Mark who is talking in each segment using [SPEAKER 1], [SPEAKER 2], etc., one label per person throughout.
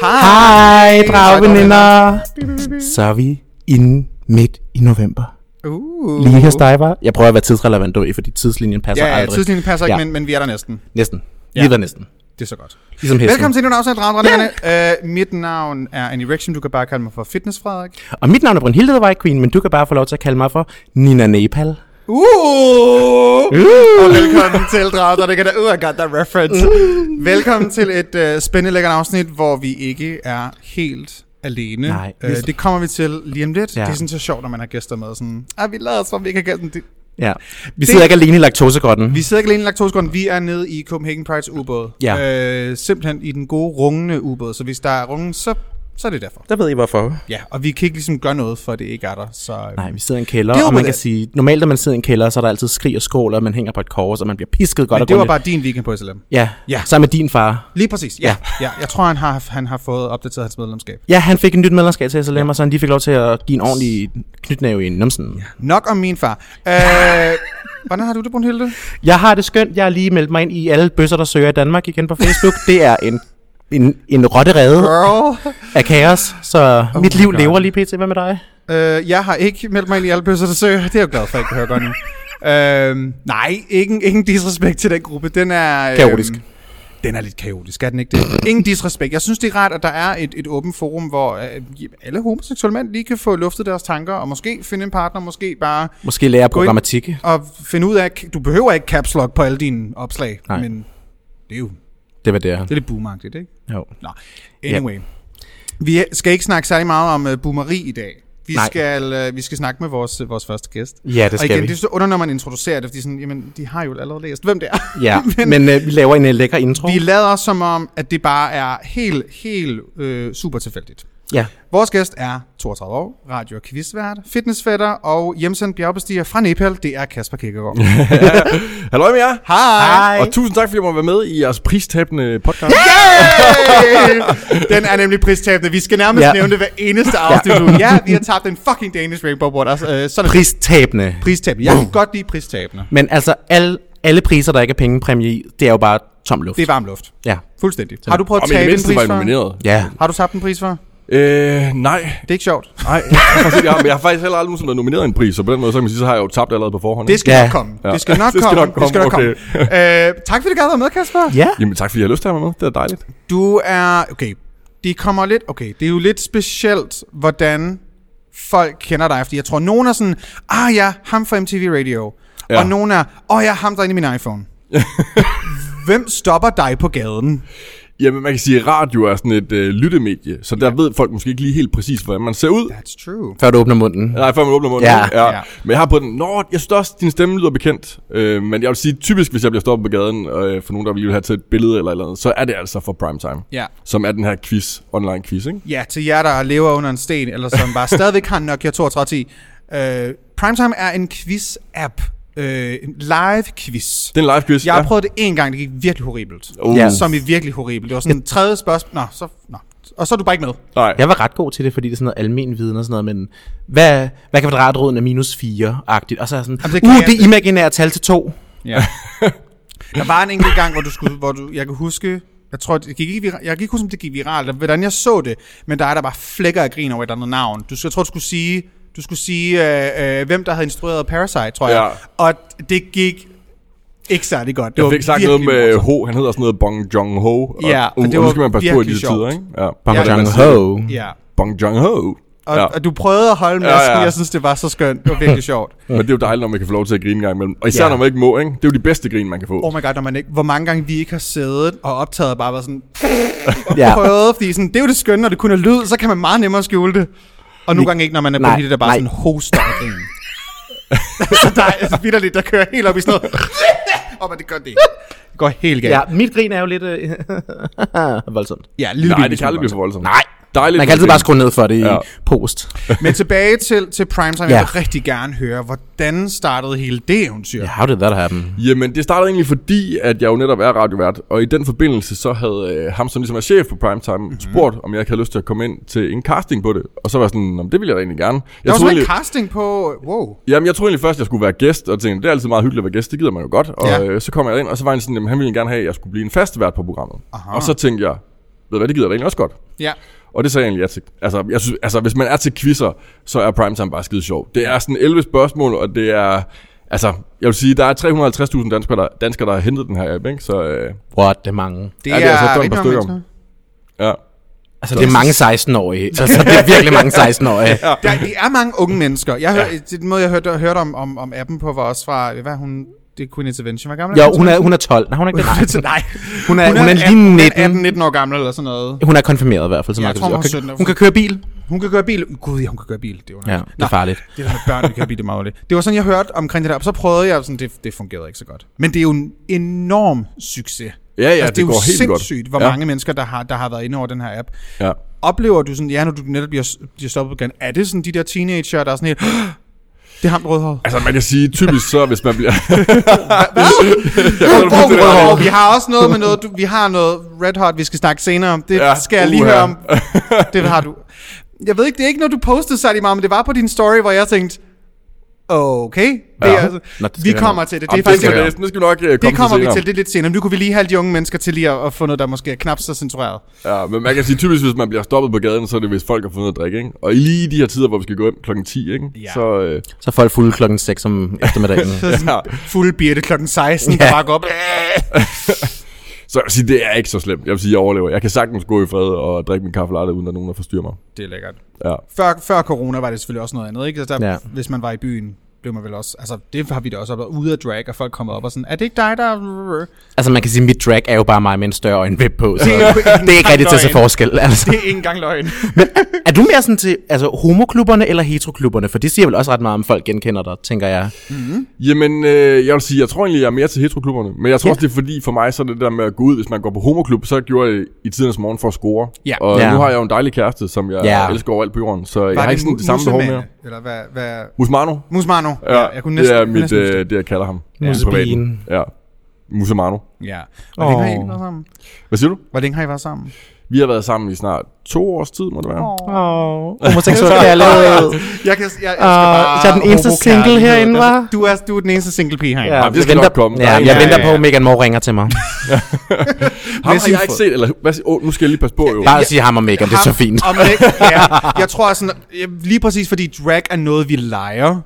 [SPEAKER 1] Hej, drageveninder. Så er vi inde midt i november.
[SPEAKER 2] Uh.
[SPEAKER 1] Lige her stejver. Jeg prøver at være tidsrelevant, du, fordi tidslinjen passer
[SPEAKER 2] Ja, ja
[SPEAKER 1] aldrig.
[SPEAKER 2] tidslinjen passer ikke,
[SPEAKER 1] Ja.
[SPEAKER 2] ja. men, men vi er der næsten.
[SPEAKER 1] Næsten.
[SPEAKER 2] Ja.
[SPEAKER 1] Lige der næsten.
[SPEAKER 2] Det er så godt.
[SPEAKER 1] Ligesom hesten.
[SPEAKER 2] Velkommen til endnu en afsnit af Dragdrillerne. Uh, mit navn er Annie Rection. Du kan bare kalde mig for Fitness Frederik.
[SPEAKER 1] Og mit navn er Brynhilde The White Queen, men du kan bare få lov til at kalde mig for Nina Nepal.
[SPEAKER 2] Uh!
[SPEAKER 1] Uh.
[SPEAKER 2] Og velkommen til Dragdrillerne. Det kan da ud af godt, der reference. Velkommen til et uh, spændende lækkert afsnit, hvor vi ikke er helt alene.
[SPEAKER 1] Nej. ligesom-
[SPEAKER 2] Øh, det kommer vi til lige om lidt.
[SPEAKER 1] Ja.
[SPEAKER 2] Ja. Det er sådan så sjovt, når man har gæster med. Sådan, ah, vi lader os, for vi ikke har gæster. Det-
[SPEAKER 1] Ja. Vi sidder ikke alene i laktosegrotten.
[SPEAKER 2] Vi sidder ikke alene i laktosegrønne, vi er nede i Copenhagen Prides ubåd.
[SPEAKER 1] Ja.
[SPEAKER 2] Øh, simpelthen i den gode, rungende ubåd. Så hvis der er rungen, så, så er det derfor.
[SPEAKER 1] Der ved I hvorfor.
[SPEAKER 2] Ja, og vi kan ikke ligesom gøre noget, for det ikke er der. Så øh,
[SPEAKER 1] Nej, vi sidder i en kælder,
[SPEAKER 2] Det var
[SPEAKER 1] og man
[SPEAKER 2] det.
[SPEAKER 1] kan sige, normalt når man sidder i en kælder, så er der altid skrig og skål, og man hænger på et kors, og man bliver pisket godt
[SPEAKER 2] Men
[SPEAKER 1] og
[SPEAKER 2] det var
[SPEAKER 1] grundigt.
[SPEAKER 2] bare din weekend på SLM.
[SPEAKER 1] Ja,
[SPEAKER 2] Ja.
[SPEAKER 1] sammen med din far.
[SPEAKER 2] Lige præcis, ja.
[SPEAKER 1] Ja.
[SPEAKER 2] ja. ja. Jeg tror, han har, han har fået opdateret hans medlemskab.
[SPEAKER 1] Ja, han fik en nyt medlemskab til SLM, og så han lige fik lov til at give en ordentlig knytnæve i numsen. Ja.
[SPEAKER 2] Nok om min far. Øh, hvordan har du det, Brunhilde?
[SPEAKER 1] Jeg har det skønt, jeg har lige meldt mig ind i alle bøsser, der søger i Danmark igen på Facebook. det er en, en, en rotterede
[SPEAKER 2] Girl.
[SPEAKER 1] af kaos, så oh mit
[SPEAKER 2] my
[SPEAKER 1] liv
[SPEAKER 2] God.
[SPEAKER 1] lever lige pt. Hvad med dig?
[SPEAKER 2] Øh, jeg har ikke meldt mig ind i alle bøsser, der søger. Det er jeg jo glad for, at jeg kan høre godt nu. Øhm, nej, ingen, ingen disrespekt til den gruppe. Den er... øhm,
[SPEAKER 1] Kaotisk.
[SPEAKER 2] den er lidt kaotisk, er den ikke det? Ingen disrespekt. Jeg synes, det er rart, at der er et, et åbent forum, hvor øh, alle homoseksuelle mænd lige kan få luftet deres tanker, og måske finde en partner, måske bare
[SPEAKER 1] Måske lærer
[SPEAKER 2] Gå ind.
[SPEAKER 1] programmatik.
[SPEAKER 2] at finde ud af... Du behøver ikke caps lock på alle dine opslag,
[SPEAKER 1] Nej.
[SPEAKER 2] men det er jo
[SPEAKER 1] Det var det, er.
[SPEAKER 2] det er lidt boomagtigt, ikke?
[SPEAKER 1] Jo.
[SPEAKER 2] Nå, anyway. Vi skal ikke snakke særlig meget om uh, boomeri i dag. Vi
[SPEAKER 1] Nej.
[SPEAKER 2] skal, uh, vi skal snakke med vores, uh, vores første gæst.
[SPEAKER 1] Ja, det
[SPEAKER 2] og
[SPEAKER 1] skal
[SPEAKER 2] igen,
[SPEAKER 1] vi.
[SPEAKER 2] det er så under, når man introducerer det, fordi sådan, jamen, de har jo allerede læst, hvem det er.
[SPEAKER 1] Ja, men, men øh, vi laver en øh, lækker intro.
[SPEAKER 2] Vi lader også som om, at det bare er helt, helt øh, super tilfældigt.
[SPEAKER 1] Ja.
[SPEAKER 2] Vores gæst er 32 år, radio- og quizvært, fitnessfætter og hjemsendt bjergbestiger fra Nepal. Det er Kasper Kirkegaard.
[SPEAKER 3] Hallo med jer.
[SPEAKER 1] Hej.
[SPEAKER 3] Og tusind tak, fordi jeg må være med i jeres pristabende podcast.
[SPEAKER 2] Yay! Den er nemlig pristabende. Vi skal nærmest
[SPEAKER 1] Ja.
[SPEAKER 2] ja. nævne det hver eneste afsnit nu. Ja, vi har tabt en fucking Danish Rainbow Award. Altså, øh, sådan Pri-
[SPEAKER 1] Pristabende.
[SPEAKER 2] pristabende. Jeg kan godt lide pristabende.
[SPEAKER 1] Men altså, alle, alle priser, der ikke er pengepræmie i, det er jo bare tom luft.
[SPEAKER 2] Det er varm luft.
[SPEAKER 1] Ja.
[SPEAKER 2] Fuldstændig. Har du prøvet
[SPEAKER 3] Og
[SPEAKER 2] at
[SPEAKER 3] men i det mindste
[SPEAKER 2] tabe en pris
[SPEAKER 3] var jeg
[SPEAKER 2] for?
[SPEAKER 3] nomineret.
[SPEAKER 1] Ja.
[SPEAKER 2] Har du tabt en pris for?
[SPEAKER 3] Øh, nej.
[SPEAKER 2] Det er ikke sjovt.
[SPEAKER 3] Nej, jeg har, faktisk ikke- jeg har, men jeg har faktisk heller aldrig nogensinde været nomineret i en pris, så på den måde, så kan man sige, så har jeg jo tabt allerede på forhånd.
[SPEAKER 2] Det
[SPEAKER 3] ikke?
[SPEAKER 2] skal
[SPEAKER 1] Ja.
[SPEAKER 2] nok komme.
[SPEAKER 3] Ja.
[SPEAKER 2] Det skal nok
[SPEAKER 3] Det skal
[SPEAKER 2] komme.
[SPEAKER 3] nok komme,
[SPEAKER 2] okay. øh, tak fordi du gad at være med, Kasper.
[SPEAKER 1] Ja.
[SPEAKER 3] Jamen tak, fordi jeg har lyst til at være med. Det er dejligt.
[SPEAKER 2] Du er... Okay, det kommer lidt... Okay, det er jo lidt specielt, hvordan folk kender dig. Fordi jeg tror, nogen er sådan... Ah ja, ham fra MTV Radio. Ja.
[SPEAKER 3] Ja.
[SPEAKER 2] Og nogen er... Åh oh, ja, ham der er inde i min iPhone. Hvem stopper dig på gaden?
[SPEAKER 3] Jamen, man kan sige, at radio er sådan et øh, lyttemedie, så der ved folk måske ikke lige helt præcis, hvordan man ser ud.
[SPEAKER 2] That's true.
[SPEAKER 1] Før du åbner munden.
[SPEAKER 3] Nej, før man åbner munden.
[SPEAKER 1] Ja.
[SPEAKER 2] Ja.
[SPEAKER 3] ja. Men jeg har på den, nå, jeg synes også, din stemme lyder bekendt. Øh, men jeg vil sige, typisk, hvis jeg bliver stoppet på gaden, øh, for nogen, der vil have taget et billede eller et eller andet, så er det altså for primetime.
[SPEAKER 2] Ja.
[SPEAKER 3] Som er den her quiz, online quiz, ikke?
[SPEAKER 2] Ja, til jer, der lever under en sten, eller som bare stadigvæk har en Nokia 3210. Øh, Primetime er en quiz-app. Øh, en live-quiz.
[SPEAKER 3] Det er en live quiz.
[SPEAKER 2] Jeg har
[SPEAKER 3] ja.
[SPEAKER 2] prøvet det en gang, det gik virkelig horribelt.
[SPEAKER 3] Oh.
[SPEAKER 1] Ja.
[SPEAKER 3] Ja.
[SPEAKER 2] Som i virkelig horribelt. Det var sådan tredje spørgsmål. Nå, så... Nå. Og så er du bare ikke med.
[SPEAKER 3] Nej.
[SPEAKER 1] Jeg var ret god til det, fordi det er sådan noget almen viden og sådan noget, men hvad, hvad kan kvadratroden af minus 4-agtigt? Og så er jeg sådan,
[SPEAKER 2] Jamen, det kan
[SPEAKER 1] uh,
[SPEAKER 2] jeg-
[SPEAKER 1] det imaginære tal til 2.
[SPEAKER 2] Ja. der var en enkelt gang, hvor du skulle, hvor du, jeg kan huske, jeg tror, det gik ikke vira- jeg kan ikke huske, om det gik viralt, eller hvordan jeg så det, men der er der bare flækker af grin over et eller andet navn. Du, skal- jeg tror, du skulle sige, du skulle sige øh, øh, hvem der havde instrueret Parasite, tror jeg. Ja.
[SPEAKER 3] Ja.
[SPEAKER 2] Og det gik ikke særlig godt. Det
[SPEAKER 3] Jeg
[SPEAKER 2] var
[SPEAKER 3] fik sagt noget
[SPEAKER 2] virkelig
[SPEAKER 3] med
[SPEAKER 2] morsomt.
[SPEAKER 3] Ho, han hedder sådan noget Bong Jong Ho. Og,
[SPEAKER 2] Ja, og
[SPEAKER 3] uh,
[SPEAKER 2] det
[SPEAKER 3] og
[SPEAKER 2] var
[SPEAKER 3] nu skal man passe på i
[SPEAKER 2] virkelig
[SPEAKER 3] disse
[SPEAKER 2] sjovt.
[SPEAKER 3] tider, ikke? Ja.
[SPEAKER 2] Ja.
[SPEAKER 3] Hvordan man
[SPEAKER 1] Jang
[SPEAKER 3] siger det.
[SPEAKER 1] Ho.
[SPEAKER 2] Ja.
[SPEAKER 3] Bong Jong Ho.
[SPEAKER 2] Og,
[SPEAKER 3] ja.
[SPEAKER 2] og, du prøvede at holde masken, ja,
[SPEAKER 3] ja.
[SPEAKER 2] ja. jeg synes, det var så skønt. Det var virkelig sjovt.
[SPEAKER 3] Men det er jo dejligt, når man kan få lov til at grine en gang imellem. Og især
[SPEAKER 1] Ja.
[SPEAKER 3] når man ikke må, ikke? Det er jo de bedste grin, man kan få.
[SPEAKER 2] Oh my god, når man ikke, hvor mange gange vi ikke har siddet og optaget og bare været sådan,
[SPEAKER 1] Ja.
[SPEAKER 2] prøvet, fordi sådan, det er jo det skønne, når det kun er lyd, så kan man meget nemmere skjule det. Og nogle gange ikke, når man er
[SPEAKER 1] nej,
[SPEAKER 2] på det, der bare
[SPEAKER 1] nej.
[SPEAKER 2] sådan hoster og griner. så der er altså vitterligt, der kører helt op i sådan noget. og man, det gør det ikke. Det går helt galt.
[SPEAKER 1] Ja, mit grin er jo lidt øh, voldsomt.
[SPEAKER 2] ja ligesom lille
[SPEAKER 3] Nej,
[SPEAKER 2] bitte
[SPEAKER 3] det kan aldrig
[SPEAKER 2] smule
[SPEAKER 3] blive for voldsomt.
[SPEAKER 1] Nej,
[SPEAKER 3] Dejligt.
[SPEAKER 1] man kan altid
[SPEAKER 3] med
[SPEAKER 1] bare skrue ned for det ja.
[SPEAKER 3] Ja.
[SPEAKER 1] i post.
[SPEAKER 2] Men tilbage til, til Primetime, jeg
[SPEAKER 1] Ja.
[SPEAKER 2] vil rigtig gerne høre, hvordan startede hele det eventyr?
[SPEAKER 1] Yeah, how did that happen?
[SPEAKER 3] Jamen, det startede egentlig fordi, at jeg jo netop er radiovært, og i den forbindelse så havde øh, ham, som ligesom er chef på Primetime,
[SPEAKER 2] Mhm.
[SPEAKER 3] mm-hmm. spurgt, om jeg ikke havde lyst til at komme ind til en casting på det. Og så var jeg sådan, "Nå, det ville jeg da egentlig gerne.
[SPEAKER 2] Der
[SPEAKER 3] Jeg
[SPEAKER 2] var sådan en
[SPEAKER 3] egentlig,
[SPEAKER 2] casting på... Wow.
[SPEAKER 3] jamen, jeg troede egentlig først, jeg skulle være gæst, og tænkte, det er altid meget hyggeligt at være gæst, det gider man jo godt. Og
[SPEAKER 2] Ja.
[SPEAKER 3] ja. øh, så kom jeg ind, og så var han sådan, jamen, han ville gerne have, at jeg skulle blive en fast vært på programmet.
[SPEAKER 2] Aha.
[SPEAKER 3] Aha. Og så tænkte jeg, ved du hvad, det gider jeg da egentlig også godt.
[SPEAKER 2] Ja.
[SPEAKER 3] Og det sagde jeg egentlig ja til. Altså, jeg synes, altså, hvis man er til quizzer, så er primetime bare skide sjov. Det er sådan 11 spørgsmål, og det er... Altså, jeg vil sige, der er 350.000 danskere, der, danskere, der har hentet den her app, ikke? Så øh,
[SPEAKER 1] What, det er mange.
[SPEAKER 2] Det
[SPEAKER 3] Ja,
[SPEAKER 2] er,
[SPEAKER 3] det er altså, der er et
[SPEAKER 2] rigtig
[SPEAKER 3] par
[SPEAKER 2] mange
[SPEAKER 3] stykker.
[SPEAKER 2] mennesker.
[SPEAKER 3] ja.
[SPEAKER 1] Altså, det er mange 16-årige. Altså, det er virkelig mange 16-årige. ja.
[SPEAKER 2] Der, det er mange unge mennesker. Jeg hør, Den måde, jeg hørte, hørte om, om, om appen på, var også fra... Hvad er hun? Det er Queen Intervention. Hvor gammel
[SPEAKER 1] Jo, hun er, hun er 12. Nej, hun er ikke det. Nej.
[SPEAKER 2] Nej.
[SPEAKER 1] Hun er, hun er
[SPEAKER 2] atten-
[SPEAKER 1] lige 19.
[SPEAKER 2] 18, 19 år gammel eller sådan noget.
[SPEAKER 1] Hun er konfirmeret i hvert fald, som
[SPEAKER 2] Jeg
[SPEAKER 1] man kan
[SPEAKER 2] tror,
[SPEAKER 1] sige.
[SPEAKER 2] hun
[SPEAKER 1] Hun,
[SPEAKER 2] er 17
[SPEAKER 1] kan, hun kan køre bil.
[SPEAKER 2] Hun kan køre bil. Gud, ja, hun kan køre bil. Det er
[SPEAKER 1] Ja,
[SPEAKER 2] underligt.
[SPEAKER 1] det er farligt.
[SPEAKER 2] Det der med børn, der kan blive det meget lidt. Det var sådan, jeg hørte omkring det der, og så prøvede jeg, og sådan, det, det fungerede ikke så godt. Men det er jo en enorm succes.
[SPEAKER 3] Ja, ja,
[SPEAKER 2] Altså, det,
[SPEAKER 3] det
[SPEAKER 2] er jo
[SPEAKER 3] går helt godt.
[SPEAKER 2] sindssygt, hvor
[SPEAKER 3] Ja.
[SPEAKER 2] mange mennesker, der har, der har været inde over den her app.
[SPEAKER 3] ja.
[SPEAKER 2] Oplever du sådan, ja, når du netop bliver, bliver stoppet igen, er det sådan de der teenager, der er sådan helt, "Åh, det er ham med rødhåret.
[SPEAKER 3] Altså, man kan sige, typisk så, hvis man bliver...
[SPEAKER 2] Hvor
[SPEAKER 3] det er
[SPEAKER 2] rødhåret? Vi har også noget med noget, du, vi har noget red hot, vi skal snakke senere om. Det ja,
[SPEAKER 3] Ja,
[SPEAKER 2] skal jeg lige
[SPEAKER 3] uha.
[SPEAKER 2] høre om. Det har du. Jeg ved ikke, det er ikke noget, du postede særlig meget, men det var på din story, hvor jeg tænkte, okay, det ja. er,
[SPEAKER 1] Ja.
[SPEAKER 2] altså,
[SPEAKER 1] Nå, det skal
[SPEAKER 2] vi
[SPEAKER 1] vi
[SPEAKER 2] kommer
[SPEAKER 1] høre.
[SPEAKER 2] til det. Det er
[SPEAKER 3] Jamen, det,
[SPEAKER 2] faktisk
[SPEAKER 3] skal,
[SPEAKER 1] være.
[SPEAKER 3] vi- det skal vi nok øh, komme
[SPEAKER 2] Det kommer
[SPEAKER 3] til
[SPEAKER 2] vi
[SPEAKER 3] senere.
[SPEAKER 2] til lidt, lidt senere, men nu kunne vi lige have de unge mennesker til lige at, at få noget, der måske er knap så censureret.
[SPEAKER 3] Ja, men man kan sige, typisk hvis man bliver stoppet på gaden, så er det, hvis folk har fundet at drikke, ikke? Og lige i de her tider, hvor vi skal gå hjem klokken 10, ikke?
[SPEAKER 2] Ja.
[SPEAKER 3] Så, øh,
[SPEAKER 1] Så er folk fulde klokken 6 om eftermiddagen.
[SPEAKER 3] ja.
[SPEAKER 2] Fuld birte klokken 16, ja. der
[SPEAKER 1] Ja.
[SPEAKER 2] bare går op.
[SPEAKER 3] Så jeg vil sige, det er ikke så slemt. Jeg vil sige, jeg overlever. Jeg kan sagtens gå i fred og drikke min kaffe latte, uden at nogen der forstyrrer mig.
[SPEAKER 2] Det er lækkert.
[SPEAKER 3] Ja.
[SPEAKER 2] Før, før corona var det selvfølgelig også noget andet, ikke? Altså der, ja.
[SPEAKER 1] Ja.
[SPEAKER 2] Hvis man var i byen, blev man vel også... Altså, det har vi da også oplevet ude af drag, og folk kommer op og sådan, er det ikke dig, der...
[SPEAKER 1] altså, man kan sige, at mit drag er jo bare mig med en større øjenvip på. Så
[SPEAKER 2] Det er jo ikke
[SPEAKER 1] det er ikke rigtigt til at se
[SPEAKER 2] engang
[SPEAKER 1] forskel. Altså.
[SPEAKER 2] Det er ikke engang løgn.
[SPEAKER 1] Men er du mere sådan til altså, homoklubberne eller heteroklubberne? For det siger vel også ret meget, om folk genkender dig, tænker jeg.
[SPEAKER 3] Jamen, øh, jeg vil sige, jeg tror egentlig, jeg er mere til heteroklubberne. Men jeg tror ja. også, det er fordi, for mig, så er det der med at gå ud. Hvis man går på homoklub, så gjorde jeg det i tidens morgen for at score.
[SPEAKER 2] Ja.
[SPEAKER 3] Og
[SPEAKER 1] Ja.
[SPEAKER 3] nu har jeg jo en dejlig kæreste, som jeg
[SPEAKER 1] Ja.
[SPEAKER 3] ja. elsker overalt på jorden. Så jeg har ikke sådan
[SPEAKER 2] mu-
[SPEAKER 3] det samme behov mere.
[SPEAKER 2] musemane? Eller hvad... hvad
[SPEAKER 3] Musmano?
[SPEAKER 2] Musmano.
[SPEAKER 3] Ja,
[SPEAKER 2] jeg kunne næsten,
[SPEAKER 3] det er
[SPEAKER 2] jeg kunne
[SPEAKER 3] mit,
[SPEAKER 2] næsten huske
[SPEAKER 3] øh, det, jeg kalder ham. Ja.
[SPEAKER 1] Musebien.
[SPEAKER 3] Ja. Musemano.
[SPEAKER 2] det. Ja. Hvor længe har I
[SPEAKER 1] Åh.
[SPEAKER 2] egentlig været sammen?
[SPEAKER 3] Hvad siger du?
[SPEAKER 2] Hvor længe har I været sammen?
[SPEAKER 3] Vi har været sammen i snart to års tid, må det være.
[SPEAKER 2] Åh.
[SPEAKER 1] Åh, homoseksuel kærlighed.
[SPEAKER 2] Jeg, kan, jeg, jeg, skal
[SPEAKER 1] Ah,
[SPEAKER 2] bare
[SPEAKER 1] så er den eneste
[SPEAKER 2] hobo-kærlighed.
[SPEAKER 1] single herinde, hva'?
[SPEAKER 2] Du er, du er den eneste single pige herinde.
[SPEAKER 1] Ja,
[SPEAKER 3] Jamen, det
[SPEAKER 1] jeg
[SPEAKER 3] skal
[SPEAKER 1] venter,
[SPEAKER 3] nok komme. Der
[SPEAKER 1] Ja,
[SPEAKER 3] er
[SPEAKER 1] jeg
[SPEAKER 3] en-
[SPEAKER 1] ja, venter
[SPEAKER 2] Ja, ja,
[SPEAKER 1] på,
[SPEAKER 2] ja.
[SPEAKER 1] at Megan Moore ringer til mig.
[SPEAKER 3] Ham har
[SPEAKER 2] Messi
[SPEAKER 3] jeg ikke
[SPEAKER 2] fod.
[SPEAKER 3] set, eller hvad siger, oh, nu skal jeg lige passe på jo.
[SPEAKER 1] Bare at sige ham og Megan, det er så
[SPEAKER 2] Ham-
[SPEAKER 1] fint.
[SPEAKER 2] Om det, ja. Jeg tror sådan, ja, lige præcis fordi drag er noget, vi leger,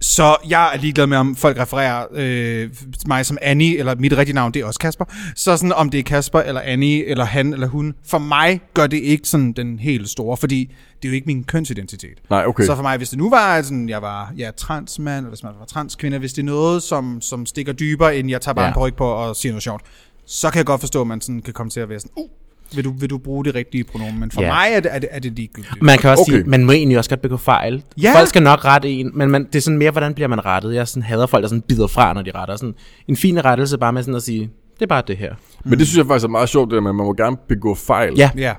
[SPEAKER 2] så jeg er ligeglad med, om folk refererer øh, mig som Annie, eller mit rigtige navn, det er også Kasper. Så sådan, om det er Kasper, eller Annie, eller han, eller hun. For mig gør det ikke sådan den helt store, fordi det er jo ikke min kønsidentitet.
[SPEAKER 3] Nej, okay.
[SPEAKER 2] Så for mig, hvis det nu var, sådan, jeg var ja, transmand, eller hvis man var transkvinde, hvis det er noget, som, som stikker dybere, end jeg tager bare ja.
[SPEAKER 1] Ja.
[SPEAKER 2] en ryg på og siger noget sjovt, så kan jeg godt forstå, at man sådan kan komme til at være sådan, uh, vil du, vil du bruge det rigtige pronomen? Men for ja.
[SPEAKER 1] Ja.
[SPEAKER 2] mig er det, er det, er det ligegyldigt.
[SPEAKER 1] Man kan også okay.
[SPEAKER 3] Okay.
[SPEAKER 1] sige, man må egentlig også godt begå fejl.
[SPEAKER 2] Ja.
[SPEAKER 1] Ja. Folk skal nok rette en, men man, det er sådan mere, hvordan bliver man rettet. Jeg sådan hader folk, der sådan bider fra, når de retter. Sådan en fin rettelse bare med sådan at sige, det er bare det her.
[SPEAKER 3] Men det synes jeg faktisk er meget sjovt, det der med, at man må gerne begå fejl.
[SPEAKER 1] Ja.
[SPEAKER 2] Ja.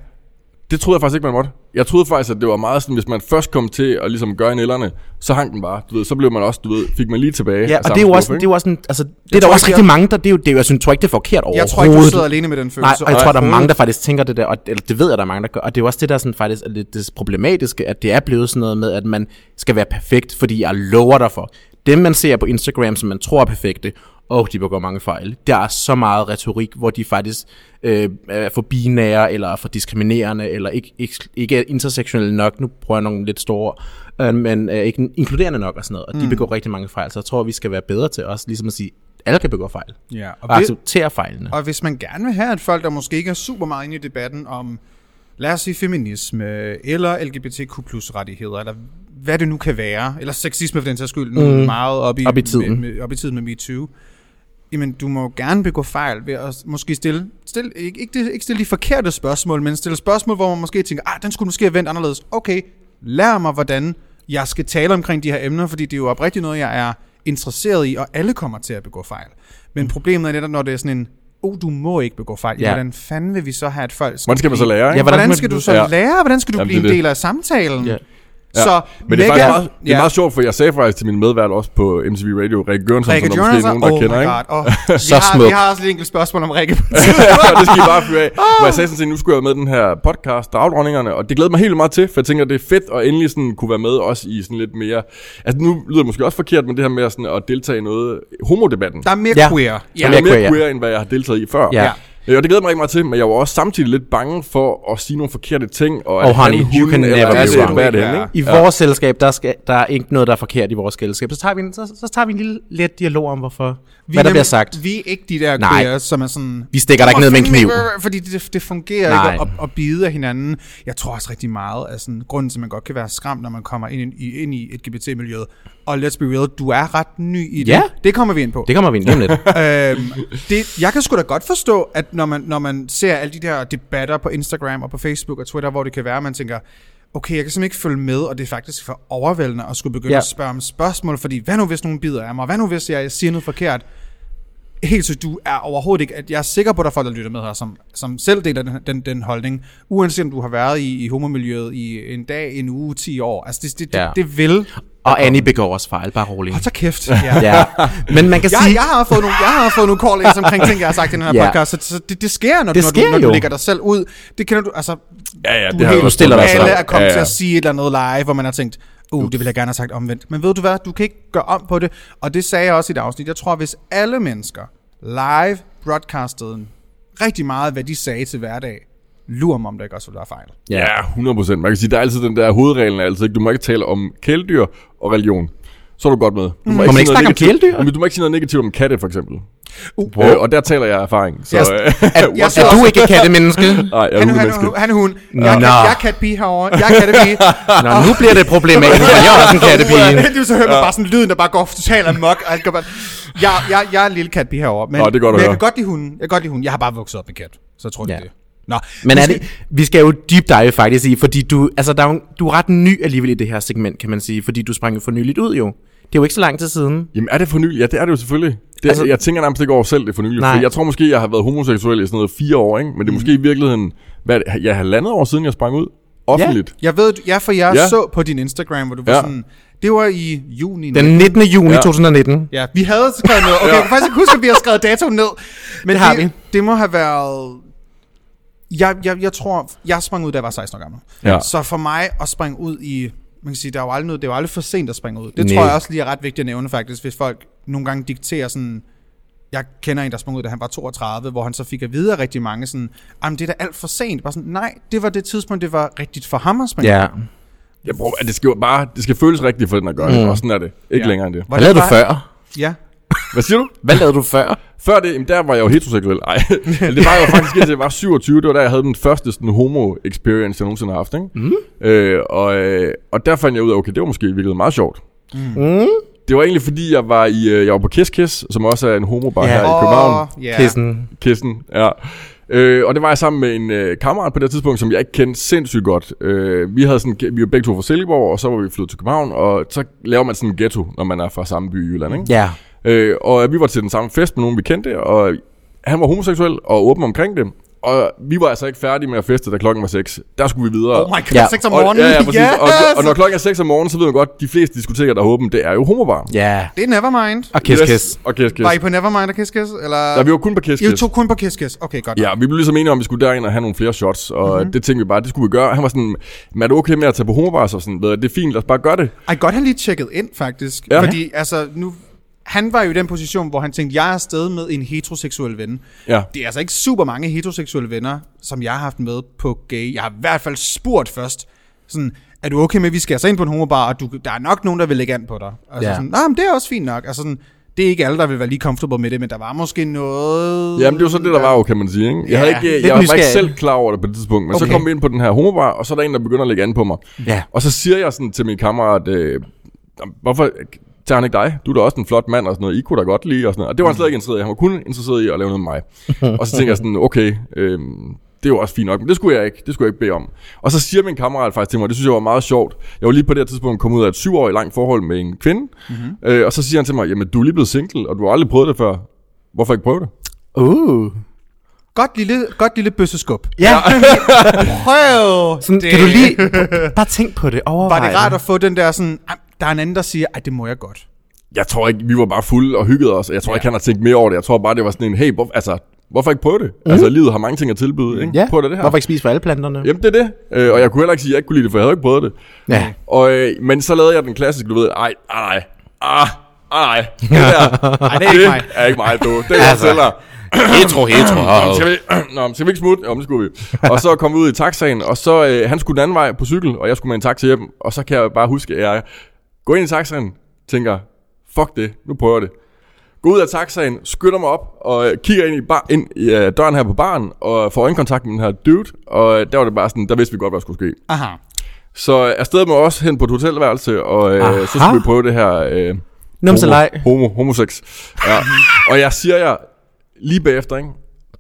[SPEAKER 3] Det troede jeg faktisk ikke, man måtte. Jeg troede faktisk, at det var meget sådan, hvis man først kom til at ligesom gøre nellerne, så hang den bare. Du ved, så blev man også, du ved, fik man lige tilbage.
[SPEAKER 1] Ja,
[SPEAKER 3] af
[SPEAKER 1] og
[SPEAKER 3] samme
[SPEAKER 1] det er jo
[SPEAKER 3] skuffe,
[SPEAKER 1] også, det
[SPEAKER 3] ikke?
[SPEAKER 1] er jo også en, altså, det er der
[SPEAKER 2] tror
[SPEAKER 1] også
[SPEAKER 2] ikke,
[SPEAKER 1] rigtig mange, der, det er jo, det er jo, jeg synes, tror ikke, det er forkert overhovedet.
[SPEAKER 2] Jeg tror ikke, du sidder alene med den
[SPEAKER 1] Nej,
[SPEAKER 2] følelse.
[SPEAKER 1] og jeg
[SPEAKER 2] Og-
[SPEAKER 1] tror, der er mange, der faktisk tænker det der, og eller, det ved jeg, der er mange, der gør. Og det er jo også det, der sådan faktisk er lidt det problematiske, at det er blevet sådan noget med, at man skal være perfekt, fordi jeg lover dig for. Dem, man ser på Instagram, som man tror er perfekte, åh, de begår mange fejl. Der er så meget retorik, hvor de faktisk øh, er for binære, eller er for diskriminerende, eller ikke, ikke, ikke er intersektionelle nok. Nu prøver jeg nogle lidt store, øh, men øh, ikke inkluderende nok og sådan noget. Og de begår rigtig mange fejl, så jeg tror, vi skal være bedre til også ligesom at sige, alle kan begå fejl.
[SPEAKER 2] Ja, og
[SPEAKER 1] og,
[SPEAKER 2] det-
[SPEAKER 1] acceptere fejlene.
[SPEAKER 2] Og hvis man gerne vil have, at folk, der måske ikke er super meget inde i debatten om, lad os sige feminisme, eller LGBTQ rettigheder, eller hvad det nu kan være, eller sexisme for den sags skyld, nu mm. meget op i,
[SPEAKER 1] Op i tiden.
[SPEAKER 2] Med, med, op i tiden med MeToo, jamen du må gerne begå fejl ved at måske stille, stille ikke, ikke, det- ikke stille de forkerte spørgsmål, men stille spørgsmål, hvor man måske tænker, ah, den skulle måske have vendt anderledes. Okay, lær mig, hvordan jeg skal tale omkring de her emner, fordi det er jo
[SPEAKER 3] Mm.
[SPEAKER 2] oprigtigt noget, jeg er interesseret i, og alle kommer til at begå fejl. Men problemet er netop, når det er sådan en, oh, du må ikke begå fejl. Ja.
[SPEAKER 1] Ja.
[SPEAKER 2] Hvordan fanden vil vi så have, at folk
[SPEAKER 3] Hvordan skal man så
[SPEAKER 2] blive-
[SPEAKER 3] lære, ikke?
[SPEAKER 1] Ja,
[SPEAKER 2] Hvordan,
[SPEAKER 1] Hvordan
[SPEAKER 2] skal
[SPEAKER 1] må-
[SPEAKER 2] du så
[SPEAKER 3] Ja.
[SPEAKER 2] lære? Hvordan skal du
[SPEAKER 3] Jamen,
[SPEAKER 2] blive en
[SPEAKER 3] det er det.
[SPEAKER 2] del af samtalen?
[SPEAKER 1] Ja.
[SPEAKER 3] Ja.
[SPEAKER 2] Så
[SPEAKER 3] Men det er,
[SPEAKER 2] Mega-
[SPEAKER 3] faktisk meget, det er
[SPEAKER 2] Ja.
[SPEAKER 3] meget sjovt, for jeg sagde faktisk til min medvært også på MTV Radio, Rikke Gørensson,
[SPEAKER 2] Rikke
[SPEAKER 3] som der måske er
[SPEAKER 2] Jonathan,
[SPEAKER 3] nogen, der
[SPEAKER 2] oh
[SPEAKER 3] kender,
[SPEAKER 2] my
[SPEAKER 3] ikke?
[SPEAKER 2] god. Oh, vi,
[SPEAKER 1] Så
[SPEAKER 2] har, vi
[SPEAKER 1] smuk.
[SPEAKER 2] har også et enkelt spørgsmål om Rikke.
[SPEAKER 3] det skal I bare fyre
[SPEAKER 1] Ah!
[SPEAKER 3] af. Hvor jeg sagde sådan set, nu skulle jeg være med i den her podcast, Dagdronningerne, og det glæder mig helt vildt meget til, for jeg tænker, det er fedt at endelig sådan kunne være med også i sådan lidt mere... Altså nu lyder det måske også forkert, men det her med sådan at deltage i noget homodebatten.
[SPEAKER 2] Der er mere
[SPEAKER 1] Ja.
[SPEAKER 2] queer.
[SPEAKER 1] Ja.
[SPEAKER 3] Ja, jeg er mere
[SPEAKER 1] queer,
[SPEAKER 3] queer, end hvad jeg har deltaget i før.
[SPEAKER 1] Ja.
[SPEAKER 3] Ja, og det glæder mig ikke meget til, men jeg var også samtidig lidt bange for at sige nogle forkerte ting. Og er
[SPEAKER 1] Oh,
[SPEAKER 3] det han,
[SPEAKER 1] honey, you
[SPEAKER 3] hun,
[SPEAKER 1] can
[SPEAKER 3] eller
[SPEAKER 1] never
[SPEAKER 3] er
[SPEAKER 1] be
[SPEAKER 3] det-
[SPEAKER 1] wrong.
[SPEAKER 3] Hvad er det
[SPEAKER 2] Ja.
[SPEAKER 3] henne, ikke?
[SPEAKER 1] I vores selskab, der, skal, der er ikke noget, der er forkert i vores selskab. Så tager vi en, så, så tager vi en lille let dialog om, hvorfor, vi hvad der
[SPEAKER 2] nem-
[SPEAKER 1] bliver sagt.
[SPEAKER 2] Vi er ikke de der
[SPEAKER 1] Nej.
[SPEAKER 2] queer, som er sådan...
[SPEAKER 1] Vi stikker dig ikke ned med en kniv.
[SPEAKER 2] Fordi det, det fungerer
[SPEAKER 1] Nej.
[SPEAKER 2] ikke at, at bide af hinanden. Jeg tror også rigtig meget, at sådan, grunden til, at man godt kan være skræmt, når man kommer ind i, ind i LGBT-miljøet. Og let's be real, du er ret ny i det.
[SPEAKER 1] Ja.
[SPEAKER 2] Det kommer vi ind på.
[SPEAKER 1] Det kommer vi ind lige om lidt.
[SPEAKER 2] øhm, det, jeg kan sgu da godt forstå, at når man, når man ser alle de der debatter på Instagram og på Facebook og Twitter, hvor det kan være, at man tænker, okay, jeg kan simpelthen ikke følge med, og det er faktisk for overvældende at skulle begynde ja.
[SPEAKER 1] Ja.
[SPEAKER 2] at spørge om spørgsmål, fordi hvad nu hvis nogen bider af mig, hvad nu hvis jeg siger noget forkert? Helt så du er overhovedet ikke, at jeg er sikker på, at der er folk, der lytter med her, som, som selv deler den, den, den holdning, uanset om du har været i, i homomiljøet i en dag, en uge, 10 år. Altså det, det, det, ja.
[SPEAKER 1] Ja.
[SPEAKER 2] det vil.
[SPEAKER 1] Og Annie begår også fejl, bare rolig.
[SPEAKER 2] Hold så kæft. Ja.
[SPEAKER 1] Ja. Men man kan
[SPEAKER 2] Jeg,
[SPEAKER 1] sige...
[SPEAKER 2] jeg har fået nogle, jeg har fået nogle call-ins omkring ting, jeg har sagt i den her
[SPEAKER 1] Ja.
[SPEAKER 2] podcast, så, så det, det sker, når,
[SPEAKER 1] Det
[SPEAKER 2] når,
[SPEAKER 1] sker
[SPEAKER 2] du, når du
[SPEAKER 1] jo.
[SPEAKER 2] lægger dig selv ud. Det kender du, altså,
[SPEAKER 3] Ja, ja,
[SPEAKER 2] du,
[SPEAKER 3] det har jeg
[SPEAKER 2] helt-
[SPEAKER 3] også
[SPEAKER 1] stiller dig selv.
[SPEAKER 2] alle er kommet
[SPEAKER 3] Ja, ja.
[SPEAKER 2] til at sige et eller andet live, hvor man har tænkt, uh, det ville jeg gerne have sagt omvendt. Men ved du hvad, du kan ikke gøre om på det, og det sagde jeg også i det afsnit. Jeg tror, hvis alle mennesker live broadcastede rigtig meget, hvad de sagde til hverdag, lurer mig, om der ikke også ville være fejl.
[SPEAKER 1] Ja.
[SPEAKER 3] Ja, 100%. Man kan sige, der er altid den der hovedregel, er altid, ikke? du må ikke tale om kæledyr og religion. Så er du godt med. Du må, mm.
[SPEAKER 1] man ikke snakke om kæledyr?
[SPEAKER 3] Men du må ikke sige noget negativt om katte, for eksempel.
[SPEAKER 2] Uh,
[SPEAKER 3] Wow. Øh, og der taler jeg af erfaring. Så,
[SPEAKER 2] Jeg-
[SPEAKER 3] øh,
[SPEAKER 1] At,
[SPEAKER 2] Jeg
[SPEAKER 1] jeg
[SPEAKER 2] ser
[SPEAKER 1] er du
[SPEAKER 2] også-
[SPEAKER 1] ikke et kattemenneske?
[SPEAKER 3] Nej, jeg er
[SPEAKER 2] Han, han,
[SPEAKER 3] hundemenneske.
[SPEAKER 2] han, han, hun. Jeg,
[SPEAKER 1] Nå.
[SPEAKER 2] jeg, jeg er katpige herovre. Jeg er katpige.
[SPEAKER 1] Nå, nu bliver det problematisk, for jeg er også en kattepige.
[SPEAKER 2] Det er så hører man bare sådan lyden, der bare går totalt amok. Og alt går bare... Jeg, jeg, jeg er en lille kat herovre, men,
[SPEAKER 3] Nå, det er godt at
[SPEAKER 2] men jeg
[SPEAKER 3] høre.
[SPEAKER 2] kan godt lide hunden. Jeg kan godt lide hunden. Jeg har bare vokset op med kat, så jeg tror, det er
[SPEAKER 1] Ja.
[SPEAKER 2] det. Nå,
[SPEAKER 1] Men
[SPEAKER 2] vi
[SPEAKER 1] er
[SPEAKER 2] skal-
[SPEAKER 1] det, vi skal jo deep dive faktisk i, fordi du, altså der er jo, du er ret ny alligevel i det her segment, kan man sige, fordi du sprang jo for nyligt ud jo. Det er jo ikke så lang tid siden.
[SPEAKER 3] Jamen er det for nylig? Ja, det er det jo selvfølgelig. Det, altså,
[SPEAKER 1] Altså-
[SPEAKER 3] jeg tænker nærmest ikke over selv, det er for nylig.
[SPEAKER 1] Nej.
[SPEAKER 3] Fordi jeg tror måske, jeg har været homoseksuel i sådan noget fire år, ikke? Men det er måske i virkeligheden, hvad er det, jeg har landet år siden, jeg sprang ud. Offentligt.
[SPEAKER 2] Jeg ved, ja, for jeg ja.
[SPEAKER 3] Ja.
[SPEAKER 2] så på din Instagram, hvor du var ja.
[SPEAKER 3] Ja.
[SPEAKER 2] sådan... Det var i juni. nu.
[SPEAKER 1] Den 19. juni
[SPEAKER 3] Ja.
[SPEAKER 1] ja. 2019.
[SPEAKER 2] Ja, vi havde skrevet noget. Okay, jeg kan faktisk ikke huske, at vi har skrevet datoen ned. Men
[SPEAKER 1] Det har
[SPEAKER 2] det,
[SPEAKER 1] vi.
[SPEAKER 2] det må have været... Jeg, jeg, jeg tror, jeg sprang ud, da jeg var 16 år gammel.
[SPEAKER 3] Ja.
[SPEAKER 2] Så for mig at springe ud i... Man kan sige, der er jo aldrig noget, det er jo aldrig for sent at springe ud. Det
[SPEAKER 1] Næ.
[SPEAKER 2] tror jeg også lige er ret vigtigt at nævne faktisk, hvis folk nogle gange dikterer sådan... Jeg kender en, der sprang ud, da han var 32, hvor han så fik at vide af rigtig mange sådan, jamen det er da alt for sent. Bare sådan, nej, det var det tidspunkt, det var rigtigt for ham at springe. ud."
[SPEAKER 1] Ja.
[SPEAKER 3] Jeg bruger, at det skal jo bare, det skal føles rigtigt for den at gøre det.
[SPEAKER 1] Mm.
[SPEAKER 3] Og sådan er det. Ikke
[SPEAKER 2] Ja.
[SPEAKER 3] længere end det.
[SPEAKER 1] Hvad lavede du
[SPEAKER 2] var-
[SPEAKER 1] før?
[SPEAKER 2] Ja.
[SPEAKER 3] Hvad siger du?
[SPEAKER 1] Hvad lavede du før?
[SPEAKER 3] Før det, jamen der var jeg jo heteroseksuel. Ej, det var jeg jo faktisk indtil jeg var 27. Det var da, jeg havde den første sådan, homo-experience, jeg nogensinde har haft. Ikke? Mm. Øh, og, øh, og der fandt jeg ud af, okay, det var måske i virkeligheden meget sjovt.
[SPEAKER 1] Mm.
[SPEAKER 3] Det var egentlig fordi, jeg var, i, øh, jeg var på Kiss Kiss, som også er en homobar
[SPEAKER 1] Ja.
[SPEAKER 3] her i
[SPEAKER 2] Åh,
[SPEAKER 3] København.
[SPEAKER 2] ja.
[SPEAKER 1] Kissen.
[SPEAKER 3] Kissen, ja. Øh, og det var jeg sammen med en øh, kammerat på det tidspunkt, som jeg ikke kendte sindssygt godt. Øh, vi, havde sådan, vi var begge to fra Silkeborg, og så var vi flyttet til København, og så laver man sådan en ghetto, når man er fra samme by i Jylland. Ikke?
[SPEAKER 1] Ja.
[SPEAKER 3] Øh, og vi var til den samme fest med nogen, vi kendte, og han var homoseksuel og åben omkring det. Og vi var altså ikke færdige med at feste, da klokken var 6. Der skulle vi videre.
[SPEAKER 2] Oh my god,
[SPEAKER 1] Ja.
[SPEAKER 2] ja. 6 om morgenen.
[SPEAKER 3] Og, ja, ja, præcis.
[SPEAKER 2] Yes!
[SPEAKER 3] Og, og, når klokken er 6 om morgenen, så ved man godt, de fleste diskoteker, der er åbent, det er jo homobar.
[SPEAKER 1] Ja.
[SPEAKER 2] Det er Nevermind.
[SPEAKER 3] Ah,
[SPEAKER 1] Og kiss, yes. kiss.
[SPEAKER 3] Og kiss, kiss.
[SPEAKER 2] Var I på Nevermind og Kiss Kiss? Eller?
[SPEAKER 3] Ja, vi var kun på kiss,
[SPEAKER 2] I
[SPEAKER 3] kiss.
[SPEAKER 2] tog kun på Kiss Kiss. Okay, godt.
[SPEAKER 3] Ja, vi blev ligesom enige om, at vi skulle derind og have nogle flere shots, og mm-hmm. det tænkte vi bare, det skulle vi gøre. Han var sådan, men er det okay med at tage på homobar? Så sådan, "Ved du, det er fint, lad os bare gøre det.
[SPEAKER 2] Ej, godt han lige tjekket ind, faktisk. Ja.
[SPEAKER 3] Ja.
[SPEAKER 2] Fordi, altså, nu... Han var jo i den position, hvor han tænkte, jeg er afsted med en heteroseksuel ven.
[SPEAKER 3] Ja.
[SPEAKER 2] Det er altså ikke super mange heteroseksuelle venner, som jeg har haft med på gay. Jeg har i hvert fald spurgt først, sådan, er du okay med, at vi skal altså ind på en homobar, og du, der er nok nogen, der vil lægge an på dig. Altså
[SPEAKER 1] Ja.
[SPEAKER 2] sådan, Nå, men det er også fint nok. Altså sådan, det er ikke alle, der vil være lige comfortable med det, men der var måske noget...
[SPEAKER 3] Jamen, det var så det, der var jo, kan man sige. Ikke? Jeg, havde
[SPEAKER 2] Ja,
[SPEAKER 3] ikke,
[SPEAKER 1] lidt
[SPEAKER 3] jeg var ikke
[SPEAKER 1] nysgerrig.
[SPEAKER 3] selv klar over det på det tidspunkt, men okay.
[SPEAKER 2] Okay.
[SPEAKER 3] så kom vi ind på den her homobar, og så er der en, der begynder at lægge an på mig.
[SPEAKER 1] Ja.
[SPEAKER 3] Og så siger jeg sådan til min kammerat, øh, hvorfor tager han ikke dig? Du er da også en flot mand og sådan noget. I kunne da godt lide og sådan noget. Og det var han slet ikke interesseret i. Han var kun interesseret i at lave noget med mig. og så tænker jeg sådan, okay, øh, det er jo også fint nok, men det skulle jeg ikke, det skulle jeg ikke bede om. Og så siger min kammerat faktisk til mig, og det synes jeg var meget sjovt. Jeg var lige på det her tidspunkt kommet ud af et syvårigt langt forhold med en
[SPEAKER 1] Mhm.
[SPEAKER 3] kvinde. Mm-hmm. Øh, og så siger han til mig, jamen du er lige blevet single, og du har aldrig prøvet det før. Hvorfor ikke prøve det?
[SPEAKER 1] Uh.
[SPEAKER 2] Godt lille, godt lille bøsseskub.
[SPEAKER 1] Ja,
[SPEAKER 2] Prøv!
[SPEAKER 1] sådan, kan du lige... Bare tænk på det, overvej
[SPEAKER 2] Var det rart at få den der sådan, "Ej, der er en anden, der siger, at det må jeg godt.
[SPEAKER 3] Jeg tror ikke, vi var bare fulde og hyggede os, og jeg tror ikke, han har tænkt mere over det. Jeg tror bare, det var sådan en, hey, hvor, altså, hvorfor ikke prøve det?
[SPEAKER 2] Mhm.
[SPEAKER 3] Mm. Altså, livet har mange ting at tilbyde, ikke?
[SPEAKER 1] Ja,
[SPEAKER 3] Prøv da det her.
[SPEAKER 1] hvorfor ikke spise for alle planterne?
[SPEAKER 3] Jamen, det er det. Øh, og jeg kunne heller ikke sige, at jeg ikke kunne lide det, for jeg havde ikke prøvet det.
[SPEAKER 1] Ja.
[SPEAKER 3] Og, øh, men så lavede jeg den klassiske, du ved, ej, ej, nej, ah, ej, nej. Det der,
[SPEAKER 2] Ej, det er ikke mig. Altså.
[SPEAKER 3] er ikke mig, du. Det er jeg selv her.
[SPEAKER 1] Hetero, hetero.
[SPEAKER 3] Nå, men skal vi, nå, men skal vi ikke smutte? Jo, men det skulle vi. Og så kom vi ud i taxaen, og så, øh, han skulle den anden vej på cykel, og jeg skulle med en taxa hjem, og så kan jeg bare huske, at jeg går ind i taxaen, tænker, fuck det, nu prøver jeg det. Går ud af taxaen, skynder mig op, og øh, kigger ind i, bar, ind i øh, døren her på baren, og får øjenkontakt med den her dude, og øh, der var det bare sådan, der vidste vi godt, hvad der skulle ske.
[SPEAKER 2] Aha.
[SPEAKER 3] Så øh, afsted med os hen på et hotelværelse, og øh, så skulle vi prøve det her øh,
[SPEAKER 1] Numselej.
[SPEAKER 3] homo, homosex. Ja. og jeg siger jer, lige bagefter, ikke?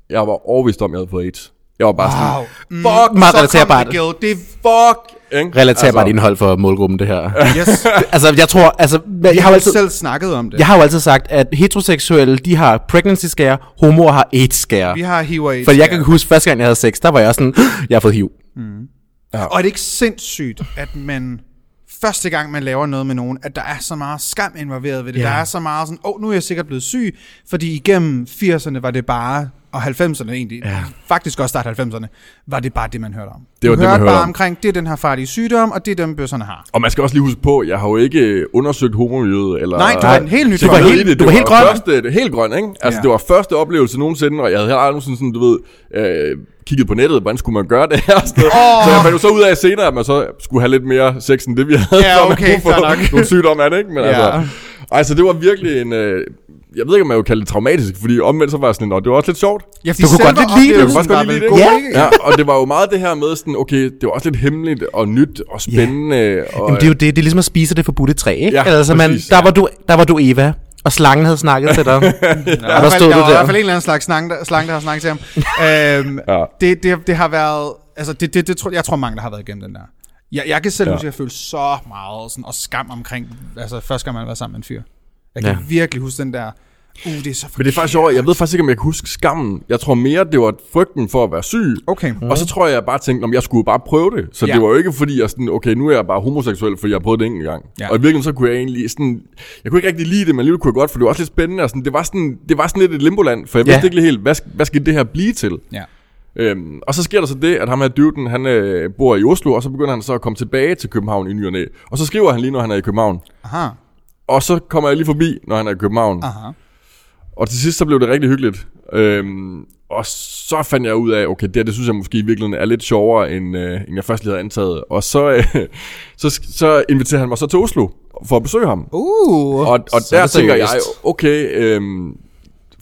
[SPEAKER 3] jeg var overvist om, jeg havde fået AIDS. Jeg var bare wow.
[SPEAKER 2] Au. Mm,
[SPEAKER 1] Fuck,
[SPEAKER 2] så
[SPEAKER 1] meget
[SPEAKER 2] kom
[SPEAKER 1] relaterbart.
[SPEAKER 2] det, Gil. Det er
[SPEAKER 3] sådan, fuck! Ikke?
[SPEAKER 1] Relaterbart altså, indhold for målgruppen, det her.
[SPEAKER 2] Yes.
[SPEAKER 1] altså, jeg tror, altså, jeg har jo
[SPEAKER 2] Jeg
[SPEAKER 1] altid,
[SPEAKER 2] har selv snakket om det.
[SPEAKER 1] jeg har jo altid sagt, at heteroseksuelle, de har pregnancy scare, homoer har AIDS scare.
[SPEAKER 2] Vi har hiv og AIDS.
[SPEAKER 1] For jeg kan huske, første gang jeg havde sex, der var jeg sådan, jeg har fået HIV.
[SPEAKER 2] Og er det ikke sindssygt, at man første gang, man laver noget med nogen, at der er så meget skam involveret ved det.
[SPEAKER 1] Ja.
[SPEAKER 2] Yeah. Der er så meget sådan, åh, oh, nu er jeg sikkert blevet syg, fordi igennem 80'erne var det bare, og 90'erne egentlig, yeah. faktisk også start 90'erne, var det bare det, man hørte om.
[SPEAKER 3] Det var
[SPEAKER 2] du
[SPEAKER 3] det, man
[SPEAKER 2] hørte
[SPEAKER 3] hørte
[SPEAKER 2] bare
[SPEAKER 3] om.
[SPEAKER 2] omkring, det er den her farlige sygdom, og det er dem, bøsserne har.
[SPEAKER 3] Og man skal også lige huske på, jeg har jo ikke øh, undersøgt homomiljøet. Eller,
[SPEAKER 2] Nej, du var en helt ny
[SPEAKER 3] tjekket
[SPEAKER 2] Du var
[SPEAKER 3] ned
[SPEAKER 1] helt-
[SPEAKER 3] i det.
[SPEAKER 1] du var
[SPEAKER 3] Det
[SPEAKER 1] helt
[SPEAKER 3] var
[SPEAKER 1] grøn.
[SPEAKER 3] Første, det, helt grøn, ikke? Altså,
[SPEAKER 2] Ja.
[SPEAKER 3] ja. det var første oplevelse nogensinde, og jeg havde heller aldrig sådan, sådan, du ved, øh, kigget på nettet, hvordan skulle man gøre det her sted. Oh. Så jeg fandt jo så ud af senere, at man så skulle have lidt mere sex, end det vi havde.
[SPEAKER 2] Ja,
[SPEAKER 3] så man
[SPEAKER 2] okay,
[SPEAKER 3] kunne få
[SPEAKER 2] fair nok.
[SPEAKER 3] Nogle sygdomme er det, ikke? Men
[SPEAKER 2] Ja.
[SPEAKER 3] ja. altså, altså, det var virkelig en... Øh, jeg ved ikke, om man vil kalde det traumatisk, fordi omvendt så var jeg sådan, "Nå, det var også lidt sjovt.
[SPEAKER 2] Ja, fordi
[SPEAKER 1] Du kunne godt
[SPEAKER 2] selve
[SPEAKER 1] lidt lide det.
[SPEAKER 2] oplevelsen
[SPEAKER 3] Jeg kunne
[SPEAKER 2] var
[SPEAKER 3] godt lide
[SPEAKER 2] vel
[SPEAKER 3] det.
[SPEAKER 2] god,
[SPEAKER 1] Ja.
[SPEAKER 2] ikke?
[SPEAKER 3] Ja, og det var jo meget det her med sådan, okay, det var også lidt hemmeligt og nyt og spændende. Yeah. Og,
[SPEAKER 1] Jamen, det er jo det, det er ligesom at spise det forbudte træ, ikke?
[SPEAKER 3] Ja,
[SPEAKER 1] altså, man,
[SPEAKER 3] præcis,
[SPEAKER 1] der,
[SPEAKER 3] ja.
[SPEAKER 1] var du, der var du Eva, og slangen havde snakket til
[SPEAKER 2] Der
[SPEAKER 1] dig. Og
[SPEAKER 2] er i
[SPEAKER 1] der
[SPEAKER 2] hvert fald-
[SPEAKER 1] stod
[SPEAKER 2] der
[SPEAKER 1] du
[SPEAKER 2] var i hvert
[SPEAKER 1] der.
[SPEAKER 2] fald en eller anden slags slange, der, slange, der har snakket til ham. øhm, ja.
[SPEAKER 3] Ja.
[SPEAKER 2] det, det, det har været... Altså, det, det, det tror, jeg tror mange, der har været igennem den der. Jeg, jeg kan selv ja. huske, at jeg følte så meget sådan, og skam omkring... Altså, første gang, man var sammen med en fyr. Jeg kan
[SPEAKER 1] Ja.
[SPEAKER 2] ja. virkelig huske den der... Uh, det er så
[SPEAKER 3] Men det er faktisk sjovt, jeg ved faktisk ikke, om jeg kan huske skammen. Jeg tror mere, det var frygten for at være syg.
[SPEAKER 2] Okay.
[SPEAKER 3] Og så tror jeg, jeg bare tænkte, om jeg skulle bare prøve det. Så
[SPEAKER 2] Ja.
[SPEAKER 3] ja. det var jo ikke fordi, jeg sådan, okay, nu er jeg bare homoseksuel, fordi jeg har prøvet det en gang.
[SPEAKER 2] Ja.
[SPEAKER 3] Ja. Og i virkeligheden så kunne jeg egentlig sådan, jeg kunne ikke rigtig lide det, men alligevel kunne jeg godt, for det var også lidt spændende. Og sådan, det, var sådan, det var sådan lidt et limboland, for jeg
[SPEAKER 1] Ja.
[SPEAKER 3] ja. vidste ikke lige helt, hvad, sk- hvad skal det her blive til?
[SPEAKER 2] Ja.
[SPEAKER 3] Øhm, og så sker der så det, at ham her duden, han øh, bor i Oslo, og så begynder han så at komme tilbage til København i ny og næ. Og så skriver han lige, når han er i København.
[SPEAKER 2] Aha.
[SPEAKER 3] Og så kommer jeg lige forbi, når han er i København.
[SPEAKER 2] Aha.
[SPEAKER 3] Og til sidst så blev det rigtig hyggeligt. Øhm, og så fandt jeg ud af, okay, det her, det synes jeg måske i virkeligheden er lidt sjovere, end, øh, end jeg først lige havde antaget. Og så, øh, så, så inviterede han mig så til Oslo for at besøge ham.
[SPEAKER 2] Uh.
[SPEAKER 3] Og, og
[SPEAKER 1] så er
[SPEAKER 3] der
[SPEAKER 1] det
[SPEAKER 3] tænker jeg,
[SPEAKER 1] seriøst.
[SPEAKER 3] okay, øhm,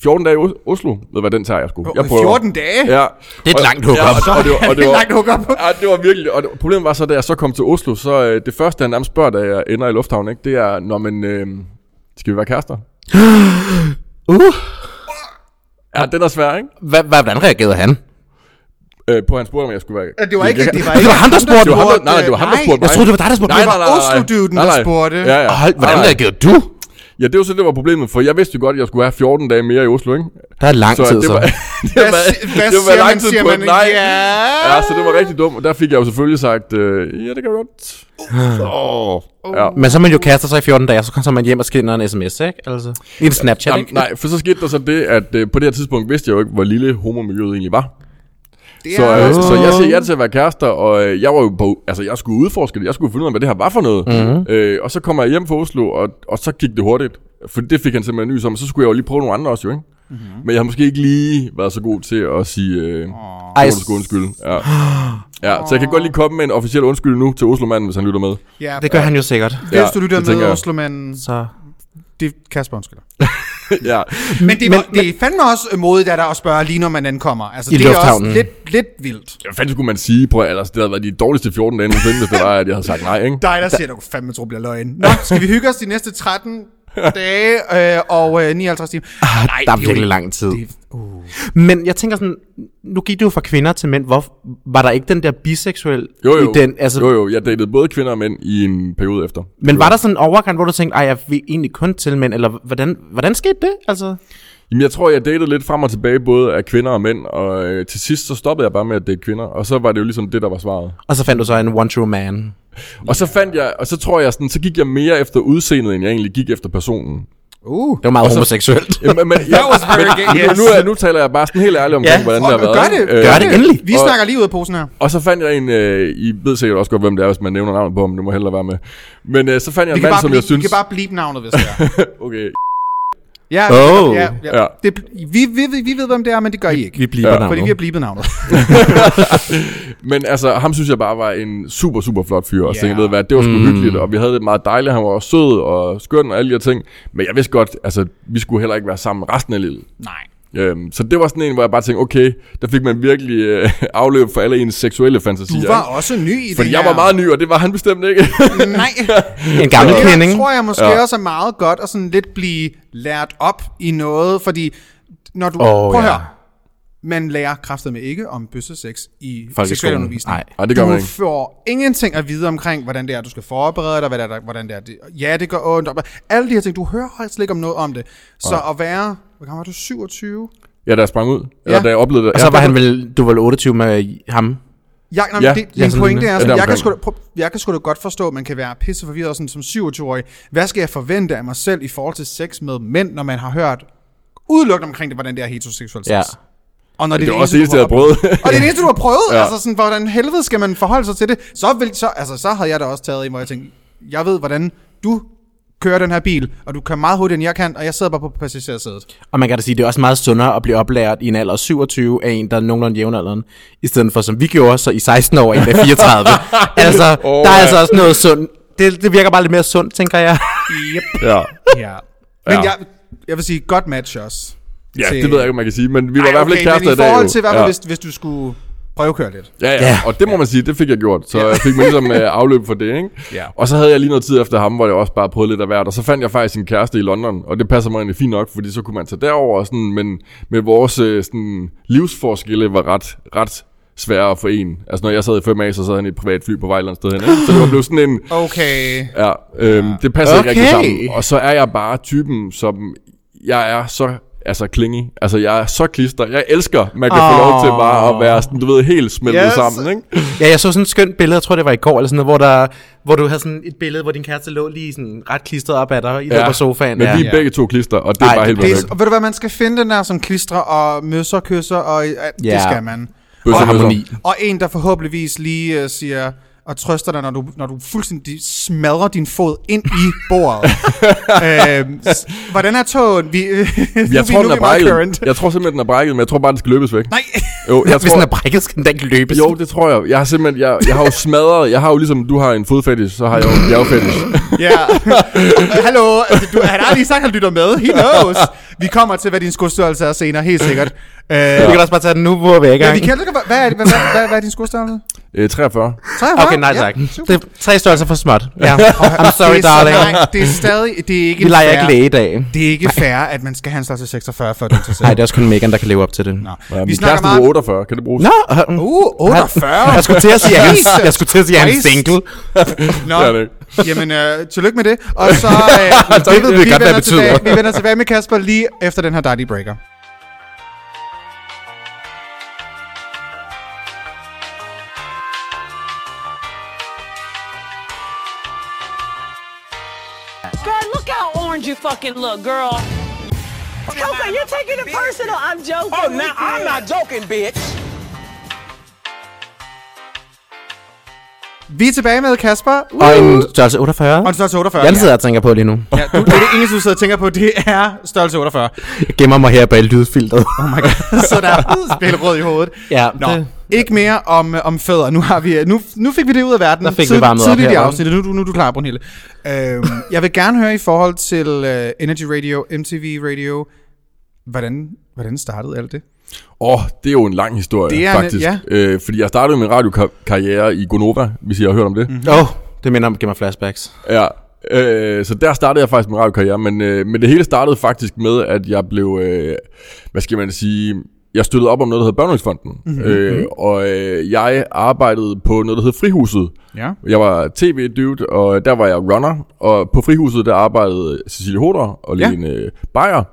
[SPEAKER 3] 14 dage i Os- Oslo, ved du hvad, den tager jeg sgu. Jeg
[SPEAKER 2] 14 dage?
[SPEAKER 3] Ja.
[SPEAKER 1] Det er et
[SPEAKER 3] Og-
[SPEAKER 1] langt hookup.
[SPEAKER 3] Ja, og, og, det var, og det var,
[SPEAKER 2] Langt hookup.
[SPEAKER 3] Ja, det var virkelig, og det, problemet var så, da jeg så kom til Oslo, så øh, det første, han nærmest spørger, da jeg ender i lufthavnen, ikke, det er, når man, øh, skal vi være kærester?
[SPEAKER 1] Uh,
[SPEAKER 3] Ja, den er svær, ikke?
[SPEAKER 1] hva, hva, hvordan reagerede han?
[SPEAKER 3] Øh, på han spurgte, om jeg skulle være...
[SPEAKER 2] Det var ikke...
[SPEAKER 3] Jeg-
[SPEAKER 2] Det var,
[SPEAKER 1] Det
[SPEAKER 2] ikke
[SPEAKER 1] var ham, der spurgte.
[SPEAKER 3] Det var ham, der,
[SPEAKER 2] spurgte,
[SPEAKER 3] nej, nej, det var ham, der
[SPEAKER 2] nej.
[SPEAKER 3] spurgte mig.
[SPEAKER 1] Jeg troede, det var dig, der spurgte
[SPEAKER 3] Nej,
[SPEAKER 1] mig.
[SPEAKER 3] nej, nej, nej.
[SPEAKER 2] Oslo-duden,
[SPEAKER 3] Nej,
[SPEAKER 2] der
[SPEAKER 3] nej.
[SPEAKER 2] spurgte.
[SPEAKER 3] Ja, ja.
[SPEAKER 1] Og hold, hvordan
[SPEAKER 3] Nej, nej.
[SPEAKER 1] reagerede du?
[SPEAKER 3] Ja, det var så det, der var problemet, for jeg vidste jo godt, at jeg skulle have 14 dage mere i Oslo, ikke?
[SPEAKER 1] Der er lang
[SPEAKER 3] Så
[SPEAKER 1] tid,
[SPEAKER 3] det
[SPEAKER 1] så.
[SPEAKER 3] var... det
[SPEAKER 2] Hvad,
[SPEAKER 3] var,
[SPEAKER 2] si- hvad
[SPEAKER 3] det var
[SPEAKER 2] siger
[SPEAKER 3] lang
[SPEAKER 2] man?
[SPEAKER 3] tid
[SPEAKER 2] Siger
[SPEAKER 3] på
[SPEAKER 2] man
[SPEAKER 3] et nej.
[SPEAKER 2] ja?
[SPEAKER 3] Ja, så det var rigtig dumt, og der fik jeg jo selvfølgelig sagt, øh, ja, det kan jeg godt. Oh. Ja.
[SPEAKER 1] Men så er man jo kærester sig i 14 dage, og så kommer man hjem og skinner en sms, ikke? Altså, en Snapchat,
[SPEAKER 3] Jamen,
[SPEAKER 1] ikke?
[SPEAKER 3] nej, for så skete der så det, at øh, på det her tidspunkt vidste jeg jo ikke, hvor lille homomiljøet egentlig var.
[SPEAKER 2] Det
[SPEAKER 3] Så,
[SPEAKER 2] er-
[SPEAKER 3] øh, så jeg siger ja til at være kærester, og øh, jeg var jo på, altså jeg skulle udforske det, jeg skulle finde ud af, hvad det her var for noget.
[SPEAKER 1] Mhm.
[SPEAKER 3] Mm-hmm. Øh, og så kommer jeg hjem fra Oslo, og, og så gik det hurtigt, for det fik han simpelthen nys om, og så skulle jeg jo lige prøve nogle andre også jo, ikke?
[SPEAKER 1] Mhm.
[SPEAKER 3] Mm-hmm. Men jeg har måske ikke lige været så god til at sige, øh, oh.
[SPEAKER 1] Ej,
[SPEAKER 3] du skulle undskylde. Ja. ja, så jeg kan godt lige komme med en officiel undskyld nu til Oslo-manden, hvis han lytter med.
[SPEAKER 2] Ja,
[SPEAKER 1] Det gør han jo sikkert.
[SPEAKER 2] Hvis
[SPEAKER 3] Ja,
[SPEAKER 2] du lytter
[SPEAKER 3] det tænker
[SPEAKER 2] med
[SPEAKER 3] jeg.
[SPEAKER 2] Oslo-manden,
[SPEAKER 1] Så
[SPEAKER 2] det er Kasper, undskyld.
[SPEAKER 3] ja.
[SPEAKER 2] Men det, men, det er fandme også modigt, at der at spørge lige når man ankommer. Altså,
[SPEAKER 1] I
[SPEAKER 2] det er også
[SPEAKER 1] lufthavnen.
[SPEAKER 2] lidt, lidt vildt.
[SPEAKER 3] Hvad fanden skulle man sige på, ellers det havde været de dårligste 14 dage nogensinde, hvis det var, at jeg havde sagt nej, ikke?
[SPEAKER 2] Dig, der siger, du kan fandme tro, bliver løgn. Nå, skal vi hygge os de næste 13 dage øh, og øh, 59 timer? Ah,
[SPEAKER 1] der er virkelig lang tid. Men jeg tænker sådan, nu gik det jo fra kvinder til mænd. Hvor, var der ikke den der biseksuel
[SPEAKER 3] Jo, jo.
[SPEAKER 1] i den? Altså,
[SPEAKER 3] jo, jo, jeg datede både kvinder og mænd i en periode efter.
[SPEAKER 1] Men var der sådan en overgang, hvor du tænkte, ej, jeg vil egentlig kun til mænd, eller hvordan, hvordan skete det? Altså,
[SPEAKER 3] Jamen, jeg tror, jeg datede lidt frem og tilbage, både af kvinder og mænd, og øh, til sidst så stoppede jeg bare med at date kvinder, og så var det jo ligesom det, der var svaret.
[SPEAKER 1] Og så fandt du så en one true man.
[SPEAKER 3] Og så fandt jeg, og så tror jeg sådan, så gik jeg mere efter udseendet, end jeg egentlig gik efter personen.
[SPEAKER 2] Uh.
[SPEAKER 1] Det var
[SPEAKER 3] Altså-
[SPEAKER 1] meget homoseksuelt.
[SPEAKER 3] Jamen, men, ja,
[SPEAKER 2] was very gay,
[SPEAKER 3] men,
[SPEAKER 2] yes.
[SPEAKER 3] nu, nu, er- nu taler jeg bare sådan helt ærligt omkring,
[SPEAKER 1] Ja,
[SPEAKER 3] ja, hvordan
[SPEAKER 2] og
[SPEAKER 3] det har været.
[SPEAKER 2] gør det.
[SPEAKER 3] ikke? Øh,
[SPEAKER 1] Gør det endelig.
[SPEAKER 2] Vi
[SPEAKER 3] Og-
[SPEAKER 2] snakker lige ud af posen her.
[SPEAKER 3] Og så fandt jeg en, øh, I ved sikkert også godt, hvem det er, hvis man nævner navnet på ham, det må jeg hellere være med. Men øh, så fandt jeg
[SPEAKER 2] Vi
[SPEAKER 3] en
[SPEAKER 2] kan,
[SPEAKER 3] mand,
[SPEAKER 2] bare
[SPEAKER 3] som
[SPEAKER 2] blive,
[SPEAKER 3] jeg synes...
[SPEAKER 2] vi kan bare blive navnet, hvis det er.
[SPEAKER 3] Okay,
[SPEAKER 2] Ja,
[SPEAKER 1] Oh.
[SPEAKER 2] ja, ja.
[SPEAKER 3] Ja.
[SPEAKER 2] Det, vi, vi, ved- vi ved, hvem det er, men det gør I ikke.
[SPEAKER 1] Vi bliver
[SPEAKER 3] Ja,
[SPEAKER 1] ja,
[SPEAKER 2] Fordi vi har blibet navnet.
[SPEAKER 3] Men altså, ham synes jeg bare var en super, super flot fyr. Og yeah.
[SPEAKER 2] Ja.
[SPEAKER 3] tænkte, ved du hvad, det var sgu mm. hyggeligt, og vi havde det meget dejligt. Han var også sød og skøn og alle de her ting. Men jeg vidste godt, altså, vi skulle heller ikke være sammen resten af livet.
[SPEAKER 2] Nej.
[SPEAKER 3] Øhm, så det var sådan en, hvor jeg bare tænkte, okay, der fik man virkelig øh, afløb for alle ens seksuelle fantasier.
[SPEAKER 2] Du var
[SPEAKER 3] ikke?
[SPEAKER 2] også ny i
[SPEAKER 3] Fordi
[SPEAKER 2] det
[SPEAKER 3] jeg
[SPEAKER 2] her.
[SPEAKER 3] var meget ny, og det var han bestemt ikke.
[SPEAKER 2] Nej.
[SPEAKER 1] En gammel
[SPEAKER 2] Det
[SPEAKER 1] kending.
[SPEAKER 2] tror jeg måske
[SPEAKER 3] Ja.
[SPEAKER 2] ja. også er meget godt at sådan lidt blive lært op i noget, fordi når du...
[SPEAKER 1] Åh,
[SPEAKER 2] prøv at
[SPEAKER 1] ja.
[SPEAKER 2] høre. Man lærer kraftedeme ikke om bøssesex i
[SPEAKER 1] Folkeskolen.
[SPEAKER 2] seksualundervisning.
[SPEAKER 1] Nej.
[SPEAKER 3] Nej, det gør
[SPEAKER 2] du
[SPEAKER 3] man ikke.
[SPEAKER 2] får ingenting at vide omkring, hvordan det er, du skal forberede dig, hvad det er, der- hvordan det er, det, ja, det gør ondt. og- Alle de her ting, du hører højst slet ikke om noget om det. Så at være, hvor gammel var du, 27?
[SPEAKER 3] ja, da jeg sprang ud. Eller
[SPEAKER 2] Ja.
[SPEAKER 3] da jeg oplevede det.
[SPEAKER 1] Og så var han vel, du var vel 28 med ham.
[SPEAKER 2] Ja, nej,
[SPEAKER 3] Ja,
[SPEAKER 2] ja, det,
[SPEAKER 1] ja,
[SPEAKER 2] min
[SPEAKER 1] sådan
[SPEAKER 2] pointe
[SPEAKER 1] lignende.
[SPEAKER 2] er,
[SPEAKER 3] Ja,
[SPEAKER 2] sådan, jeg, kan
[SPEAKER 3] omkring.
[SPEAKER 2] sgu, da- prøv- jeg kan sgu da godt forstå, at man kan være pisse forvirret sådan, som 27-årig. Hvad skal jeg forvente af mig selv i forhold til sex med mænd, når man har hørt udelukkende omkring det, hvordan det er heteroseksuel sex?
[SPEAKER 1] Ja.
[SPEAKER 2] Og når
[SPEAKER 3] Det var
[SPEAKER 2] det
[SPEAKER 3] også det eneste, jeg
[SPEAKER 2] du
[SPEAKER 3] havde prøvet.
[SPEAKER 2] har- Og det er det eneste, du har prøvet?
[SPEAKER 3] Ja.
[SPEAKER 2] ja. Altså sådan, hvordan helvede skal man forholde sig til det? Så, vil, så, altså, så havde jeg da også taget i, hvor jeg tænkte, jeg ved, hvordan du kører den her bil, og du kører meget hurtigere, end jeg kan, og jeg sidder bare på passagersædet.
[SPEAKER 1] Og man kan da sige, det er også meget sundere at blive oplært i en alder af 27 af en, der er nogenlunde jævnaldrende, i stedet for som vi gjorde, så i 16 år af en, der er 34. altså,
[SPEAKER 3] Åh,
[SPEAKER 1] oh, der er
[SPEAKER 3] ja.
[SPEAKER 1] altså også noget sundt. Det, det virker bare lidt mere sundt, tænker jeg.
[SPEAKER 2] Yep.
[SPEAKER 3] Ja.
[SPEAKER 2] Ja. Men
[SPEAKER 3] Ja.
[SPEAKER 2] jeg, jeg vil sige, godt match også.
[SPEAKER 3] ja,
[SPEAKER 2] Til-
[SPEAKER 3] det ved jeg ikke, om man kan sige, men vi var i hvert fald ikke
[SPEAKER 2] men
[SPEAKER 3] kærester i
[SPEAKER 2] i
[SPEAKER 3] dag.
[SPEAKER 2] forhold
[SPEAKER 3] jo.
[SPEAKER 2] til, hvad
[SPEAKER 3] ja.
[SPEAKER 2] ja. hvis, hvis du skulle prøvekøre lidt.
[SPEAKER 3] Ja, ja,
[SPEAKER 1] Ja.
[SPEAKER 3] ja, og det må man sige, det fik jeg gjort. Så jeg fik mig ligesom øh, afløb for det, ikke?
[SPEAKER 2] Ja.
[SPEAKER 3] Og så havde jeg lige noget tid efter ham, hvor jeg også bare prøvede lidt af hvert. Og så fandt jeg faktisk en kæreste i London, og det passer mig egentlig fint nok, fordi så kunne man tage derover og sådan, men, men vores øh, sådan, livsforskelle var ret, ret svære at forene. Altså når jeg sad i 5A, så sad han i et privat fly på vej et eller andet sted hen, ikke? Så det var blevet sådan en,
[SPEAKER 2] Okay.
[SPEAKER 3] Ja, øhm, det passer okay. ikke rigtig
[SPEAKER 1] Okay.
[SPEAKER 3] sammen. Og så er jeg bare typen, som... Jeg er så altså klinge. Altså, jeg er så klister. Jeg elsker, man kan oh. få lov til bare at være sådan, du ved, helt smeltet
[SPEAKER 2] Yes.
[SPEAKER 3] yes. sammen, ikke?
[SPEAKER 1] Ja, jeg så sådan et skønt billede, jeg tror det var i går, eller sådan noget, hvor, der, hvor du havde sådan et billede, hvor din kæreste lå lige sådan ret klistret op ad dig, i ja. på sofaen.
[SPEAKER 3] Men
[SPEAKER 1] ja.
[SPEAKER 3] vi er begge to klister, og det er
[SPEAKER 1] Ej,
[SPEAKER 3] bare helt
[SPEAKER 2] Det
[SPEAKER 3] perfekt.
[SPEAKER 2] er, og ved du hvad, man skal finde den der som klistre og møsser, kysser, og øh, ja,
[SPEAKER 1] Ja.
[SPEAKER 2] det skal man.
[SPEAKER 3] Bøsser,
[SPEAKER 1] og
[SPEAKER 3] bøsser.
[SPEAKER 1] harmoni.
[SPEAKER 2] Og en, der forhåbentligvis lige uh, siger og trøster dig, når du, når du fuldstændig smadrer din fod ind i bordet. øhm, s- hvordan er tåen? Vi, øh, nu
[SPEAKER 3] Jeg tror,
[SPEAKER 2] nu
[SPEAKER 3] den er
[SPEAKER 2] vi meget
[SPEAKER 3] brækket.
[SPEAKER 2] current.
[SPEAKER 3] Jeg tror simpelthen, den er brækket, men jeg tror bare, den skal løbes væk.
[SPEAKER 2] Nej,
[SPEAKER 3] Jo, jeg
[SPEAKER 1] Hvis den
[SPEAKER 3] tror,
[SPEAKER 1] er brækket, skal den da ikke løbes.
[SPEAKER 3] jo, det tror jeg. Jeg har simpelthen, jeg, jeg har jo smadret, jeg har jo ligesom, du har en fodfetish, så har jeg jo en bjergfetish.
[SPEAKER 2] ja. Øh, Hallo, altså, du, han har lige sagt, at han lytter med. He knows. Vi kommer til, hvad din skostørrelse er senere, helt sikkert. Øh,
[SPEAKER 1] Du kan også bare tage den nu, hvor vi er i
[SPEAKER 2] Ja,
[SPEAKER 1] gang.
[SPEAKER 2] vi kan, hvad, hvad, er, det- hvad, hvad, hvad, hvad er din skostørrelse?
[SPEAKER 3] Øh, 43.
[SPEAKER 2] 43?
[SPEAKER 1] Okay, nej
[SPEAKER 2] Ja,
[SPEAKER 1] tak.
[SPEAKER 2] super.
[SPEAKER 1] Det er tre størrelser for småt. Ja. I'm sorry,
[SPEAKER 2] det er så-
[SPEAKER 1] darling.
[SPEAKER 2] Nej, det er stadig, det er ikke
[SPEAKER 1] Vi leger
[SPEAKER 2] fair.
[SPEAKER 1] ikke læge i dag.
[SPEAKER 2] Det er ikke fair, at man skal have en størrelse 46, før du er til
[SPEAKER 1] Nej, det er også kun Megan, der kan leve op til det. Nå,
[SPEAKER 3] Ja,
[SPEAKER 2] Vi
[SPEAKER 3] min
[SPEAKER 2] snakker
[SPEAKER 3] kæreste meget...
[SPEAKER 2] meget...
[SPEAKER 3] 48, kan det bruges?
[SPEAKER 1] Nå øh,
[SPEAKER 2] Uh, 48!
[SPEAKER 1] jeg skulle til at sige, at han, jeg skulle til at sige, at han er
[SPEAKER 2] Christ.
[SPEAKER 1] single.
[SPEAKER 2] Nå,
[SPEAKER 3] Det er det ikke.
[SPEAKER 2] jamen, øh, tillykke med det. Og så... Øh,
[SPEAKER 1] Det ved vi godt, hvad
[SPEAKER 2] vender
[SPEAKER 1] det betyder.
[SPEAKER 2] Tilbage, vi vender tilbage med Kasper lige efter den her Daddy Breaker.
[SPEAKER 4] Girl, look how orange you fucking look, girl.
[SPEAKER 5] Coco, you're taking it personal. I'm joking.
[SPEAKER 6] Oh, now I'm not joking, bitch.
[SPEAKER 2] Vi er tilbage med Kasper. Uh,
[SPEAKER 1] Og en størrelse 48.
[SPEAKER 2] og en størrelse 48.
[SPEAKER 1] Jeg sidder og tænker på lige nu.
[SPEAKER 2] Ja, ja, du, det er det eneste, du sidder og tænker på, det er størrelse 48.
[SPEAKER 1] Jeg gemmer mig her bag lydfilteret.
[SPEAKER 2] Oh my god. så der er spil rød i hovedet.
[SPEAKER 1] Ja,
[SPEAKER 2] Nå,
[SPEAKER 1] det-
[SPEAKER 2] ikke mere om, øh, om fædre. Nu, har vi, nu, nu fik vi det ud af verden.
[SPEAKER 1] Der fik vi varmet op
[SPEAKER 2] tidligt i
[SPEAKER 1] her, hva'?
[SPEAKER 2] afsnittet. Nu, nu, nu er du klar, Brunhilde. Øhm, jeg vil gerne høre i forhold til uh, Energy Radio, MTV Radio. Hvordan, hvordan startede alt det?
[SPEAKER 3] Åh, oh, det er jo en lang historie,
[SPEAKER 2] Det er en-
[SPEAKER 3] faktisk.
[SPEAKER 2] ja.
[SPEAKER 3] Øh, fordi jeg startede min radiokarriere i Gonova, hvis I har hørt om
[SPEAKER 2] Mhm.
[SPEAKER 3] det. Mm.
[SPEAKER 1] Åh, oh, det minder om, giver mig flashbacks.
[SPEAKER 3] Ja. Øh, så der startede jeg faktisk min radiokarriere, men, øh, men det hele startede faktisk med, at jeg blev, øh, hvad skal man sige, jeg støttede op om noget, der hedder Børnehusfonden.
[SPEAKER 2] Mhm,
[SPEAKER 3] Mm-hmm. Øh, og øh, jeg arbejdede på noget, der hedder Frihuset.
[SPEAKER 2] Ja.
[SPEAKER 3] Jeg var tv-dude, og der var jeg runner. Og på Frihuset, der arbejdede Cecilie Hoder og
[SPEAKER 2] Ja.
[SPEAKER 3] Lene ja. Beyer.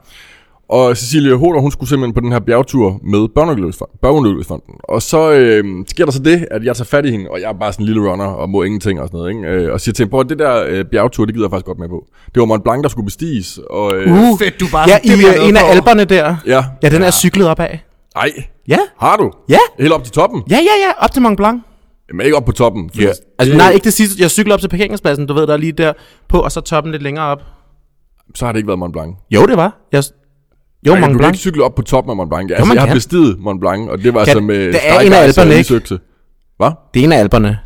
[SPEAKER 3] Og Cecilie Hoder, hun skulle simpelthen på den her bjergtur med Børneulykkesfon- Børneulykkesfonden. Og så øh, sker der så det, at jeg tager fat i hende, og jeg er bare sådan en lille runner og må ingenting og sådan noget. Ikke? Øh, og siger til hende, "Prøv at det der øh, bjergtur, det gider jeg faktisk godt med på. Det var Mont Blanc, der skulle bestiges. Og, øh,
[SPEAKER 2] Uh, fedt, du bare
[SPEAKER 1] Ja,
[SPEAKER 2] sådan, det vil jeg
[SPEAKER 1] i øh, en af
[SPEAKER 2] med på.
[SPEAKER 1] alberne der.
[SPEAKER 3] Ja.
[SPEAKER 1] Ja, den er cyklet op af.
[SPEAKER 3] Ej,
[SPEAKER 1] Ja.
[SPEAKER 3] har du?
[SPEAKER 1] Ja.
[SPEAKER 3] Helt op til toppen?
[SPEAKER 1] Ja, ja, ja, op til Mont Blanc.
[SPEAKER 3] Jamen ikke op på toppen. for det-
[SPEAKER 1] Altså, nej, ikke det sidste. Jeg cykler op til parkeringspladsen, du ved, der er lige der på, og så toppen lidt længere op.
[SPEAKER 3] Så har det ikke været Mont Blanc.
[SPEAKER 1] Jo, det var. Jeg... Jo,
[SPEAKER 3] Nej,
[SPEAKER 1] Mont
[SPEAKER 3] du kan
[SPEAKER 1] Blanc.
[SPEAKER 3] ikke cykle op på toppen af Mont Blanc. Altså,
[SPEAKER 1] man
[SPEAKER 3] jeg har
[SPEAKER 1] kan.
[SPEAKER 3] bestiget Mont Blanc, og det var altså med
[SPEAKER 1] der er en af
[SPEAKER 3] stejlgejser og
[SPEAKER 1] Alperne, ikke?
[SPEAKER 3] isøkse. Hvad?
[SPEAKER 1] Det er en af alberne.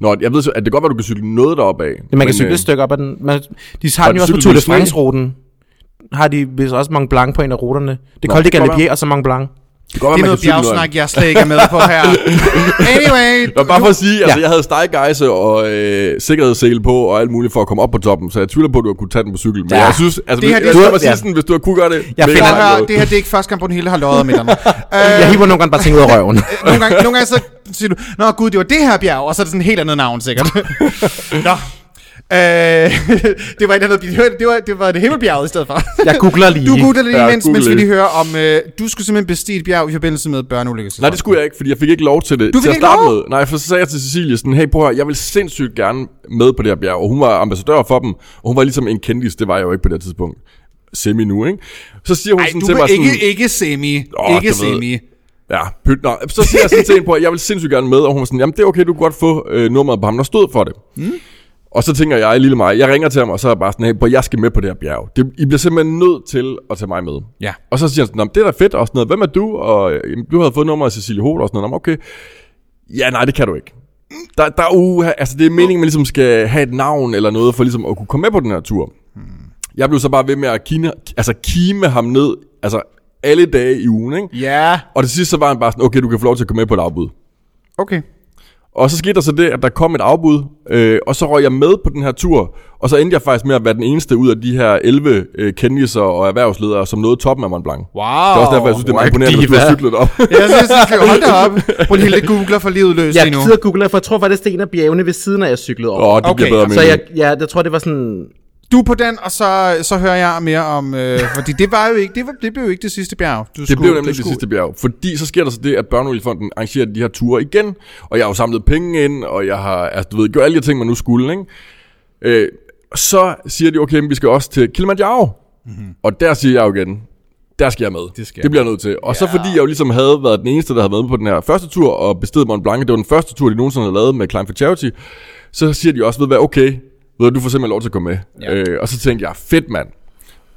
[SPEAKER 3] Nå, jeg ved så, at det kan godt være, du kan cykle noget øh, deroppe af.
[SPEAKER 1] Ja, man kan cykle et stykke op ad den. Man, de har
[SPEAKER 3] Og
[SPEAKER 1] den jo også på
[SPEAKER 3] cykle
[SPEAKER 1] Tour de
[SPEAKER 3] med sne.
[SPEAKER 1] France-ruten. Har de vist også Mont Blanc på en af ruterne. Det er Col de
[SPEAKER 3] det kan
[SPEAKER 1] Galibier
[SPEAKER 3] være.
[SPEAKER 1] og så Mont Blanc.
[SPEAKER 3] Det kan godt være,
[SPEAKER 2] Det er
[SPEAKER 3] man
[SPEAKER 2] noget
[SPEAKER 3] kan cykle noget. af
[SPEAKER 2] bjergsnak,
[SPEAKER 3] det.
[SPEAKER 2] jeg slet ikke er med på her. Anyway.
[SPEAKER 3] Nå, bare for at sige, altså, jeg havde stejgejse og øh, sikkerhedssele på og alt muligt for at komme op på toppen, så jeg tvivler på, at du har kunne tage den på cykel. Men
[SPEAKER 1] Ja.
[SPEAKER 3] jeg synes, altså,
[SPEAKER 2] Det
[SPEAKER 3] det
[SPEAKER 2] her,
[SPEAKER 3] her,
[SPEAKER 2] det
[SPEAKER 3] jeg,
[SPEAKER 2] er-
[SPEAKER 3] jeg, jeg, sige
[SPEAKER 1] ja.
[SPEAKER 3] sådan, hvis du har kunne gøre det.
[SPEAKER 1] Jeg
[SPEAKER 3] mega
[SPEAKER 1] finder-
[SPEAKER 3] langt
[SPEAKER 2] Hør,
[SPEAKER 3] noget.
[SPEAKER 2] det her det er ikke første kamp på den hele har løjet med dig.
[SPEAKER 1] Jeg hiver nogle gange bare ting ud af røven.
[SPEAKER 2] nogle, gange, nogle gange så siger du, Nå gud, det var det her bjerg, og så er det sådan et helt andet navn sikkert. Nå. Øh, det var et andet, det var, det var, det var det himmelbjerget i stedet for.
[SPEAKER 1] Jeg googler lige.
[SPEAKER 2] Du googler det lige,
[SPEAKER 3] Ja,
[SPEAKER 2] mens,
[SPEAKER 3] google
[SPEAKER 2] mens vi
[SPEAKER 3] lige.
[SPEAKER 2] lige hører om, øh, du skulle simpelthen bestige et bjerg i forbindelse med børneulykkelse.
[SPEAKER 3] Nej, det skulle jeg ikke, fordi jeg fik ikke lov til det.
[SPEAKER 2] Du fik
[SPEAKER 3] til at
[SPEAKER 2] ikke
[SPEAKER 3] starte
[SPEAKER 2] lov?
[SPEAKER 3] Med. Nej, for så sagde jeg til Cecilie sådan, hey, prøv at høre, jeg vil sindssygt gerne med på det her bjerg. Og hun var ambassadør for dem, og hun var ligesom en kendis, det var jeg jo ikke på det her tidspunkt. Semi nu, ikke? Så siger hun
[SPEAKER 2] Ej,
[SPEAKER 3] sådan
[SPEAKER 2] du
[SPEAKER 3] til
[SPEAKER 2] var
[SPEAKER 3] mig
[SPEAKER 2] ikke,
[SPEAKER 3] sådan,
[SPEAKER 2] ikke semi.
[SPEAKER 3] Åh,
[SPEAKER 2] ikke
[SPEAKER 3] du ved.
[SPEAKER 2] semi.
[SPEAKER 3] Ja, pyt, nå. Så siger jeg sådan til hende på, at jeg vil sindssygt gerne med, og hun var sådan, jamen det er okay, du kan godt få øh, nummeret på ham, der stod for det. Mm. Og så tænker jeg, lille mig, jeg ringer til ham, og så er jeg bare sådan, hey, bror, jeg skal med på det her bjerg. Det, I bliver simpelthen nødt til at tage mig med.
[SPEAKER 2] Ja.
[SPEAKER 3] Og så siger han sådan, "Nå, men det er da fedt, og sådan noget, hvem er du? Og øh, jamen, du havde fået nummeret af Cecilie Holt, og sådan noget, "Nå, men okay. Ja, nej, det kan du ikke. Der, der, uh, altså det er meningen, man ligesom skal have et navn eller noget, for ligesom at kunne komme med på den her tur. Jeg blev så bare ved med at kine, altså kime ham ned, altså alle dage i ugen, ikke?
[SPEAKER 2] Ja,
[SPEAKER 3] Og det sidste så var han bare sådan, okay, du kan få lov til at komme med på et afbud.
[SPEAKER 2] okay.
[SPEAKER 3] Og så skete der så det, at der kom et afbud, øh, og så røg jeg med på den her tur, og så endte jeg faktisk med at være den eneste ud af de her 11 øh, kendiser og erhvervsledere, som nåede toppen af Mont Blanc. Wow. Det er også derfor, jeg synes, det er meget imponerende, at du har cyklet op.
[SPEAKER 2] Jeg synes, du skal holde dig op. Prøv lige det googler for livet løs lige
[SPEAKER 1] Jeg
[SPEAKER 2] nu.
[SPEAKER 1] sidder og googler, for jeg tror faktisk, det er en af bjergene ved siden af, jeg cyklede over.
[SPEAKER 3] Åh, oh, det okay,
[SPEAKER 2] Okay,
[SPEAKER 3] bliver bedre
[SPEAKER 2] så
[SPEAKER 1] Så
[SPEAKER 3] mening.
[SPEAKER 1] jeg, jeg, jeg tror, det var sådan...
[SPEAKER 2] Du er på den, og så, så hører jeg mere om... Øh, fordi det, var jo ikke, det, var, det blev jo ikke det sidste bjerg. Du
[SPEAKER 3] Det blev nemlig ikke det sidste bjerg, fordi så sker der så det, at Børneudfonden arrangerer de her ture igen, og jeg har jo samlet penge ind, og jeg har, altså du ved, gjort alle de her ting, man nu skulle, ikke? Øh, så siger de, okay, men vi skal også til Kilimanjaro, mm-hmm. og der siger jeg jo igen, der skal jeg med. Det,
[SPEAKER 2] skal
[SPEAKER 3] det bliver jeg nødt til. Og så fordi jeg jo ligesom havde været den eneste, der havde været med på den her første tur, og bestedet Mont Blanc, det var den første tur, de nogensinde havde lavet med Climb for Charity, så siger de også, ved du hvad, okay, ved du, du får simpelthen lov til at komme med. Ja. Øh, og så tænkte jeg, fedt mand.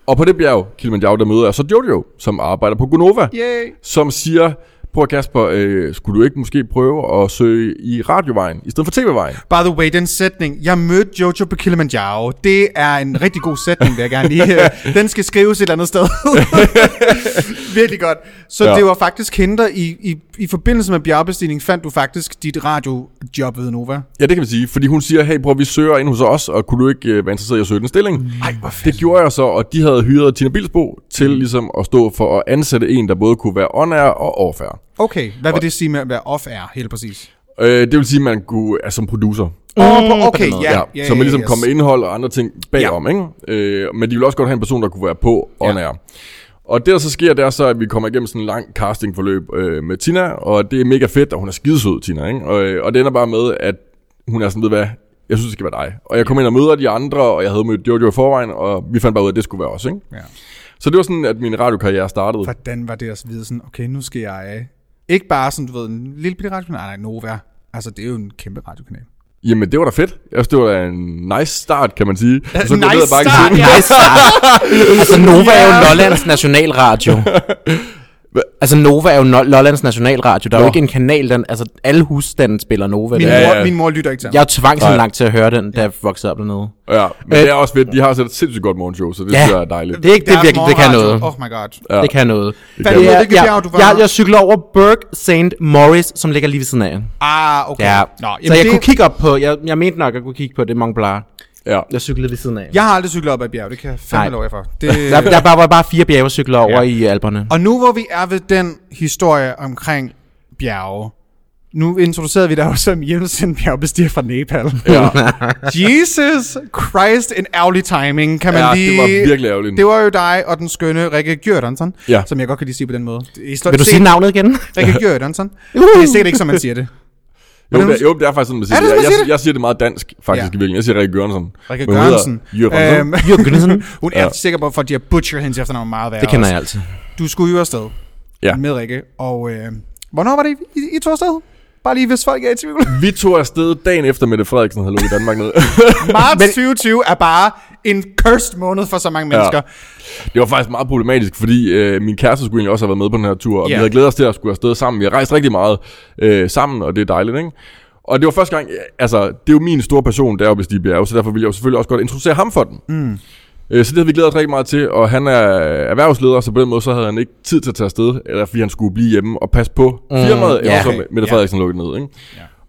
[SPEAKER 3] Og på det bjerg, Kilimanjaro, der møder jeg så Jojo, som arbejder på Gonova,
[SPEAKER 2] Yay.
[SPEAKER 3] som siger, prøv at Kasper, øh, skulle du ikke måske prøve at søge i radiovejen, i stedet for tv-vejen?
[SPEAKER 2] By the way, den sætning, jeg mødte Jojo på Kilimanjaro, det er en rigtig god sætning, vil jeg gerne lige. øh, Den skal skrives et eller andet sted. Virkelig godt. Så
[SPEAKER 3] Ja.
[SPEAKER 2] ja. det var faktisk henter i, i, i forbindelse med bjergbestigning, fandt du faktisk dit radiojob ved Nova.
[SPEAKER 3] Ja, det kan man sige, fordi hun siger, hey bror, vi søger ind hos os, og kunne du ikke øh, være interesseret i at søge den stilling? Ej, det gjorde jeg så, og de havde hyret Tina Bilsbo til ligesom at stå for at ansætte en, der både kunne være on og off
[SPEAKER 2] Okay, hvad vil det sige med at være off-air, helt præcis?
[SPEAKER 3] øh, Det vil sige, at man kunne, altså som producer,
[SPEAKER 2] Mm, oh, okay, ja.
[SPEAKER 3] Ja,
[SPEAKER 2] ja,
[SPEAKER 3] så man ligesom
[SPEAKER 2] yes.
[SPEAKER 3] yes. kom med indhold og andre ting bagom, ja. ikke? Øh, men de ville også godt have en person, der kunne være på on air. Og det, der så sker, det er så, at vi kommer igennem sådan en lang castingforløb øh, med Tina, og det er mega fedt, og hun er skidesød, Tina, ikke? Og, øh, og det ender bare med, at hun er sådan, ved du hvad, jeg synes, det skal være dig. Og jeg kom ind og møder de andre, og jeg havde mødt Jojo i forvejen, og vi fandt bare ud af, at det skulle være os, ikke?
[SPEAKER 2] Ja.
[SPEAKER 3] Så det var sådan, at min radiokarriere startede.
[SPEAKER 2] Hvordan var det at vide sådan, okay, nu skal jeg... øh," Ikke bare sådan, du ved, en lille bitte radiokanal, nej, nej, Nova. Altså, det er jo en kæmpe radiokanal.
[SPEAKER 3] Jamen, det var da fedt. Jeg synes, det var da en nice start, kan man sige. Og
[SPEAKER 2] nice
[SPEAKER 3] ned ad bakken
[SPEAKER 2] start,
[SPEAKER 3] til-
[SPEAKER 2] ja.
[SPEAKER 1] Nice altså, Nova er jo Lollands nationalradio. Altså, Nova er jo no- Lollands nationalradio. Der er jo
[SPEAKER 3] Nå.
[SPEAKER 1] ikke en kanal, den... Altså, alle husstanden spiller Nova.
[SPEAKER 2] Min,
[SPEAKER 1] Min,
[SPEAKER 3] Ja,
[SPEAKER 2] ja,
[SPEAKER 3] ja,
[SPEAKER 2] mor,
[SPEAKER 3] ja.
[SPEAKER 2] min mor lytter ikke til ham.
[SPEAKER 1] Jeg tvang
[SPEAKER 3] Nej.
[SPEAKER 1] sådan langt til at høre den, da jeg voksede op dernede.
[SPEAKER 3] Ja, men
[SPEAKER 1] Øh,
[SPEAKER 3] det er også fedt. De har også et sindssygt godt morgenshow, så det synes jeg er dejligt.
[SPEAKER 1] Det er ikke det,
[SPEAKER 2] Deres
[SPEAKER 1] virkelig, det kan
[SPEAKER 2] morgenradio.
[SPEAKER 1] noget.
[SPEAKER 2] Oh my god.
[SPEAKER 1] Ja. Det kan noget. Det
[SPEAKER 3] kan noget.
[SPEAKER 2] Hvilket bjerg du var?
[SPEAKER 1] jeg, jeg cykler over Burke St. Morris, som ligger lige ved siden af.
[SPEAKER 2] Ah, okay.
[SPEAKER 1] Ja.
[SPEAKER 2] Nå,
[SPEAKER 1] så jeg
[SPEAKER 2] det,
[SPEAKER 1] det... kunne kigge op på, jeg, jeg mente nok, at jeg kunne kigge på det Mont Blanc.
[SPEAKER 3] Ja.
[SPEAKER 1] Jeg cyklede ved siden af.
[SPEAKER 2] jeg har aldrig cyklet op ad bjerg, det kan jeg fandme
[SPEAKER 1] Nej.
[SPEAKER 2] love jer for. Det,
[SPEAKER 1] Der, der bare, var bare fire bjerge at cykle over ja. i Alperne.
[SPEAKER 2] og nu hvor vi er ved den historie omkring bjerge, Nu introducerede vi dig også som hjemmesendt bjergbestiger fra Nepal.
[SPEAKER 3] Ja.
[SPEAKER 2] Jesus Christ, en ærgerlig timing, kan man
[SPEAKER 3] Ja, det
[SPEAKER 2] lige...
[SPEAKER 3] var virkelig ærgerligt.
[SPEAKER 2] Det var jo dig og den skønne Rikke Gjørdansen,
[SPEAKER 3] Ja.
[SPEAKER 2] som jeg godt kan lige sige på den måde. I står-
[SPEAKER 1] Vil du
[SPEAKER 2] se-
[SPEAKER 1] sige navnet igen?
[SPEAKER 2] Rikke Gjørdansen. Det er sikkert ikke, som man siger det.
[SPEAKER 3] Jo, det, er- jo, det er faktisk sådan, man siger
[SPEAKER 2] Er det
[SPEAKER 3] det. Jeg,
[SPEAKER 2] sådan, man siger
[SPEAKER 3] jeg,
[SPEAKER 2] det?
[SPEAKER 3] jeg siger det meget dansk, faktisk,
[SPEAKER 2] Ja.
[SPEAKER 3] ja. i virkeligheden. Jeg siger Rikke Gørnsen.
[SPEAKER 2] Rikke
[SPEAKER 3] Men hun hedder
[SPEAKER 2] Gørnsen.
[SPEAKER 3] Jørgensen.
[SPEAKER 2] Øhm,
[SPEAKER 1] Jørgensen.
[SPEAKER 2] hun er
[SPEAKER 3] Ja.
[SPEAKER 2] sikker på, fordi jeg butcher hendes efternavn meget værre.
[SPEAKER 1] Det kender
[SPEAKER 2] også.
[SPEAKER 1] jeg altid.
[SPEAKER 2] Du skulle jo afsted
[SPEAKER 3] Ja.
[SPEAKER 2] med Rikke, og øh, hvornår var det, I, I tog afsted? Bare lige, hvis folk er i tvivl.
[SPEAKER 3] Vi tog afsted dagen efter, Mette Frederiksen havde lukket Danmark ned.
[SPEAKER 2] Marts 2020 er bare en cursed måned for så mange mennesker.
[SPEAKER 3] det var faktisk meget problematisk, fordi øh, min kæreste skulle egentlig også have været med på den her tur, og
[SPEAKER 2] Ja.
[SPEAKER 3] vi havde glædet os til at skulle afsted sammen. Vi har rejst rigtig meget øh, sammen, og det er dejligt, ikke? Og det var første gang, altså, det er jo min store passion deroppe i Stig Bjerge, så derfor ville jeg jo selvfølgelig også godt introducere ham for den. Mm. Øh, Så det havde vi glædet os rigtig meget til, og han er erhvervsleder, så på den måde så havde han ikke tid til at tage afsted, eller fordi han skulle blive hjemme og passe på firmaet, mm,
[SPEAKER 1] ja.
[SPEAKER 3] yeah. så Mette Frederiksen lukket ned. Ikke?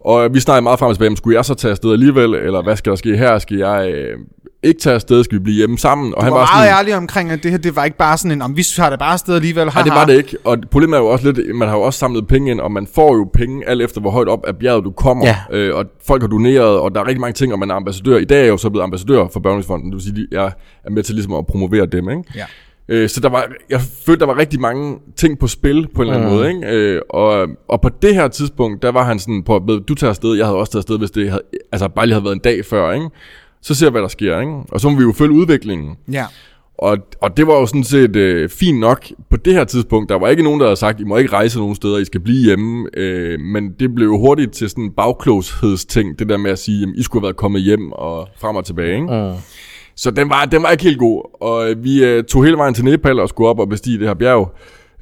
[SPEAKER 3] Og vi snakkede meget frem og tilbage, om skulle jeg så tage afsted alligevel, eller hvad skal der ske her, skal jeg øh, ikke tage afsted, skal vi blive hjemme sammen? Og
[SPEAKER 2] Du
[SPEAKER 3] han
[SPEAKER 2] var
[SPEAKER 3] var
[SPEAKER 2] meget
[SPEAKER 3] sådan,
[SPEAKER 2] ærlig omkring, at det her det var ikke bare sådan en, om vi har det bare afsted alligevel.
[SPEAKER 3] Nej, det
[SPEAKER 2] haha."
[SPEAKER 3] var det ikke. Og problemet er jo også lidt, man har jo også samlet penge ind, og man får jo penge alt efter, hvor højt op af bjerget du kommer.
[SPEAKER 1] Ja.
[SPEAKER 3] Øh, og folk har doneret, og der er rigtig mange ting, og man er ambassadør. I dag er jeg jo så blevet ambassadør for Børnehusfonden. Det vil sige, at jeg er med til ligesom at promovere dem, ikke?
[SPEAKER 2] Ja.
[SPEAKER 3] Øh, så der var, jeg følte, der var rigtig mange ting på spil på en eller anden måde, ikke? Øh, og, og på det her tidspunkt, der var han sådan, på, ved, du tager afsted, jeg havde også taget afsted, hvis det havde, altså bare lige havde været en dag før, ikke? Så ser jeg, hvad der sker, ikke? Og så må vi jo følge udviklingen.
[SPEAKER 2] Ja.
[SPEAKER 3] Og, og det var jo sådan set øh, fint nok på det her tidspunkt. Der var ikke nogen, der havde sagt, I må ikke rejse nogen steder, I skal blive hjemme. Øh, men det blev jo hurtigt til sådan en bagklogshedsting, det der med at sige, jamen, I skulle have været kommet hjem og frem og tilbage. Ikke? Uh. Så den var, den var ikke helt god. Og øh, vi øh, tog hele vejen til Nepal og skulle op og bestige det her bjerg.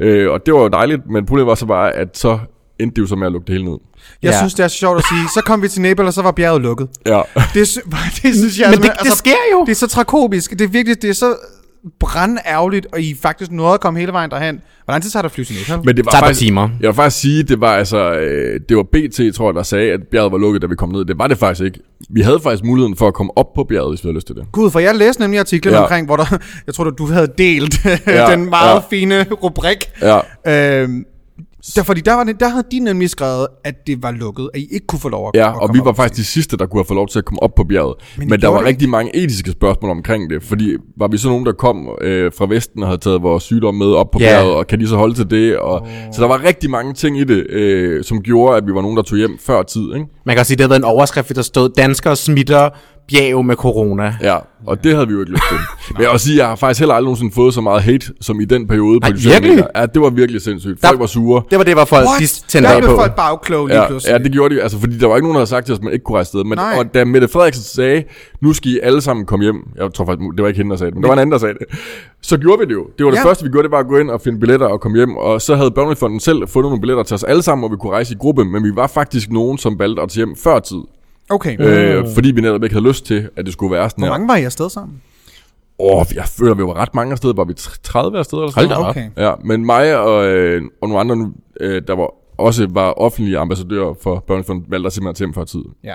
[SPEAKER 3] Øh, og det var jo dejligt, men problemet var så bare, at så endte det jo så med at lukke det hele ned.
[SPEAKER 2] Jeg
[SPEAKER 1] Ja.
[SPEAKER 2] synes, det er sjovt at sige, så kom vi til Nepal, og så var bjerget lukket.
[SPEAKER 3] Ja.
[SPEAKER 2] Det, sy- det synes jeg...
[SPEAKER 1] Men
[SPEAKER 2] simpelthen-
[SPEAKER 1] det- det sker jo.
[SPEAKER 2] altså, Det er så trakomisk. Det er virkelig, det er så brandærgerligt, og I faktisk nåede at komme hele vejen derhen. Hvor lang tid tager det at flyve til Nepal?
[SPEAKER 3] Men det var
[SPEAKER 1] Tager et par
[SPEAKER 3] faktisk,
[SPEAKER 1] timer.
[SPEAKER 3] Jeg vil faktisk sige, det var altså, øh, det var BT, tror jeg, der sagde, at bjerget var lukket, da vi kom ned. Det var det faktisk ikke. Vi havde faktisk muligheden for at komme op på bjerget, hvis vi havde lyst til det.
[SPEAKER 2] Gud, for jeg læste nemlig artiklen ja.
[SPEAKER 3] Ja.
[SPEAKER 2] omkring, hvor der, jeg tror, du havde delt ja,
[SPEAKER 3] Ja,
[SPEAKER 2] den meget ja.
[SPEAKER 3] ja.
[SPEAKER 2] fine rubrik.
[SPEAKER 3] Ja.
[SPEAKER 2] Øhm, der, fordi der, var, det- der havde de nemlig skrevet, at det var lukket, at I ikke kunne få lov at
[SPEAKER 3] Ja,
[SPEAKER 2] at
[SPEAKER 3] og
[SPEAKER 2] komme
[SPEAKER 3] vi
[SPEAKER 2] op.
[SPEAKER 3] var faktisk de sidste, der kunne have fået lov til at komme op på bjerget. Men, Men der
[SPEAKER 2] gjorde
[SPEAKER 3] var
[SPEAKER 2] det
[SPEAKER 3] rigtig mange etiske spørgsmål omkring det, fordi var vi så nogen, der kom øh, fra Vesten og havde taget vores sygdom med op på
[SPEAKER 1] Ja.
[SPEAKER 3] bjerget, og kan de så holde til det? Og, oh. Så der var rigtig mange ting i det, øh, som gjorde, at vi var nogen, der tog hjem før tid. Ikke?
[SPEAKER 1] Man kan også sige, det har været en overskrift, der stod, danskere smitter bjerg med corona.
[SPEAKER 3] Ja, og det havde vi jo ikke lyst til. Men jeg vil også sige, jeg har faktisk heller aldrig nogensinde fået så meget hate, som i den periode
[SPEAKER 1] Nej,
[SPEAKER 3] på de sociale
[SPEAKER 1] virkelig?
[SPEAKER 3] medier. Ja, det var virkelig sindssygt. Folk
[SPEAKER 1] Der-
[SPEAKER 3] var sure.
[SPEAKER 1] Det var det, hvor folk
[SPEAKER 2] What?
[SPEAKER 1] de tændte
[SPEAKER 2] Der
[SPEAKER 1] af
[SPEAKER 2] blev
[SPEAKER 1] på.
[SPEAKER 2] folk bagkloge lige
[SPEAKER 3] Ja,
[SPEAKER 2] pludselig.
[SPEAKER 3] ja, det gjorde de, altså, fordi der var ikke nogen, der havde sagt til os, at man ikke kunne rejse sted. Men,
[SPEAKER 2] Nej.
[SPEAKER 3] og da Mette Frederiksen sagde, nu skal I alle sammen komme hjem, jeg tror faktisk, det var ikke hende, der sagde det, men der var en anden, der sagde det, så gjorde vi det jo. Det var det
[SPEAKER 2] Ja.
[SPEAKER 3] første, vi gjorde, det var at gå ind og finde billetter og komme hjem, og så havde Børnefonden selv fundet nogle billetter til os alle sammen, og vi kunne rejse i gruppe, men vi var faktisk nogen, som valgte at tage hjem før tid,
[SPEAKER 2] Okay. Øh,
[SPEAKER 3] øh, fordi vi netop ikke havde lyst til, at det skulle være sådan
[SPEAKER 2] Hvor
[SPEAKER 3] her.
[SPEAKER 2] mange var I afsted sammen?
[SPEAKER 3] Åh, oh, jeg føler, vi var ret mange afsted. Var vi tr- 30 afsted eller sådan
[SPEAKER 1] Hold da
[SPEAKER 2] op. Okay.
[SPEAKER 3] Ja, men mig og, øh, og nogle andre, øh, der var også var offentlige ambassadører for Børnefonden, valgte at simpelthen til hjem før tid.
[SPEAKER 2] Ja.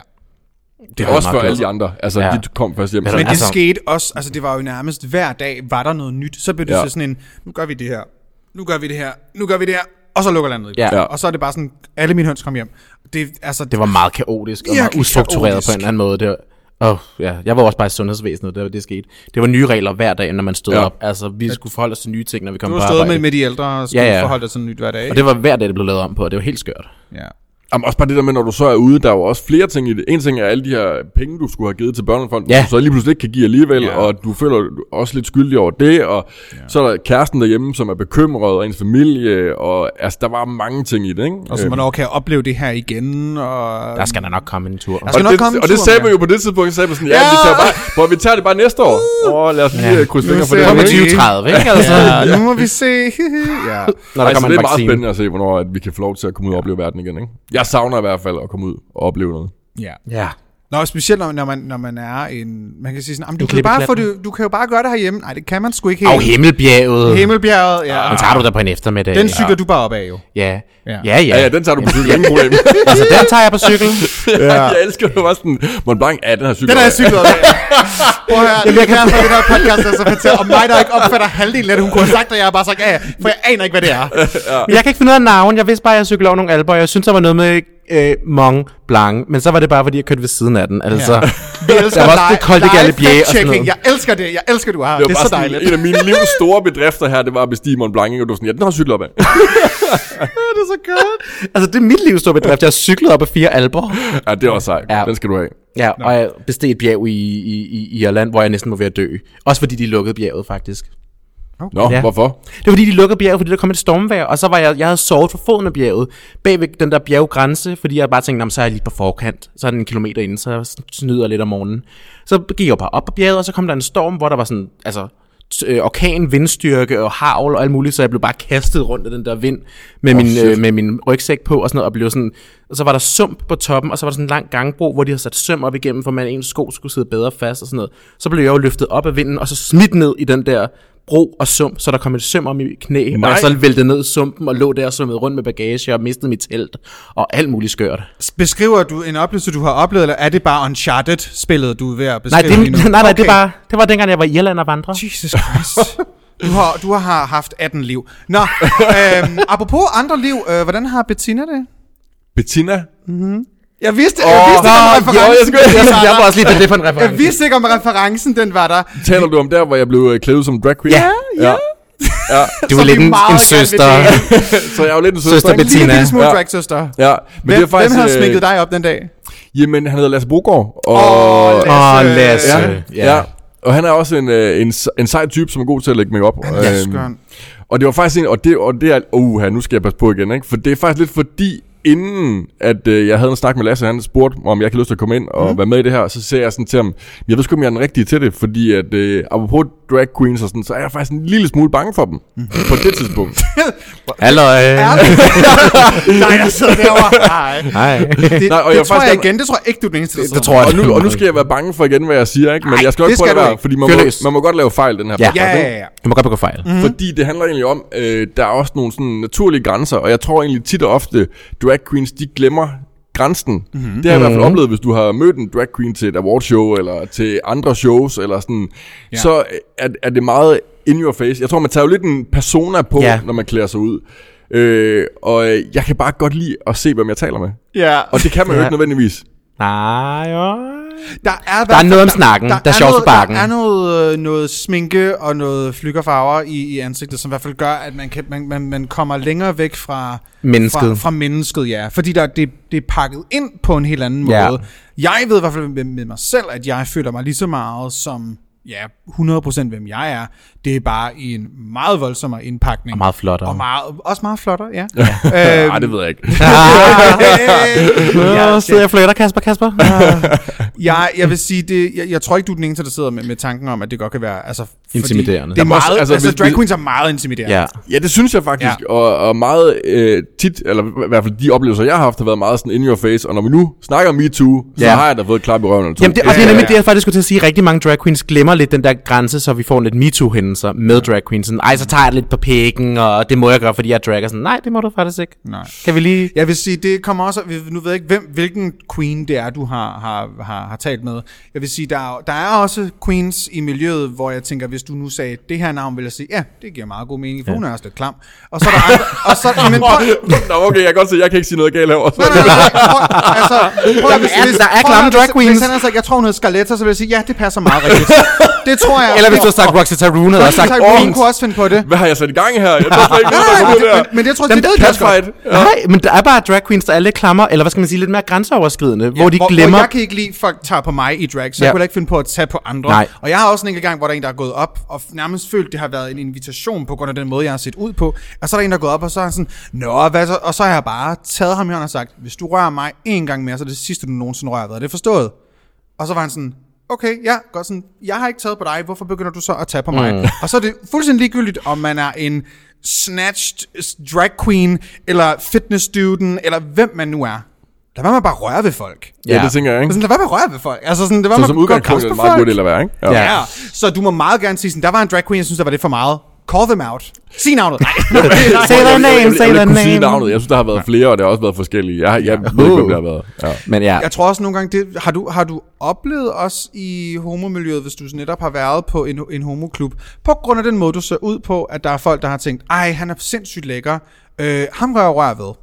[SPEAKER 1] Det
[SPEAKER 3] Også for
[SPEAKER 1] nok
[SPEAKER 3] alle de
[SPEAKER 1] gjort.
[SPEAKER 3] andre. Altså,
[SPEAKER 1] Ja.
[SPEAKER 3] ja. de kom først hjem.
[SPEAKER 1] Men
[SPEAKER 3] før.
[SPEAKER 2] Men altså,
[SPEAKER 1] Altså-
[SPEAKER 2] det skete også, altså det var jo nærmest hver dag, var der noget nyt. Så blev det ja.
[SPEAKER 3] Ja.
[SPEAKER 2] så sådan en, nu gør vi det her, nu gør vi det her, nu gør vi det her, og så lukker landet.
[SPEAKER 1] Ja.
[SPEAKER 2] Ja.
[SPEAKER 1] Ja.
[SPEAKER 2] Og så er det bare sådan, alle mine høns kom hjem. Det, altså,
[SPEAKER 1] Det var meget kaotisk og meget
[SPEAKER 2] Virkelig
[SPEAKER 1] ustruktureret
[SPEAKER 2] kaotisk.
[SPEAKER 1] på en eller anden måde. Det var, Oh, ja. Jeg var også bare i sundhedsvæsenet, det, det skete. Det var nye regler hver dag, når man stod ja.
[SPEAKER 3] Ja.
[SPEAKER 1] op. Altså, vi skulle forholde os til nye ting, når vi kom
[SPEAKER 2] du
[SPEAKER 1] på
[SPEAKER 2] har stået
[SPEAKER 1] arbejde.
[SPEAKER 2] med, med de ældre og skulle ja,
[SPEAKER 1] Ja,
[SPEAKER 2] ja.
[SPEAKER 1] ja.
[SPEAKER 2] forholde dig sådan nyt hver dag.
[SPEAKER 1] Og det var hver dag, det blev lavet om på, og det var helt skørt.
[SPEAKER 2] ja.
[SPEAKER 3] Jamen, også bare det der med, når du så er ude, der er jo også flere ting i det. En ting er alle de her penge, du skulle have givet til børnefonden,
[SPEAKER 1] Ja.
[SPEAKER 3] ja. som du så lige pludselig ikke kan give alligevel,
[SPEAKER 2] Ja.
[SPEAKER 3] ja. og du føler du også lidt skyldig over det, og ja. så er der kæresten derhjemme, som er bekymret, og ens familie, og altså, der var mange ting i det, ikke?
[SPEAKER 2] Og så, hvornår kan jeg opleve det her igen? Og...
[SPEAKER 1] Øhm. Der skal der nok komme en tur.
[SPEAKER 2] skal
[SPEAKER 3] og
[SPEAKER 2] nok
[SPEAKER 3] det,
[SPEAKER 2] komme en
[SPEAKER 3] og det
[SPEAKER 2] tur,
[SPEAKER 3] sagde
[SPEAKER 2] Maja.
[SPEAKER 3] man jo på det tidspunkt, så sagde man sådan, ja,
[SPEAKER 2] Ja. Uh!
[SPEAKER 3] ja. Vi, tager bare, prøv, vi tager det bare næste år. Åh, oh, lad os lige ja. krydse
[SPEAKER 2] Nu
[SPEAKER 3] fingre for
[SPEAKER 2] ser
[SPEAKER 3] det.
[SPEAKER 2] vi.
[SPEAKER 1] Kom i
[SPEAKER 3] ikke?
[SPEAKER 1] 2030, ikke? Altså,
[SPEAKER 2] Ja, nu må vi se. ja.
[SPEAKER 1] når der
[SPEAKER 3] Ej, så
[SPEAKER 1] kommer
[SPEAKER 3] det
[SPEAKER 1] en
[SPEAKER 3] er meget
[SPEAKER 1] vaccine.
[SPEAKER 3] spændende at se, hvornår at vi kan få lov til at komme ud og opleve verden igen. Ikke? Jeg savner i hvert fald at komme ud og opleve noget.
[SPEAKER 2] ja.
[SPEAKER 1] Ja.
[SPEAKER 2] Nå, specielt når, når, man, når man er en... Man kan sige sådan, "Jamen, du,
[SPEAKER 1] En
[SPEAKER 2] kan jo bare få
[SPEAKER 1] klippeklatten."
[SPEAKER 2] det, du kan jo bare gøre det herhjemme. Nej, det kan man sgu ikke helt.
[SPEAKER 1] Og himmelbjerget.
[SPEAKER 2] Himmelbjerget, ja.
[SPEAKER 1] Den tager du da på en eftermiddag.
[SPEAKER 2] Den cykler du bare op af, jo.
[SPEAKER 1] Ja.
[SPEAKER 2] Ja.
[SPEAKER 1] Ja, ja.
[SPEAKER 3] Ja, ja, den tager du på cykel, ingen problem.
[SPEAKER 1] Altså, den tager jeg på cykel.
[SPEAKER 3] ja. Jeg elsker det bare sådan, Mont Blanc, ja, den her cykel.
[SPEAKER 2] Den har jeg cyklet op af. Prøv at høre, det er derfor, den her podcast er så fantastisk. Og mig, der ikke opfatter halvdelen af det, hun kunne have sagt, og jeg har bare sagt, ja, ja, for jeg aner ikke, hvad det er.
[SPEAKER 1] Men jeg kan ikke finde ud af navn. Jeg vidste bare, at jeg cyklede over nogle alber. Jeg synes, der var noget med øh, Mont Blanc, men så var det bare, fordi jeg kørte ved siden af den. Altså, ja.
[SPEAKER 2] Vi elsker
[SPEAKER 1] der var også
[SPEAKER 2] live-
[SPEAKER 1] det kolde
[SPEAKER 2] live
[SPEAKER 1] galibier og sådan
[SPEAKER 2] fact-checking.
[SPEAKER 1] noget.
[SPEAKER 2] Jeg elsker det. Jeg elsker, du har
[SPEAKER 3] Det
[SPEAKER 2] det.
[SPEAKER 3] var bare
[SPEAKER 2] Det er så dejligt.
[SPEAKER 3] sådan, en af mine livs store bedrifter her, det var at bestige Mont Blanc, ikke? og du var sådan, ja, den har jeg cyklet op af.
[SPEAKER 1] det er så godt. altså, det er mit livs store bedrift. Jeg har cyklet op ad fire alber.
[SPEAKER 3] ja, det var sejt.
[SPEAKER 1] Ja.
[SPEAKER 3] Ja. Den skal du have.
[SPEAKER 1] Ja, og jeg besteg et bjerg i, i, i, i Irland, hvor jeg næsten var ved at dø. Også fordi de lukkede bjerget, faktisk.
[SPEAKER 3] Nå,
[SPEAKER 1] Ja.
[SPEAKER 3] ja. hvorfor?
[SPEAKER 1] Det var fordi, de lukkede bjerget, fordi der kom et stormvejr, og så var jeg, jeg havde sovet for foden af bjerget, bag ved den der bjerggrænse, fordi jeg bare tænkte, "Nå, men så er jeg lige på forkant, så er den en kilometer inden, så jeg snyder lidt om morgenen. Så gik jeg bare op ad bjerget, og så kom der en storm, hvor der var sådan, altså, t- øh, orkan, vindstyrke og havl og alt muligt, så jeg blev bare kastet rundt af den der vind med, oh, min, øh, med min rygsæk på og sådan noget, og blev sådan, og så var der sump på toppen, og så var der sådan en lang gangbro, hvor de havde sat søm op igennem, for man ens sko skulle sidde bedre fast og sådan noget. Så blev jeg jo løftet op af vinden, og så smidt ned i den der bro og sump, så der kom et søm om i knæ, Nej. og jeg så væltede ned i sumpen og lå der og svømmede rundt med bagage og mistede mit telt og alt muligt skørt.
[SPEAKER 2] Beskriver du en oplevelse, du har oplevet, eller er det bare Uncharted-spillet, du er ved at
[SPEAKER 1] Nej,
[SPEAKER 2] beskrive
[SPEAKER 1] det,
[SPEAKER 2] lige nu?
[SPEAKER 1] nej, nej, okay. det,
[SPEAKER 2] Okay.
[SPEAKER 1] var, det var dengang, jeg var i Irland og vandrede.
[SPEAKER 2] Jesus Christ. Du har, du har haft 18 liv. Nå, øhm, apropos andre liv, øh, hvordan har Bettina det?
[SPEAKER 3] Bettina?
[SPEAKER 2] Jeg vidste, oh, jeg vidste ikke, om
[SPEAKER 3] nå, jo, jeg
[SPEAKER 2] referencen,
[SPEAKER 3] skulle-
[SPEAKER 2] den
[SPEAKER 1] Jeg var
[SPEAKER 2] var der.
[SPEAKER 1] også lige det for en
[SPEAKER 2] Jeg
[SPEAKER 1] reference.
[SPEAKER 2] vidste ikke, om referencen den var der.
[SPEAKER 3] Taler du om der, hvor jeg blev øh, klædt ud som drag queen?
[SPEAKER 1] Ja,
[SPEAKER 3] ja. ja.
[SPEAKER 1] Du er
[SPEAKER 2] Som
[SPEAKER 1] lidt
[SPEAKER 2] vi
[SPEAKER 1] en,
[SPEAKER 2] meget gerne
[SPEAKER 1] en
[SPEAKER 2] vil
[SPEAKER 1] søster.
[SPEAKER 2] dele.
[SPEAKER 3] Så jeg er jo lidt en søster.
[SPEAKER 1] Søster
[SPEAKER 3] ikke?
[SPEAKER 1] Bettina.
[SPEAKER 2] Bettina. En lille smule
[SPEAKER 3] Ja.
[SPEAKER 2] drag, søster.
[SPEAKER 3] Ja, men
[SPEAKER 2] Hvem,
[SPEAKER 3] det er faktisk...
[SPEAKER 2] hvem har
[SPEAKER 3] øh,
[SPEAKER 2] smækket dig op den dag?
[SPEAKER 3] Jamen, han hedder Lasse Brogaard. Og,
[SPEAKER 2] Åh,
[SPEAKER 1] Åh, oh, Lasse.
[SPEAKER 2] øh, Lasse.
[SPEAKER 3] ja. ja. Og han er også en, øh, en, se- en sej type, som er god til at lægge mig op.
[SPEAKER 2] Ja, skøn.
[SPEAKER 3] og det var faktisk en... Og det, og det er... Uh, nu skal jeg passe på igen, ikke? For det er faktisk lidt fordi, inden at øh, jeg havde en snak med Lasse, han spurgte mig, om jeg kan lyst til at komme ind
[SPEAKER 2] Mhm.
[SPEAKER 3] og mm. være med i det her, så sagde jeg sådan til ham, jeg ved sgu, om jeg er den rigtige til det, fordi at, øh, apropos drag queens og sådan, så er jeg faktisk en lille smule bange for dem,
[SPEAKER 2] Mhm.
[SPEAKER 3] på det tidspunkt.
[SPEAKER 1] Hallo.
[SPEAKER 2] Nej, jeg sidder derovre. Nej.
[SPEAKER 1] Hej.
[SPEAKER 2] Det,
[SPEAKER 3] Nej, og
[SPEAKER 2] det
[SPEAKER 3] jeg
[SPEAKER 2] tror
[SPEAKER 3] faktisk
[SPEAKER 2] jeg
[SPEAKER 3] gerne-
[SPEAKER 2] igen, det tror jeg ikke, du er den eneste, der
[SPEAKER 1] Det
[SPEAKER 2] sidder
[SPEAKER 1] tror jeg.
[SPEAKER 3] Og nu, og nu skal jeg være bange for igen, hvad jeg siger, ikke? Men
[SPEAKER 2] Ej,
[SPEAKER 3] jeg skal nok
[SPEAKER 2] det
[SPEAKER 3] prøve
[SPEAKER 2] skal
[SPEAKER 3] at
[SPEAKER 2] du
[SPEAKER 3] være,
[SPEAKER 2] ikke.
[SPEAKER 3] fordi man
[SPEAKER 1] Fyr
[SPEAKER 3] må,
[SPEAKER 1] løs.
[SPEAKER 3] man må godt lave fejl den her
[SPEAKER 1] Ja.
[SPEAKER 2] Ja,
[SPEAKER 3] podcast, ikke?
[SPEAKER 2] ja, ja.
[SPEAKER 1] Du må godt begå fejl.
[SPEAKER 3] Mm. Fordi det handler egentlig om, øh, der er også nogle sådan naturlige grænser, og jeg tror egentlig tit og ofte, drag queens, de glemmer grænsen. Mm-hmm. Det har jeg i hvert fald oplevet, hvis du har mødt en drag queen til et awardshow, eller til andre shows, eller sådan, ja. så øh, er, er det meget in your face. Jeg tror, man tager jo lidt en persona på,
[SPEAKER 1] Ja.
[SPEAKER 3] ja. når man klæder sig ud. Øh, og øh, jeg kan bare godt lide at se, hvem jeg taler med.
[SPEAKER 2] Ja.
[SPEAKER 3] Og det kan man jo
[SPEAKER 1] Ja.
[SPEAKER 3] ikke nødvendigvis.
[SPEAKER 1] Nej, jo.
[SPEAKER 2] Der er,
[SPEAKER 1] Der er
[SPEAKER 2] hvert-
[SPEAKER 1] noget om snakken. Der er sjovt
[SPEAKER 2] noget-
[SPEAKER 1] på bakken.
[SPEAKER 2] Der er noget, øh, noget sminke og noget flykkerfarver i, i ansigtet, som i hvert fald gør, at man, kan, man, man, man kommer længere væk fra
[SPEAKER 1] Mennesket.
[SPEAKER 2] Fra, fra mennesket, ja. Fordi der, det, det er pakket ind på en helt anden
[SPEAKER 1] Ja.
[SPEAKER 2] måde. Jeg ved i hvert fald med, med mig selv, at jeg føler mig lige så meget som ja, 100% hvem jeg er. Det er bare i en meget voldsommere indpakning.
[SPEAKER 1] Og meget flottere.
[SPEAKER 2] Og meget, også meget flottere, ja.
[SPEAKER 3] Øhm.
[SPEAKER 2] ja.
[SPEAKER 3] Ej, det ved jeg ikke.
[SPEAKER 1] Ja, sidder jeg og flytter, Kasper, Kasper.
[SPEAKER 2] Jeg, jeg vil sige, det, jeg, jeg tror ikke, du er den eneste, der sidder med, med tanken om, at det godt kan være... Altså, fordi
[SPEAKER 1] Intimiderende.
[SPEAKER 2] Det er
[SPEAKER 1] Der må
[SPEAKER 3] også-
[SPEAKER 2] meget, altså,
[SPEAKER 3] altså,
[SPEAKER 2] altså,
[SPEAKER 3] hvis-
[SPEAKER 2] drag queens er meget intimiderende.
[SPEAKER 1] ja.
[SPEAKER 3] Ja, det synes jeg faktisk,
[SPEAKER 2] Ja.
[SPEAKER 3] ja. og, og meget øh, tit, eller i hvert fald de oplevelser, jeg har haft, har været meget sådan in your face, og når vi nu snakker om MeToo, så
[SPEAKER 1] Ja.
[SPEAKER 3] har jeg da fået et klap i røven eller to.
[SPEAKER 1] Jamen, det, og det
[SPEAKER 2] Ja,
[SPEAKER 1] er
[SPEAKER 2] ja,
[SPEAKER 1] nemlig
[SPEAKER 2] ja.
[SPEAKER 1] det, jeg faktisk skulle til at sige. Rigtig mange drag queens glemmer lidt den der grænse, så vi får lidt MeToo-hændelser med drag queens. Sådan, Ej, så tager jeg det lidt på pikken, og det må jeg gøre, fordi jeg er drag. Og sådan, nej, det må du faktisk ikke.
[SPEAKER 2] Nej.
[SPEAKER 1] Kan vi lige...
[SPEAKER 2] Jeg vil sige, det kommer også... Nu ved jeg ikke, hvem, hvilken queen det er, du har, har, har, har talt med. Jeg vil sige, der er, der er også queens i miljøet, hvor jeg tænker, hvis du nu sagde det her navn, vil jeg sige, ja, det giver meget god mening, for ja. hun er også lidt klam. Og så er der andre... Og så, men, prøv,
[SPEAKER 3] Nå, okay, jeg kan godt se, jeg kan ikke sige noget galt herovre.
[SPEAKER 2] Nej, nej, nej, prøv- altså, prøv at-
[SPEAKER 1] Der
[SPEAKER 2] hvis-
[SPEAKER 1] er-
[SPEAKER 2] hvis-
[SPEAKER 1] der er
[SPEAKER 2] prøv at-
[SPEAKER 1] klamme
[SPEAKER 2] hvis-
[SPEAKER 1] drag queens.
[SPEAKER 2] Hvis han havde sagt, jeg tror hun hedder Scarletta, så ville jeg sige, ja, det passer meget rigtigt. Det tror jeg.
[SPEAKER 1] Eller hvis du har sagt Roxy Taruna, og sagt...
[SPEAKER 2] sagt,
[SPEAKER 1] "Åh,
[SPEAKER 2] hun kunne også finde på det.
[SPEAKER 3] Hvad har jeg sat i gang her? Jeg tror slet ikke, noget, der
[SPEAKER 2] Nej,
[SPEAKER 3] er
[SPEAKER 2] men,
[SPEAKER 3] sådan noget
[SPEAKER 2] men, men jeg tror,
[SPEAKER 3] der.
[SPEAKER 2] det ved de også godt.
[SPEAKER 3] catfight.
[SPEAKER 1] Nej, men der er bare drag queens, der er lidt klammer, eller hvad skal man sige, lidt mere grænseoverskridende, ja, hvor de
[SPEAKER 2] hvor,
[SPEAKER 1] glemmer...
[SPEAKER 2] Hvor jeg kan ikke lide, at folk tager på mig i drag, så ja.
[SPEAKER 1] Ja.
[SPEAKER 2] jeg kunne heller ikke finde på at tage på andre.
[SPEAKER 1] Nej.
[SPEAKER 2] Og jeg har også en enkelt gang, hvor der er en, der er gået op, og f- nærmest følt, det har været en invitation på grund af den måde, jeg har set ud på. Og så er der en, der er gået op, og så er han sådan, Nå, hvad så? Og så har jeg bare taget ham i hånden og sagt, hvis du rører mig en gang mere, så er det det sidste, du nogensinde rører ved. Er det forstået? Og så var han sådan, okay, ja, godt sådan, jeg har ikke taget på dig, hvorfor begynder du så at tage på mig? Mm. Og så er det fuldstændig ligegyldigt, om man er en snatched s- drag queen, eller fitness student, eller hvem man nu er. Lad være med at bare røre ved folk.
[SPEAKER 3] Ja, det tænker jeg,
[SPEAKER 2] Men
[SPEAKER 3] ikke?
[SPEAKER 2] sådan, lad være med at røre ved folk. Altså sådan, det var
[SPEAKER 3] Så
[SPEAKER 2] med
[SPEAKER 3] som
[SPEAKER 2] at gå
[SPEAKER 3] udgangspunkt er
[SPEAKER 2] og
[SPEAKER 3] det
[SPEAKER 2] krasse
[SPEAKER 3] meget
[SPEAKER 2] på
[SPEAKER 3] godt at lade være, ikke?
[SPEAKER 1] Ja.
[SPEAKER 2] Ja. så du må meget gerne sige sådan, der var en drag queen, jeg synes, der var det for meget. Call them out. Sig navnet. Nej.
[SPEAKER 1] Say their name, say
[SPEAKER 3] Jeg
[SPEAKER 1] their
[SPEAKER 3] vil kunne sige
[SPEAKER 1] name.
[SPEAKER 3] navnet. Jeg synes, der har været flere, og det har også været forskellige. Jeg, jeg ved
[SPEAKER 2] Uh.
[SPEAKER 3] ikke, hvem det har været. Ja.
[SPEAKER 1] Men ja,
[SPEAKER 2] Jeg tror også nogle gange, det, har, du, har du oplevet også i homomiljøet, hvis du netop har været på en, en homoklub, på grund af den måde, du ser ud på, at der er folk, der har tænkt, ej, han er sindssygt lækker, øh, ham rører rør ved.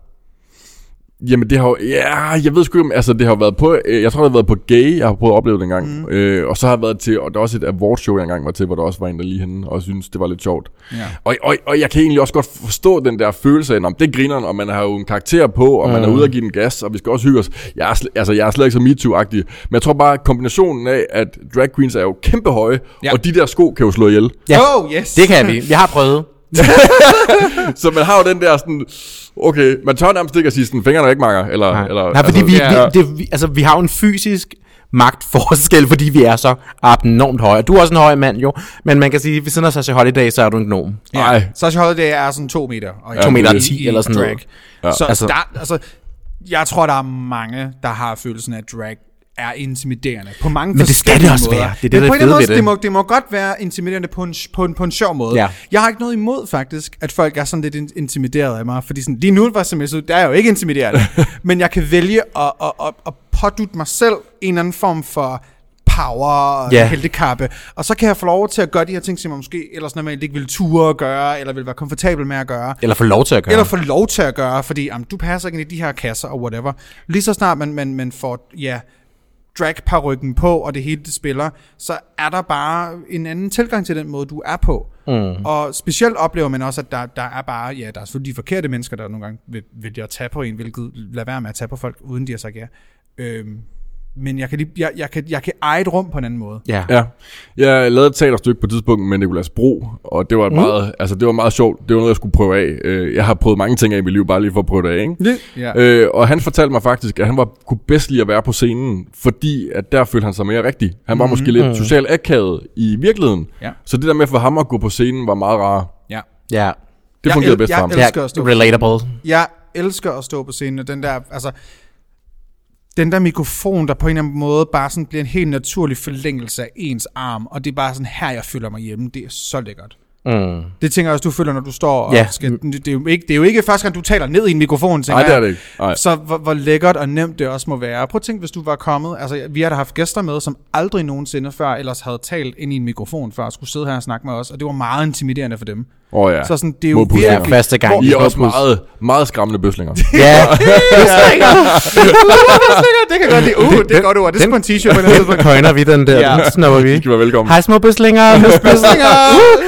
[SPEAKER 3] Jamen det har jo, ja, jeg ved sgu ikke, om- altså det har jo været på, øh, jeg tror det har været på Gay, jeg har prøvet at opleve det engang, mm. øh, og så har jeg været til, og der er også et awards show, jeg engang var til, hvor der også var en, der lige henne, og synes det var lidt sjovt. Ja. Og, og, og jeg kan egentlig også godt forstå den der følelse af, om det griner, og man har jo en karakter på, og mm. man er ude at give den gas, og vi skal også hygge os. Jeg er, sl- altså, jeg er slet ikke så MeToo-agtig, men jeg tror bare, at kombinationen af, at drag queens er jo kæmpe høje,
[SPEAKER 2] Ja.
[SPEAKER 3] ja. og de der sko kan jo slå ihjel.
[SPEAKER 1] Ja.
[SPEAKER 2] Oh, yes.
[SPEAKER 1] Det kan vi. Jeg har prøvet.
[SPEAKER 3] Så man har jo den der sådan, okay, man tør nærmest ikke at sige sådan, fingrene er ikke makker, eller...
[SPEAKER 1] Nej,
[SPEAKER 3] eller
[SPEAKER 1] eller, Nej fordi altså, vi,
[SPEAKER 3] ja.
[SPEAKER 1] vi, det, vi, altså, vi har jo en fysisk magtforskel, fordi vi er så abnormt høje. Og du er også en høj mand, jo. Men man kan sige, at ved siden af Sasha Holiday, så er du en gnom.
[SPEAKER 3] Ej.
[SPEAKER 2] Sasha Holiday er sådan 2 meter. Og
[SPEAKER 3] To meter
[SPEAKER 2] i-
[SPEAKER 1] ti
[SPEAKER 2] i
[SPEAKER 1] eller sådan
[SPEAKER 2] drag.
[SPEAKER 1] noget.
[SPEAKER 2] Ja. Så altså.
[SPEAKER 1] Altså-
[SPEAKER 2] Der, altså, jeg tror, der er mange, der har følelsen af, at drag er intimiderende på mange
[SPEAKER 1] Men det skal det
[SPEAKER 2] forskellige
[SPEAKER 1] også
[SPEAKER 2] måder.
[SPEAKER 1] være. Det er det, der
[SPEAKER 2] Men
[SPEAKER 1] er
[SPEAKER 2] på en eller anden
[SPEAKER 1] fede
[SPEAKER 2] måde,
[SPEAKER 1] ved det.
[SPEAKER 2] det må, det må godt være intimiderende på en, på en, på en sjov måde.
[SPEAKER 1] Ja.
[SPEAKER 2] Jeg har ikke noget imod faktisk, at folk er sådan lidt in- intimideret af mig, fordi sådan, lige nu var sms ud, der er jeg jo ikke intimiderende, men jeg kan vælge at, at, at, at pådute mig selv en eller anden form for power og
[SPEAKER 1] Ja.
[SPEAKER 2] yeah. kappe. Og så kan jeg få lov til at gøre de her ting, som jeg måske ellers normalt ikke ville ture at gøre, eller ville være komfortabel med at gøre.
[SPEAKER 1] Eller får lov til at gøre.
[SPEAKER 2] Eller få lov til at gøre, fordi jamen, du passer ikke ind i de her kasser og whatever. Lige så snart man, man, man får ja, drag på, og det hele det spiller, så er der bare en anden tilgang til den måde, du er på. Mm. Og specielt oplever man også, at der, der er bare, ja, der er selvfølgelig de forkerte mennesker, der nogle gange vil, vil at tage på en, hvilket lad være med at tage på folk, uden de har sagt ja. Øhm, men jeg kan, lige, jeg, jeg, kan, jeg kan eje et rum på en anden måde.
[SPEAKER 1] Ja.
[SPEAKER 3] Ja. Jeg lavede et teaterstykke på et tidspunkt med Nicolas Bro, og det
[SPEAKER 2] Mm.
[SPEAKER 3] var, et meget, altså, det var meget sjovt. Det var noget, jeg skulle prøve af. Øh, Jeg har prøvet mange ting af i mit liv, bare lige for at prøve det af. Ikke?
[SPEAKER 2] Ja.
[SPEAKER 3] Øh, og han fortalte mig faktisk, at han var, kunne bedst lide at være på scenen, fordi at der følte han sig mere rigtig. Han var mm måske lidt socialt akavet i virkeligheden.
[SPEAKER 2] Mm-hmm. Ja.
[SPEAKER 3] Så det der med for ham at gå på scenen var meget rart.
[SPEAKER 2] Ja.
[SPEAKER 1] Ja.
[SPEAKER 3] Det
[SPEAKER 2] Jeg
[SPEAKER 3] fungerede
[SPEAKER 2] el-
[SPEAKER 3] bedst
[SPEAKER 2] jeg
[SPEAKER 3] for ham.
[SPEAKER 2] el- elsker at stå på
[SPEAKER 1] relatable.
[SPEAKER 2] jeg elsker at stå på scenen, og den der, altså, den der mikrofon, der på en eller anden måde bare sådan bliver en helt naturlig forlængelse af ens arm, og det er bare sådan her, jeg føler mig hjemme. Det er så lækkert. Mm. Det tænker jeg også, du føler, når du står og
[SPEAKER 1] Ja.
[SPEAKER 2] skal, det, det, er jo ikke, det er jo ikke første gang, du taler ned i en mikrofon. tænker
[SPEAKER 3] Nej, det er
[SPEAKER 2] jeg.
[SPEAKER 3] det ikke. Nej.
[SPEAKER 2] Så hvor, hvor lækkert og nemt det også må være. Prøv at tænke, hvis du var kommet, altså vi har da haft gæster med, som aldrig nogensinde før ellers havde talt ind i en mikrofon før, og skulle sidde her og snakke med os, og det var meget intimiderende for dem.
[SPEAKER 3] Åh, ja.
[SPEAKER 2] Så sådan, det er jo
[SPEAKER 3] Modpusser.
[SPEAKER 2] virkelig...
[SPEAKER 1] Ja, første gang.
[SPEAKER 2] Hvor-
[SPEAKER 3] I er også
[SPEAKER 1] Nicolas Bro.
[SPEAKER 3] meget, meget skræmmende bøslinger.
[SPEAKER 1] Ja.
[SPEAKER 2] det kan godt lide. Uh, det, det er godt ord. Det er på en t-shirt på en eller anden
[SPEAKER 1] Køjner vi den der.
[SPEAKER 2] Ja.
[SPEAKER 1] Den snupper vi.
[SPEAKER 3] I skal være velkommen.
[SPEAKER 1] Hej små bøslinger. bøslinger.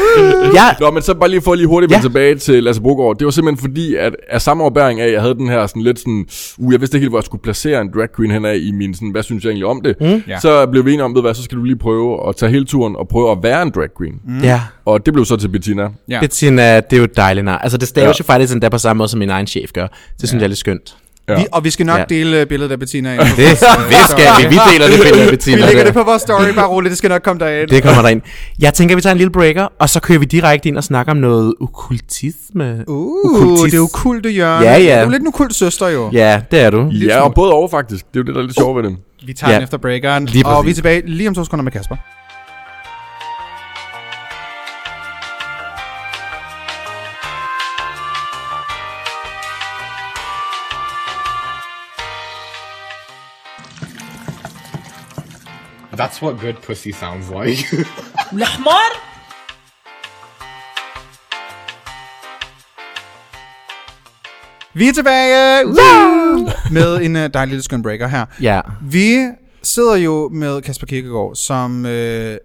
[SPEAKER 1] ja.
[SPEAKER 3] Nå, men så bare lige for lige hurtigt ja.
[SPEAKER 1] Ja.
[SPEAKER 3] vende tilbage til Lasse Brogaard. Det var simpelthen fordi, at af samme overbæring af, jeg havde den her sådan lidt sådan, uh, jeg vidste ikke helt, hvor jeg skulle placere en drag queen henad i min sådan, hvad synes jeg egentlig om det? Mm.
[SPEAKER 2] Ja.
[SPEAKER 3] Så blev vi enige om, ved du hvad, så skal du lige prøve at tage hele turen og prøve at være en drag queen. Mm.
[SPEAKER 1] Ja.
[SPEAKER 3] Og det blev så til Bettina.
[SPEAKER 2] Ja.
[SPEAKER 1] Bettina, det er jo dejligt nej. Altså det staves
[SPEAKER 3] Ja.
[SPEAKER 1] jo faktisk endda på samme måde som min egen chef gør. Det synes jeg er lidt skønt.
[SPEAKER 3] Ja.
[SPEAKER 2] Vi, og vi skal nok
[SPEAKER 1] Ja.
[SPEAKER 2] dele uh, billedet af Bettina.
[SPEAKER 1] Det, det skal vi. Vi deler det billede af Bettina.
[SPEAKER 2] Vi lægger
[SPEAKER 1] der.
[SPEAKER 2] det på vores story, bare roligt. Det skal nok komme derind.
[SPEAKER 1] Det kommer der ind. Jeg tænker, vi tager en lille breaker, og så kører vi direkte ind og snakker om noget okkultisme.
[SPEAKER 2] uh, det er jo kulte, Jørgen.
[SPEAKER 1] Ja, ja.
[SPEAKER 2] Du er lidt en ukult søster, jo.
[SPEAKER 1] Ja, det er du.
[SPEAKER 3] Ja, og både over faktisk. Det er jo det, der er lidt sjovt ved det.
[SPEAKER 2] Vi tager ja. den
[SPEAKER 1] Ja.
[SPEAKER 2] efter breakeren.
[SPEAKER 1] Lige
[SPEAKER 2] og
[SPEAKER 1] præcis.
[SPEAKER 2] vi er tilbage lige om to sekunder med Kasper.
[SPEAKER 7] That's what good pussy sounds like.
[SPEAKER 4] الحمار
[SPEAKER 2] Vi er tilbage Woo! med en uh, dejlig lille skøn breaker her.
[SPEAKER 1] Ja.
[SPEAKER 2] Vi sidder jo med Kasper Kirkegaard, som øh,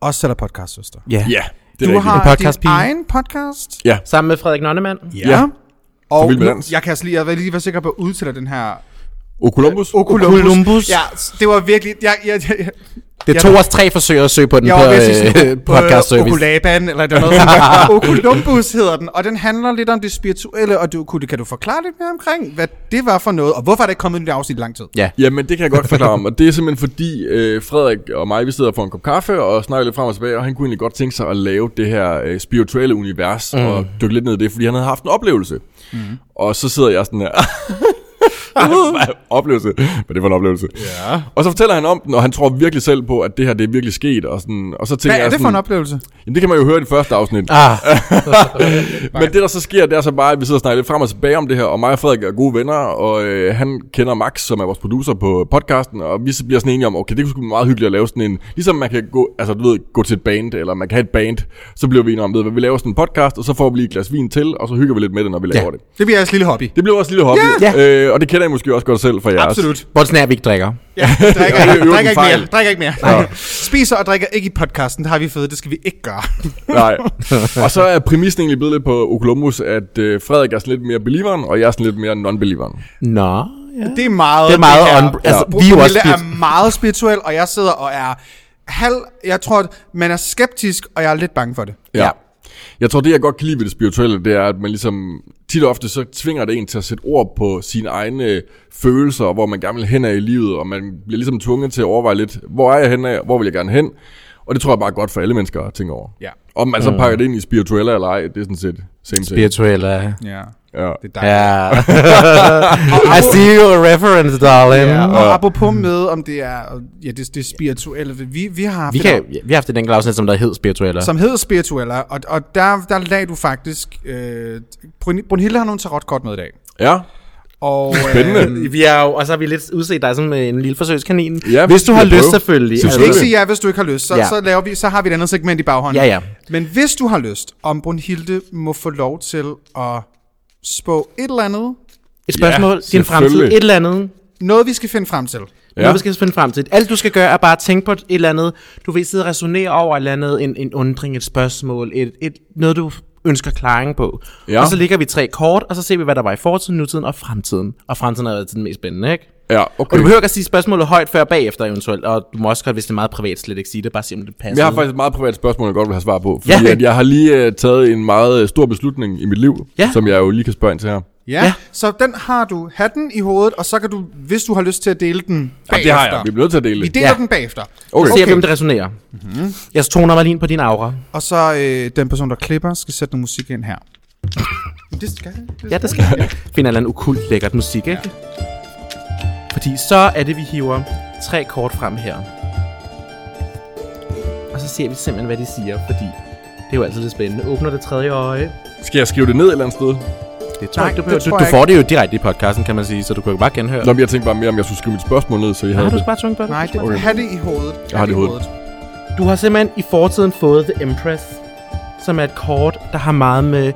[SPEAKER 2] også sælger podcast, søster.
[SPEAKER 1] Ja.
[SPEAKER 3] Ja, det er
[SPEAKER 2] Du
[SPEAKER 3] rigtigt.
[SPEAKER 2] har
[SPEAKER 1] En
[SPEAKER 2] din
[SPEAKER 1] podcastpige.
[SPEAKER 2] egen podcast.
[SPEAKER 3] Ja.
[SPEAKER 1] Sammen med Frederik Nonnemann.
[SPEAKER 2] Ja. Og
[SPEAKER 3] Vild Med
[SPEAKER 2] nu,
[SPEAKER 3] Dans.
[SPEAKER 2] jeg kan altså lige, jeg vil lige være sikker på at udtale den her
[SPEAKER 3] Okolumbus.
[SPEAKER 2] Olympus.
[SPEAKER 1] Olympus.
[SPEAKER 2] Ja, det var virkelig, jeg, jeg, jeg, jeg,
[SPEAKER 1] Det er to af tre forsøg at søge på den
[SPEAKER 2] jeg
[SPEAKER 1] på
[SPEAKER 2] var ved at sige
[SPEAKER 1] øh,
[SPEAKER 2] sådan,
[SPEAKER 1] podcast
[SPEAKER 2] øh,
[SPEAKER 1] service.
[SPEAKER 2] Okulaban, eller det var noget sådan. Okulumbus hedder den, og den handler lidt om det spirituelle, og det, kunne, kan du forklare lidt mere omkring, hvad det var for noget, og hvorfor er det ikke kommet nyt afsnit i lang tid?
[SPEAKER 1] Ja.
[SPEAKER 3] Jamen, det kan jeg godt forklare om, og det er simpelthen fordi øh, Frederik og mig, vi sidder for en kop kaffe og snakker lidt frem og tilbage, og han kunne egentlig godt tænke sig at lave det her øh, spirituelle univers mm. og dykke lidt ned i det, fordi han havde haft en oplevelse. Mm. Og så sidder jeg sådan her... oplevelse. Hvad er det for en oplevelse? Ja. Og så fortæller han om den, og han tror virkelig selv på, at det her det er virkelig sket. Og, sådan, og så tænker
[SPEAKER 2] Hvad er
[SPEAKER 3] jeg
[SPEAKER 2] det
[SPEAKER 3] sådan,
[SPEAKER 2] for en oplevelse?
[SPEAKER 3] Jamen, det kan man jo høre i det første afsnit.
[SPEAKER 1] Ah,
[SPEAKER 3] Men det, der så sker, det er så bare, at vi sidder og snakker lidt frem og tilbage om det her, og mig og Frederik er gode venner, og øh, han kender Max, som er vores producer på podcasten, og vi så bliver sådan enige om, okay, det kunne sgu være meget hyggeligt at lave sådan en, ligesom man kan gå, altså, du ved, gå til et band, eller man kan have et band, så bliver vi enige om, ved du hvad, vi laver sådan en podcast, og så får vi lige et glas vin til, og så hygger vi lidt med det, når vi laver
[SPEAKER 1] Ja.
[SPEAKER 3] det.
[SPEAKER 2] Det bliver jeres lille hobby.
[SPEAKER 3] Det blev vores lille hobby,
[SPEAKER 1] Ja.
[SPEAKER 3] Øh, og det kender kender I måske også godt selv fra jeres.
[SPEAKER 2] Absolut.
[SPEAKER 1] Bortset af, at vi ikke drikker.
[SPEAKER 2] Ja, drikker,
[SPEAKER 3] det er
[SPEAKER 2] ikke,
[SPEAKER 3] jo en
[SPEAKER 2] drikker ikke
[SPEAKER 3] fejl.
[SPEAKER 2] mere. Drikker ikke mere. Spiser og drikker ikke i podcasten. Det har vi fået. Det skal vi ikke gøre.
[SPEAKER 3] Nej. Og så er præmissen egentlig blevet lidt på Okolomus, at øh, Frederik er sådan lidt mere believeren, og jeg er sådan lidt mere non-believeren.
[SPEAKER 1] Nå, ja.
[SPEAKER 2] Det er meget...
[SPEAKER 1] Det er meget
[SPEAKER 2] her.
[SPEAKER 1] on- altså,
[SPEAKER 2] Ja.
[SPEAKER 1] vi er jo også
[SPEAKER 2] Pernille
[SPEAKER 1] spirit-
[SPEAKER 2] er meget spirituel, og jeg sidder og er halv... Jeg tror, at man er skeptisk, og jeg er lidt bange for det.
[SPEAKER 3] Ja. Jeg tror, det jeg godt kan lide ved det spirituelle, det er, at man ligesom tit og ofte så tvinger det en til at sætte ord på sine egne følelser, og hvor man gerne vil hen af i livet, og man bliver ligesom tvunget til at overveje lidt, hvor er jeg hen af, hvor vil jeg gerne hen? Og det tror jeg bare er godt for alle mennesker at tænke over.
[SPEAKER 2] Ja.
[SPEAKER 3] Om man
[SPEAKER 1] Mm.
[SPEAKER 3] så pakker det ind i spirituelle eller ej, det er sådan set same thing.
[SPEAKER 1] Spirituelle.
[SPEAKER 2] Ja.
[SPEAKER 3] Ja.
[SPEAKER 2] Det er dejligt.
[SPEAKER 1] Ja. I see your reference, darling.
[SPEAKER 2] Ja, og apropos med, om det er, ja, det, det spirituelle, vi, vi har haft
[SPEAKER 1] Vi,
[SPEAKER 2] et
[SPEAKER 1] kan, vi har haft et enkelt afsnit, som der hed Spirituelle.
[SPEAKER 2] som hedder Spirituella, og, og der, der lagde du faktisk... Øh, Brun- Brunhilde har nogle tarotkort med i dag.
[SPEAKER 3] ja.
[SPEAKER 2] Og,
[SPEAKER 3] Spændende.
[SPEAKER 2] Øh,
[SPEAKER 1] Vi er jo, og så har vi lidt udset dig som øh, en lille forsøgskanin.
[SPEAKER 3] Ja,
[SPEAKER 1] hvis du
[SPEAKER 3] vi
[SPEAKER 1] har
[SPEAKER 3] skal
[SPEAKER 1] lyst
[SPEAKER 3] prøve.
[SPEAKER 1] selvfølgelig.
[SPEAKER 3] Selvfølgelig.
[SPEAKER 2] du skal ikke sige ja, hvis du ikke har lyst. Så, ja.
[SPEAKER 1] Ja.
[SPEAKER 2] så, laver vi, så har vi et andet segment i baghånden.
[SPEAKER 1] Ja, ja.
[SPEAKER 2] Men hvis du har lyst, om Brunhilde må få lov til at spå et eller andet,
[SPEAKER 1] Altså, et spørgsmål,
[SPEAKER 3] Ja,
[SPEAKER 1] ja, din fremtid,
[SPEAKER 3] selvfølgelig.
[SPEAKER 1] et eller andet.
[SPEAKER 2] noget vi skal finde frem til.
[SPEAKER 1] Ja. Noget, vi skal finde frem til. Alt, du skal gøre, er bare tænke på et eller andet. Du vil sidde og resonere over et eller andet. En, en undring, et spørgsmål, et, et, noget, du ønsker klaring på.
[SPEAKER 3] Ja.
[SPEAKER 1] Ja. Og så ligger vi tre kort, og så ser vi, hvad der var i fortiden, nutiden og fremtiden. Og fremtiden har været den mest spændende, ikke?
[SPEAKER 3] Ja,
[SPEAKER 1] Og
[SPEAKER 3] okay.
[SPEAKER 1] du behøver ikke at sige spørgsmålet højt før og bagefter eventuelt, og du må også godt, hvis det er meget privat, slet ikke sige det, bare sige, om det passer.
[SPEAKER 3] Jeg har faktisk et meget privat spørgsmål, jeg godt vil have svar på. Fordi
[SPEAKER 1] Ja.
[SPEAKER 3] at jeg har lige uh, taget en meget øh, stor beslutning i mit liv,
[SPEAKER 1] Ja.
[SPEAKER 3] som jeg jo lige kan spørge ind til her.
[SPEAKER 2] Ja. ja.
[SPEAKER 1] Ja.
[SPEAKER 2] Så den har du hatten i hovedet, og så kan du, hvis du har lyst til at dele den bagefter.
[SPEAKER 3] Jamen, det har jeg. Vi bliver nødt til at dele
[SPEAKER 2] Vi
[SPEAKER 3] det.
[SPEAKER 2] deler ja.
[SPEAKER 1] Ja.
[SPEAKER 2] den bagefter.
[SPEAKER 3] Okay. Mhm.
[SPEAKER 1] Okay. Så ser vi, om det resonerer. Mm-hmm. Jeg toner mig lige ind på din aura.
[SPEAKER 2] Og så øh, den person, der klipper, skal sætte noget musik ind her. Det skal det.
[SPEAKER 1] Ja, det skal jeg. Finder en eller anden ukult lækkert musik, ikke? Ja. Fordi så er det, vi hiver tre kort frem her. Og så ser vi simpelthen, hvad de siger, fordi det er jo altid lidt spændende. Åbner det tredje øje.
[SPEAKER 3] Skal jeg skrive det ned et eller andet sted?
[SPEAKER 1] Det
[SPEAKER 2] Nej,
[SPEAKER 1] du,
[SPEAKER 2] det
[SPEAKER 1] behøver,
[SPEAKER 2] tror
[SPEAKER 1] du, du
[SPEAKER 2] jeg
[SPEAKER 1] får det jo direkte i podcasten, kan man sige, så du kan jo bare genhøre.
[SPEAKER 3] Nå,
[SPEAKER 1] Nå,
[SPEAKER 3] men jeg tænkte bare mere, om jeg skulle skrive mit spørgsmål ned, så I
[SPEAKER 1] har
[SPEAKER 3] havde
[SPEAKER 1] du
[SPEAKER 3] det.
[SPEAKER 1] så bare tvunget på det?
[SPEAKER 2] Nej, det, okay. have det i hovedet. Ha'
[SPEAKER 3] har det i hovedet.
[SPEAKER 1] Du har simpelthen i fortiden fået The Empress, som er et kort, der har meget med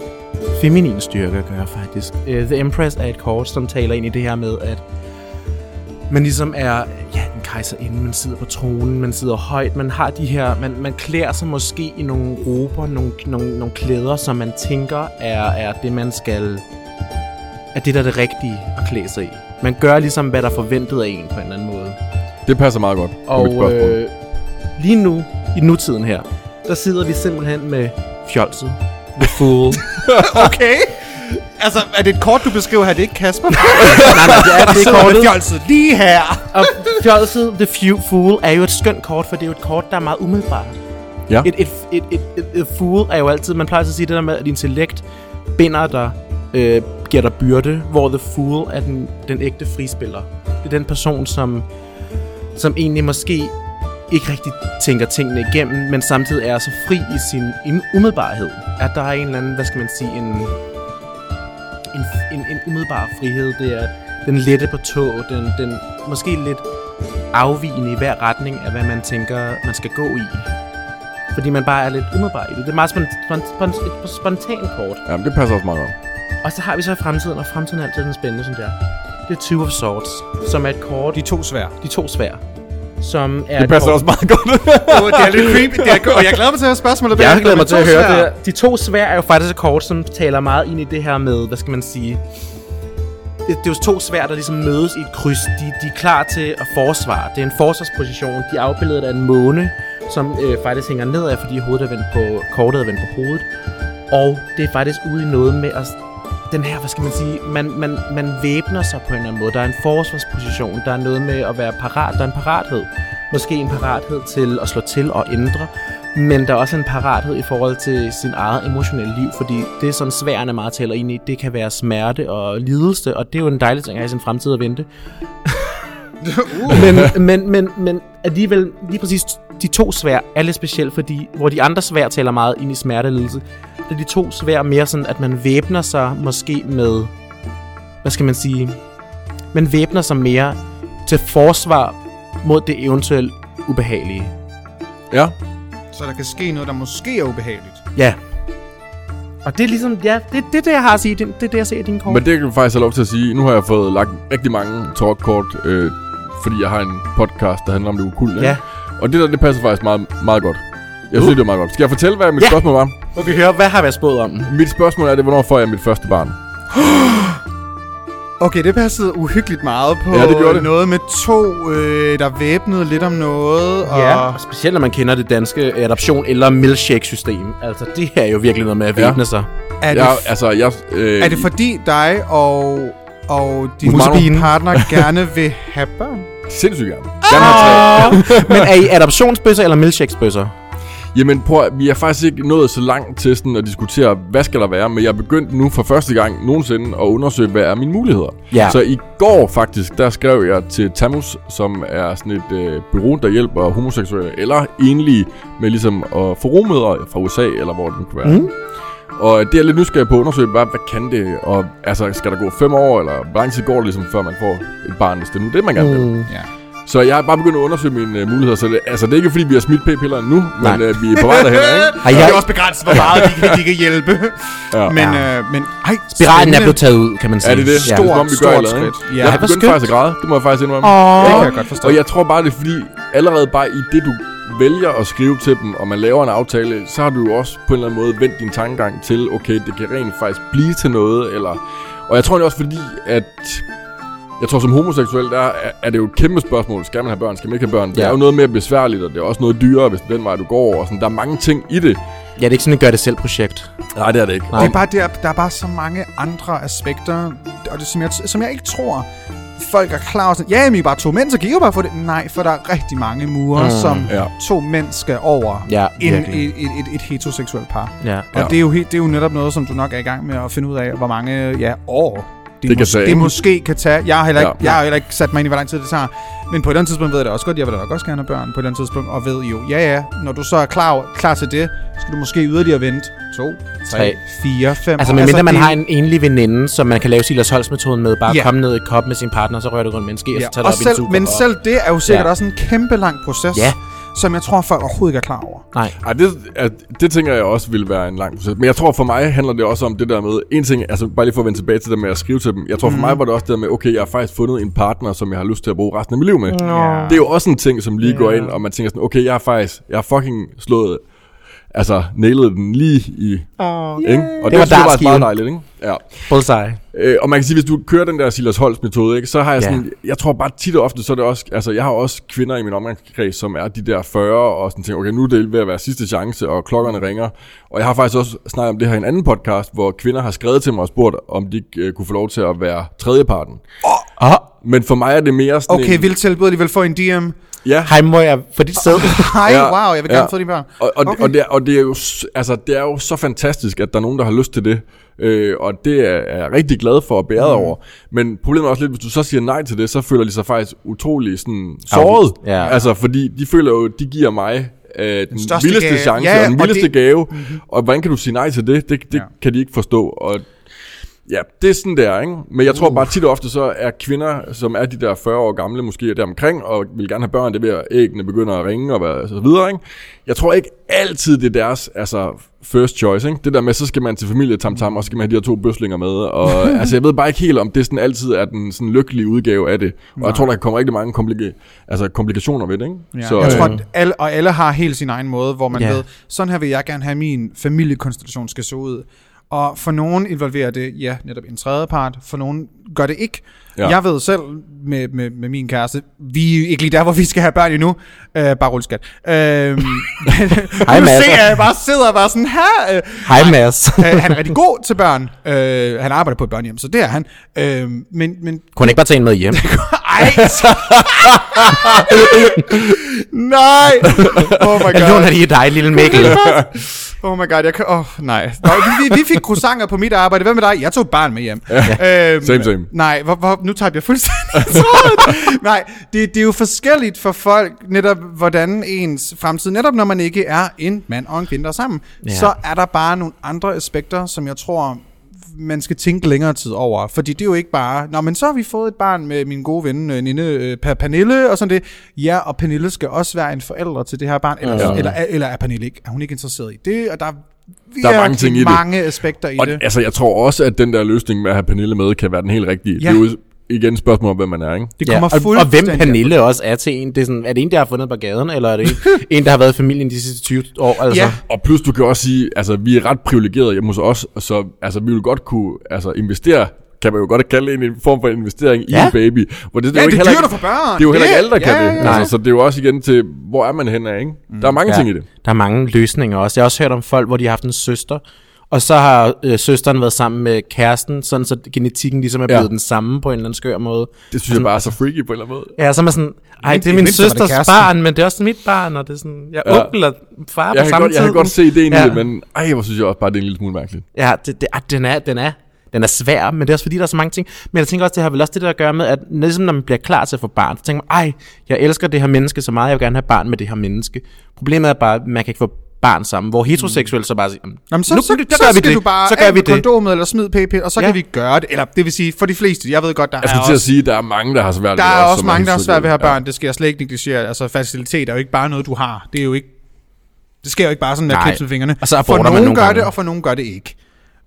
[SPEAKER 1] feminin styrke at gøre, faktisk. Uh, The Empress er et kort, som taler ind i det her med, at man ligesom er ja, en kejserinde, man sidder på tronen, man sidder højt, man har de her, man, man klæder sig måske i nogle rober, nogle, nogle, nogle klæder, som man tænker er, er det, man skal, er det, der er det rigtige at klæde sig i. Man gør ligesom, hvad der er forventet af en på en eller anden måde.
[SPEAKER 3] Det passer meget godt. med mit
[SPEAKER 1] Og
[SPEAKER 3] spørgsmål.
[SPEAKER 1] øh, lige nu, i nutiden her, der sidder vi simpelthen med fjolset. The Fool.
[SPEAKER 2] Okay. Altså, er det et kort, du beskriver her? Det er ikke Kasper.
[SPEAKER 1] nej, nej, det er, det er kortet.
[SPEAKER 2] fjolset lige her.
[SPEAKER 1] Og fjolset, The Few Fool, er jo et skønt kort, for det er jo et kort, der er meget umiddelbart.
[SPEAKER 3] Ja.
[SPEAKER 1] Et, et, et, et, et, et fool er jo altid, man plejer altid at sige det der med, at intellekt binder dig, øh, giver dig byrde, hvor the fool er den, den ægte frispiller. Det er den person, som, som egentlig måske ikke rigtig tænker tingene igennem, men samtidig er så fri i sin im- umiddelbarhed. At der er en eller anden, hvad skal man sige, en, en, en, en umiddelbar frihed. Det er den lette på tå, den, den måske lidt afvigende i hver retning af, hvad man tænker, man skal gå i fordi man bare er lidt umiddelbar i det. Det er meget spont- spont- spont- et spontant kort.
[SPEAKER 3] Jamen, det passer også meget godt.
[SPEAKER 1] Og så har vi så i fremtiden, og fremtiden er altid den spændende, som det er. Det er Two of Swords, som er et kort,
[SPEAKER 2] De
[SPEAKER 1] de,
[SPEAKER 2] to svær.
[SPEAKER 1] de to svær, som er
[SPEAKER 3] Det
[SPEAKER 1] et
[SPEAKER 3] passer
[SPEAKER 1] kort.
[SPEAKER 3] også meget godt.
[SPEAKER 2] Oh, det er lidt creepy. Det er, og jeg glæder mig til at høre spørgsmålet.
[SPEAKER 1] Jeg
[SPEAKER 2] bagefter,
[SPEAKER 1] glæder mig
[SPEAKER 2] men
[SPEAKER 1] til
[SPEAKER 2] to
[SPEAKER 1] at høre
[SPEAKER 2] svær.
[SPEAKER 1] det her. De to svær er jo faktisk et kort, som taler meget ind i det her med, hvad skal man sige... Det, det er jo to svær, der ligesom mødes i et kryds. De, de er klar til at forsvare. Det er en forsvarsposition. De er afbildet af en måne, som øh, faktisk hænger nedad, fordi hovedet er vendt på, kortet er vendt på hovedet. Og det er faktisk ude i noget med at den her, hvad skal man sige, man, man, man væbner sig på en eller anden måde. Der er en forsvarsposition, der er noget med at være parat, der er en parathed. Måske en parathed til at slå til og ændre, men der er også en parathed i forhold til sin eget emotionelle liv, fordi det, som sværene meget taler ind i, det kan være smerte og lidelse, og det er jo en dejlig ting at have i sin fremtid at vente. men, men, men, men alligevel, lige præcis de to svær er lidt specielt, fordi hvor de andre svær taler meget ind i smerte og lidelse, er de to svær mere sådan, at man væbner sig måske med, hvad skal man sige, man væbner sig mere til forsvar mod det eventuelt ubehagelige.
[SPEAKER 3] Ja.
[SPEAKER 2] Så der kan ske noget, der måske er ubehageligt.
[SPEAKER 1] Ja. Og det er ligesom, ja, det, det er det, jeg har at sige. Det, det er det, jeg ser i din kort.
[SPEAKER 3] Men det kan vi faktisk have lov til at sige. Nu har jeg fået lagt rigtig mange talkkort, øh, fordi jeg har en podcast, der handler om det ukulte. ikke?
[SPEAKER 1] Ja.
[SPEAKER 3] Og det der, det passer faktisk meget, meget godt. Jeg synes, det er meget godt. Skal jeg fortælle, hvad mit
[SPEAKER 1] Ja.
[SPEAKER 3] spørgsmål var?
[SPEAKER 1] Må vi høre, hvad har været spået om?
[SPEAKER 3] Mit spørgsmål er det, hvornår får jeg mit første barn?
[SPEAKER 2] Okay, det passede uhyggeligt meget på
[SPEAKER 3] Ja, det gjorde det.
[SPEAKER 2] noget med to, øh, der væbnede lidt om noget. Og
[SPEAKER 1] Ja, og specielt når man kender det danske adoption- eller milkshake-system. Altså, det her er jo virkelig noget med at
[SPEAKER 3] Ja.
[SPEAKER 1] væbne ja. sig.
[SPEAKER 2] er, det,
[SPEAKER 3] Jeg, altså, jeg... Øh,
[SPEAKER 1] Øhm.
[SPEAKER 2] er det fordi dig og, og din
[SPEAKER 1] Musebinen.
[SPEAKER 2] partner gerne vil have børn?
[SPEAKER 3] Sindssygt gerne. Gerne have tre.
[SPEAKER 1] Men er I adoptionsbøsser eller milkshakesbøsser?
[SPEAKER 3] Jamen prøv at- vi er faktisk ikke nået så langt til sådan at diskutere, hvad skal der være, men jeg er begyndt nu for første gang nogensinde at undersøge, hvad er mine muligheder.
[SPEAKER 1] Ja.
[SPEAKER 3] Så i går faktisk, der skrev jeg til Tamus, som er sådan et øh, bureau, der hjælper homoseksuelle eller enlige med ligesom at få rummødre fra USA, eller hvor det nu kan være. Mm. Og det er jeg lidt nysgerrig på at undersøge, hvad, hvad kan det, og altså, skal der gå fem år, eller hvor lang tid går det ligesom, før man får et barn, hvis det nu er det, man gerne vil. Mm.
[SPEAKER 2] Ja.
[SPEAKER 3] Så jeg er bare begyndt at undersøge mine øh, muligheder, så det, altså, det er ikke fordi, vi har smidt p-pillerne nu,
[SPEAKER 1] Nej.
[SPEAKER 3] men øh, vi er på vej derhen, ikke?
[SPEAKER 1] Har
[SPEAKER 2] Det
[SPEAKER 1] jeg...
[SPEAKER 2] er også begrænset, hvor meget de kan, de kan hjælpe.
[SPEAKER 3] Ja.
[SPEAKER 2] Men, øh, men ej,
[SPEAKER 1] Spiralen er
[SPEAKER 2] spændende.
[SPEAKER 1] blevet taget ud, kan man sige.
[SPEAKER 3] Er det det?
[SPEAKER 1] Ja.
[SPEAKER 3] det er, som om vi gør
[SPEAKER 2] stort
[SPEAKER 3] et eller andet,
[SPEAKER 2] skridt.
[SPEAKER 3] ikke? Jeg
[SPEAKER 2] Ja.
[SPEAKER 1] Ej, hvor
[SPEAKER 3] begyndte
[SPEAKER 1] skønt.
[SPEAKER 3] faktisk at græde, det må jeg faktisk indrømme.
[SPEAKER 2] Det kan jeg godt forstå.
[SPEAKER 3] Og jeg tror bare, det er fordi, allerede bare i det, du vælger at skrive til dem, og man laver en aftale, så har du jo også på en eller anden måde vendt din tankegang til, okay, det kan rent faktisk blive til noget, eller... Og jeg tror det også fordi, at... Jeg tror, som homoseksuel, der er, er det jo et kæmpe spørgsmål. Skal man have børn? Skal man ikke have børn? Det
[SPEAKER 1] Ja.
[SPEAKER 3] er jo noget mere besværligt, og det er også noget dyrere, hvis det er den vej, du går. Og sådan. Der er mange ting i det.
[SPEAKER 1] Ja, det er ikke sådan et gør-det-selv-projekt.
[SPEAKER 3] Nej, det er det ikke.
[SPEAKER 1] Nej.
[SPEAKER 2] Det er bare der, der er bare så mange andre aspekter, og det, som, jeg, som jeg ikke tror, folk er klar over. Sådan, Ja, men I er bare to mænd, så kan I jo bare få det. Nej, for der er rigtig mange mure, mm, som
[SPEAKER 3] ja.
[SPEAKER 2] ja. to mænd skal over
[SPEAKER 1] Ja,
[SPEAKER 2] inden
[SPEAKER 1] virkelig.
[SPEAKER 2] et, et, et, et heteroseksuelt par.
[SPEAKER 1] Ja.
[SPEAKER 2] Og
[SPEAKER 3] Ja.
[SPEAKER 2] det, er jo helt, det er jo netop noget, som du nok er i gang med at finde ud af, hvor mange ja, år det,
[SPEAKER 3] Det kan
[SPEAKER 2] mås-
[SPEAKER 3] tage.
[SPEAKER 2] det måske kan tage. Jeg har, heller ikke,
[SPEAKER 3] Ja.
[SPEAKER 2] ja. jeg har heller ikke sat mig ind i, hvor lang tid det tager. Men på et eller andet tidspunkt ved jeg det også godt. Jeg vil da nok også gerne have børn på et eller andet tidspunkt. Og ved jo, ja ja, når du så er klar, klar til det, skal du måske yderligere vente. To,
[SPEAKER 1] Tre.
[SPEAKER 2] tre, fire, fem
[SPEAKER 1] Altså,
[SPEAKER 2] år.
[SPEAKER 1] medmindre man
[SPEAKER 2] det-
[SPEAKER 1] har en enlig veninde, som man kan lave Silas Holst-metoden med, bare
[SPEAKER 2] Ja.
[SPEAKER 1] komme ned i et kop med sin partner, og så rører det rundt med en ske, og så
[SPEAKER 2] Ja.
[SPEAKER 1] tager
[SPEAKER 2] Og
[SPEAKER 1] det op i en
[SPEAKER 2] selv,
[SPEAKER 1] super.
[SPEAKER 2] men
[SPEAKER 1] og-
[SPEAKER 2] selv det er jo sikkert
[SPEAKER 1] Ja.
[SPEAKER 2] ja. også en kæmpe lang proces,
[SPEAKER 1] Ja.
[SPEAKER 2] som jeg tror, folk overhovedet ikke er klar over.
[SPEAKER 1] Nej.
[SPEAKER 3] Ej, det, at, det tænker jeg også ville være en lang proces. Men jeg tror for mig handler det også om det der med, en ting, altså bare lige for at vende tilbage til det med at skrive til dem. Jeg tror for mig var det også det der med, okay, jeg har faktisk fundet en partner, som jeg har lyst til at bruge resten af mit liv med. Det er jo også en ting, som lige går ind, og man tænker sådan, okay, jeg har faktisk, jeg har fucking slået, altså nailet den lige i, oh, ikke? Og det,
[SPEAKER 1] var
[SPEAKER 3] det var faktisk
[SPEAKER 1] dartskiven.
[SPEAKER 3] meget dejligt, ikke? Ja.
[SPEAKER 1] Bullseye.
[SPEAKER 3] Øh, og man kan sige, hvis du kører den der Silas Holst metode, ikke, så har jeg
[SPEAKER 1] Ja.
[SPEAKER 3] sådan, jeg tror bare tit og ofte, så er det også, altså jeg har også kvinder i min omgangskreds, som er de der 40, og sådan tænker, okay, nu er det ved at være sidste chance, og klokkerne ringer. Og jeg har faktisk også snakket om det her i en anden podcast, hvor kvinder har skrevet til mig og spurgt, om de ikke øh, kunne få lov til at være tredjeparten. Oh. Men for mig er det mere sådan
[SPEAKER 2] Okay,
[SPEAKER 3] en,
[SPEAKER 2] vil tilbyde alligevel få en DM.
[SPEAKER 3] ja,
[SPEAKER 1] Hej, må jeg få dit sæde?
[SPEAKER 2] Hej, wow, jeg vil gerne få dine børn.
[SPEAKER 3] Og, og, okay.
[SPEAKER 2] Okay.
[SPEAKER 3] og, det, er- og det, er jo, s- altså, det er jo så fantastisk, at der er nogen, der har lyst til det. Øh, og det er, er jeg rigtig glad for at bære mm.
[SPEAKER 2] Mhm.
[SPEAKER 3] over. Men problemet er også lidt, hvis du så siger nej til det, så føler de sig faktisk utrolig sådan, såret.
[SPEAKER 1] Ja.
[SPEAKER 3] Altså, fordi de føler jo, de giver mig øh, den, den
[SPEAKER 2] største
[SPEAKER 3] vildeste
[SPEAKER 2] gave.
[SPEAKER 3] chance
[SPEAKER 2] Ja,
[SPEAKER 3] og den
[SPEAKER 2] og
[SPEAKER 3] vildeste
[SPEAKER 2] det- Mhm.
[SPEAKER 3] gave. Mm-hmm. Og hvordan kan du sige nej til det? Det, det ja.
[SPEAKER 2] Ja.
[SPEAKER 3] kan de ikke forstå. Og Ja, det er sådan der, ikke? Men jeg tror
[SPEAKER 2] Uh.
[SPEAKER 3] bare tit og ofte, så er kvinder, som er de der 40 år gamle, måske deromkring, og vil gerne have børn, det er ved at æggene begynder at ringe og hvad- så videre, ikke? Jeg tror ikke altid, det er deres altså, first choice, ikke? Det der med, så skal man til familie tam tam, og så skal man have de her to bøslinger med, og altså, jeg ved bare ikke helt, om det sådan altid er den sådan lykkelige udgave af det. Og jeg tror, der kan komme rigtig mange komplika- altså, komplikationer ved det, ikke? øh,
[SPEAKER 2] Ja. Så, jeg tror, at alle, og alle har helt sin egen måde, hvor man
[SPEAKER 1] Ja.
[SPEAKER 2] ja. ved, sådan her vil jeg gerne have min familiekonstellation skal se ud. Og for nogen involverer det, ja, netop en tredjepart. For nogen gør det ikke.
[SPEAKER 3] Ja.
[SPEAKER 2] Ja. Jeg ved selv med, med, med min kæreste, vi er ikke lige der, hvor vi skal have børn endnu. Øh, bare rulleskat. Øh, Hej, Nu
[SPEAKER 1] Mads.
[SPEAKER 2] ser jeg, jeg bare sidder og bare sådan her. Øh,
[SPEAKER 1] Hej, Mads.
[SPEAKER 2] øh, han er rigtig god til børn. Øh, han arbejder på et børnehjem, så det er han. Øh, men, men
[SPEAKER 1] Kunne han ikke bare tage en med hjem?
[SPEAKER 2] ej! nej! Oh my
[SPEAKER 1] Jeg låner
[SPEAKER 2] god.
[SPEAKER 1] lige dig, lille Mikkel.
[SPEAKER 2] Oh my god, jeg kan... Oh, nej. Nå, vi, vi, vi fik croissanter på mit arbejde. Hvad med dig? Jeg tog barn med hjem. Ja. Øhm,
[SPEAKER 3] Same, same.
[SPEAKER 2] Nej, hvor, hvor, nu tabte jeg fuldstændig tråden. Nej, det, det er jo forskelligt for folk, netop hvordan ens fremtid, netop når man ikke er en mand og en kvinde der er sammen,
[SPEAKER 1] Ja.
[SPEAKER 2] ja. så er der bare nogle andre aspekter, som jeg tror, man skal tænke længere tid over. Fordi det er jo ikke bare, nå, men så har vi fået et barn med min gode ven, øh, Ninde øh, Per Pernille, og sådan det. Ja, og Pernille skal også være en forælder til det her barn, eller, ja. eller, eller er Pernille ikke, er hun ikke interesseret i det? Og der er
[SPEAKER 3] Der er mange ting i det.
[SPEAKER 2] mange aspekter i
[SPEAKER 3] Og
[SPEAKER 2] det.
[SPEAKER 3] altså, jeg tror også, at den der løsning med at have Pernille med, kan være den helt rigtige. Ja.
[SPEAKER 2] Ja.
[SPEAKER 3] Det er jo igen et spørgsmål om, hvem man er, ikke?
[SPEAKER 2] Det kommer
[SPEAKER 1] og, og hvem
[SPEAKER 2] fuldstændig an på-
[SPEAKER 1] Pernille også er til en. Det er, sådan, er det en, der har fundet på gaden, eller er det en, en der har været i familien de sidste 20 år? Altså?
[SPEAKER 2] Ja.
[SPEAKER 3] Og plus, du kan også sige, altså, vi er ret privilegerede hjemme hos os, så altså, vi vil godt kunne altså, investere kan man jo godt kalde det en- en form for investering ja. i
[SPEAKER 1] Ja.
[SPEAKER 3] en baby. Hvor det, det,
[SPEAKER 2] Ja,
[SPEAKER 3] jo
[SPEAKER 2] det
[SPEAKER 3] ikke
[SPEAKER 2] er
[SPEAKER 3] heller
[SPEAKER 2] dyrt
[SPEAKER 3] ikke-
[SPEAKER 2] at få
[SPEAKER 3] Det
[SPEAKER 2] børn.
[SPEAKER 3] er jo heller ikke
[SPEAKER 2] Det-
[SPEAKER 3] alle, der kan
[SPEAKER 2] ja,
[SPEAKER 3] det.
[SPEAKER 2] ja,
[SPEAKER 1] ja.
[SPEAKER 3] Altså, så det er jo også igen til, hvor er man henne af, ikke? Der er mange ting i det.
[SPEAKER 1] Der er mange løsninger også. Jeg har også hørt om folk, hvor de har haft en søster, og så har øh, søsteren været sammen med kæresten, sådan så genetikken ligesom er
[SPEAKER 3] Ja.
[SPEAKER 1] blevet ja. den samme på en eller anden skør måde.
[SPEAKER 3] Det
[SPEAKER 2] Altså-
[SPEAKER 3] synes jeg bare er så freaky på en eller anden måde.
[SPEAKER 1] Ja, så er man sådan, ej,
[SPEAKER 2] Men
[SPEAKER 1] det er
[SPEAKER 2] i
[SPEAKER 1] min
[SPEAKER 2] mindste var det
[SPEAKER 1] søsters
[SPEAKER 2] kæresten."
[SPEAKER 1] barn, men det er også mit barn, og det er sådan, jeg er
[SPEAKER 3] Ja.
[SPEAKER 1] ja. onkel og far
[SPEAKER 3] Jeg
[SPEAKER 1] på
[SPEAKER 3] kan,
[SPEAKER 1] samme
[SPEAKER 3] godt,
[SPEAKER 1] tid.
[SPEAKER 3] jeg kan godt se ideen ja. i
[SPEAKER 1] Ja.
[SPEAKER 3] det, men ej, hvor synes jeg også bare, det er en lille smule mærkeligt.
[SPEAKER 1] Ja, det, det, ah, den, er, den, er, den er svær, men det er også fordi, der er så mange ting. Men jeg tænker også, det har vel også det der at gøre med, at ligesom når man bliver klar til at få barn, så tænker man, ej, jeg elsker det her menneske så meget, jeg vil gerne have barn med det her menneske. Problemet er bare, at man kan ikke få barn sammen, hvor heteroseksuel så bare siger,
[SPEAKER 2] Mm. Jamen, så,
[SPEAKER 1] nu,
[SPEAKER 2] så, så,
[SPEAKER 1] nu gør vi
[SPEAKER 2] skal
[SPEAKER 1] det,
[SPEAKER 2] du bare
[SPEAKER 1] så gør vi det.
[SPEAKER 2] kondomet eller smid p-piller, og så ja.
[SPEAKER 1] Ja.
[SPEAKER 2] kan vi gøre det. Eller det vil sige, for de fleste, jeg ved godt, der
[SPEAKER 3] Jeg
[SPEAKER 2] er
[SPEAKER 3] skulle til at
[SPEAKER 2] også,
[SPEAKER 3] sige, der er mange, der har svært
[SPEAKER 2] der
[SPEAKER 3] ved
[SPEAKER 2] er
[SPEAKER 3] os,
[SPEAKER 2] også
[SPEAKER 3] som
[SPEAKER 2] mange, der har svært ved at have
[SPEAKER 3] Ja.
[SPEAKER 2] børn. Det skal jeg slet ikke negligere. Altså, facilitet er jo ikke bare noget, du har. Det er jo ikke... Det sker jo ikke bare sådan med at
[SPEAKER 1] Nej.
[SPEAKER 2] knipse med fingrene.
[SPEAKER 1] Og så
[SPEAKER 2] for
[SPEAKER 1] aborter man
[SPEAKER 2] nogen
[SPEAKER 1] nogle
[SPEAKER 2] gør
[SPEAKER 1] gange.
[SPEAKER 2] det, og for nogen gør det ikke.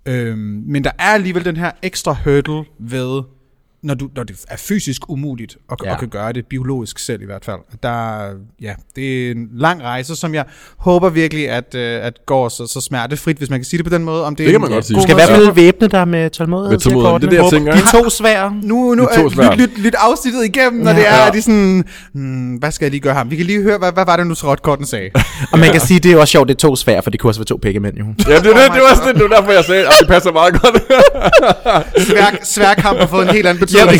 [SPEAKER 2] Øhm, men der er alligevel den her ekstra hurdle ved, når, du, når det er fysisk umuligt at, ja.
[SPEAKER 1] Ja.
[SPEAKER 2] at kan gøre det, biologisk selv i hvert fald. Der, ja, det er en lang rejse, som jeg håber virkelig, at, øh, at går så, så smertefrit, hvis man kan sige det på den måde. Om det,
[SPEAKER 3] Det
[SPEAKER 2] er
[SPEAKER 3] kan
[SPEAKER 2] en
[SPEAKER 3] man godt sige.
[SPEAKER 1] Du skal i
[SPEAKER 2] måde
[SPEAKER 1] hvert
[SPEAKER 2] at-
[SPEAKER 1] fald væbne dig med tålmodighed.
[SPEAKER 3] Med
[SPEAKER 1] siger
[SPEAKER 3] tålmodighed,
[SPEAKER 1] kortene.
[SPEAKER 3] det er det, jeg
[SPEAKER 1] Hvor-
[SPEAKER 3] tænker,
[SPEAKER 1] De to svære.
[SPEAKER 2] nu, nu
[SPEAKER 3] De to
[SPEAKER 2] øh,
[SPEAKER 3] svære.
[SPEAKER 2] lyt, lyt, lyt afsnittet igennem, når
[SPEAKER 1] Ja.
[SPEAKER 2] det er,
[SPEAKER 3] Ja.
[SPEAKER 2] ja. de er sådan, hmm, hvad skal jeg lige gøre ham? Vi kan lige høre, hvad, hvad var det nu, Trotkorten sagde?
[SPEAKER 1] Og man kan sige, det er jo også sjovt, det er to svære, for det kunne også være to pikkemænd, jo.
[SPEAKER 3] Ja, det, det,
[SPEAKER 2] Oh
[SPEAKER 3] det
[SPEAKER 2] my
[SPEAKER 3] var også det, det var derfor, jeg sagde, at det passer meget godt.
[SPEAKER 2] Sværk, sværkamp har fået en helt anden betydning.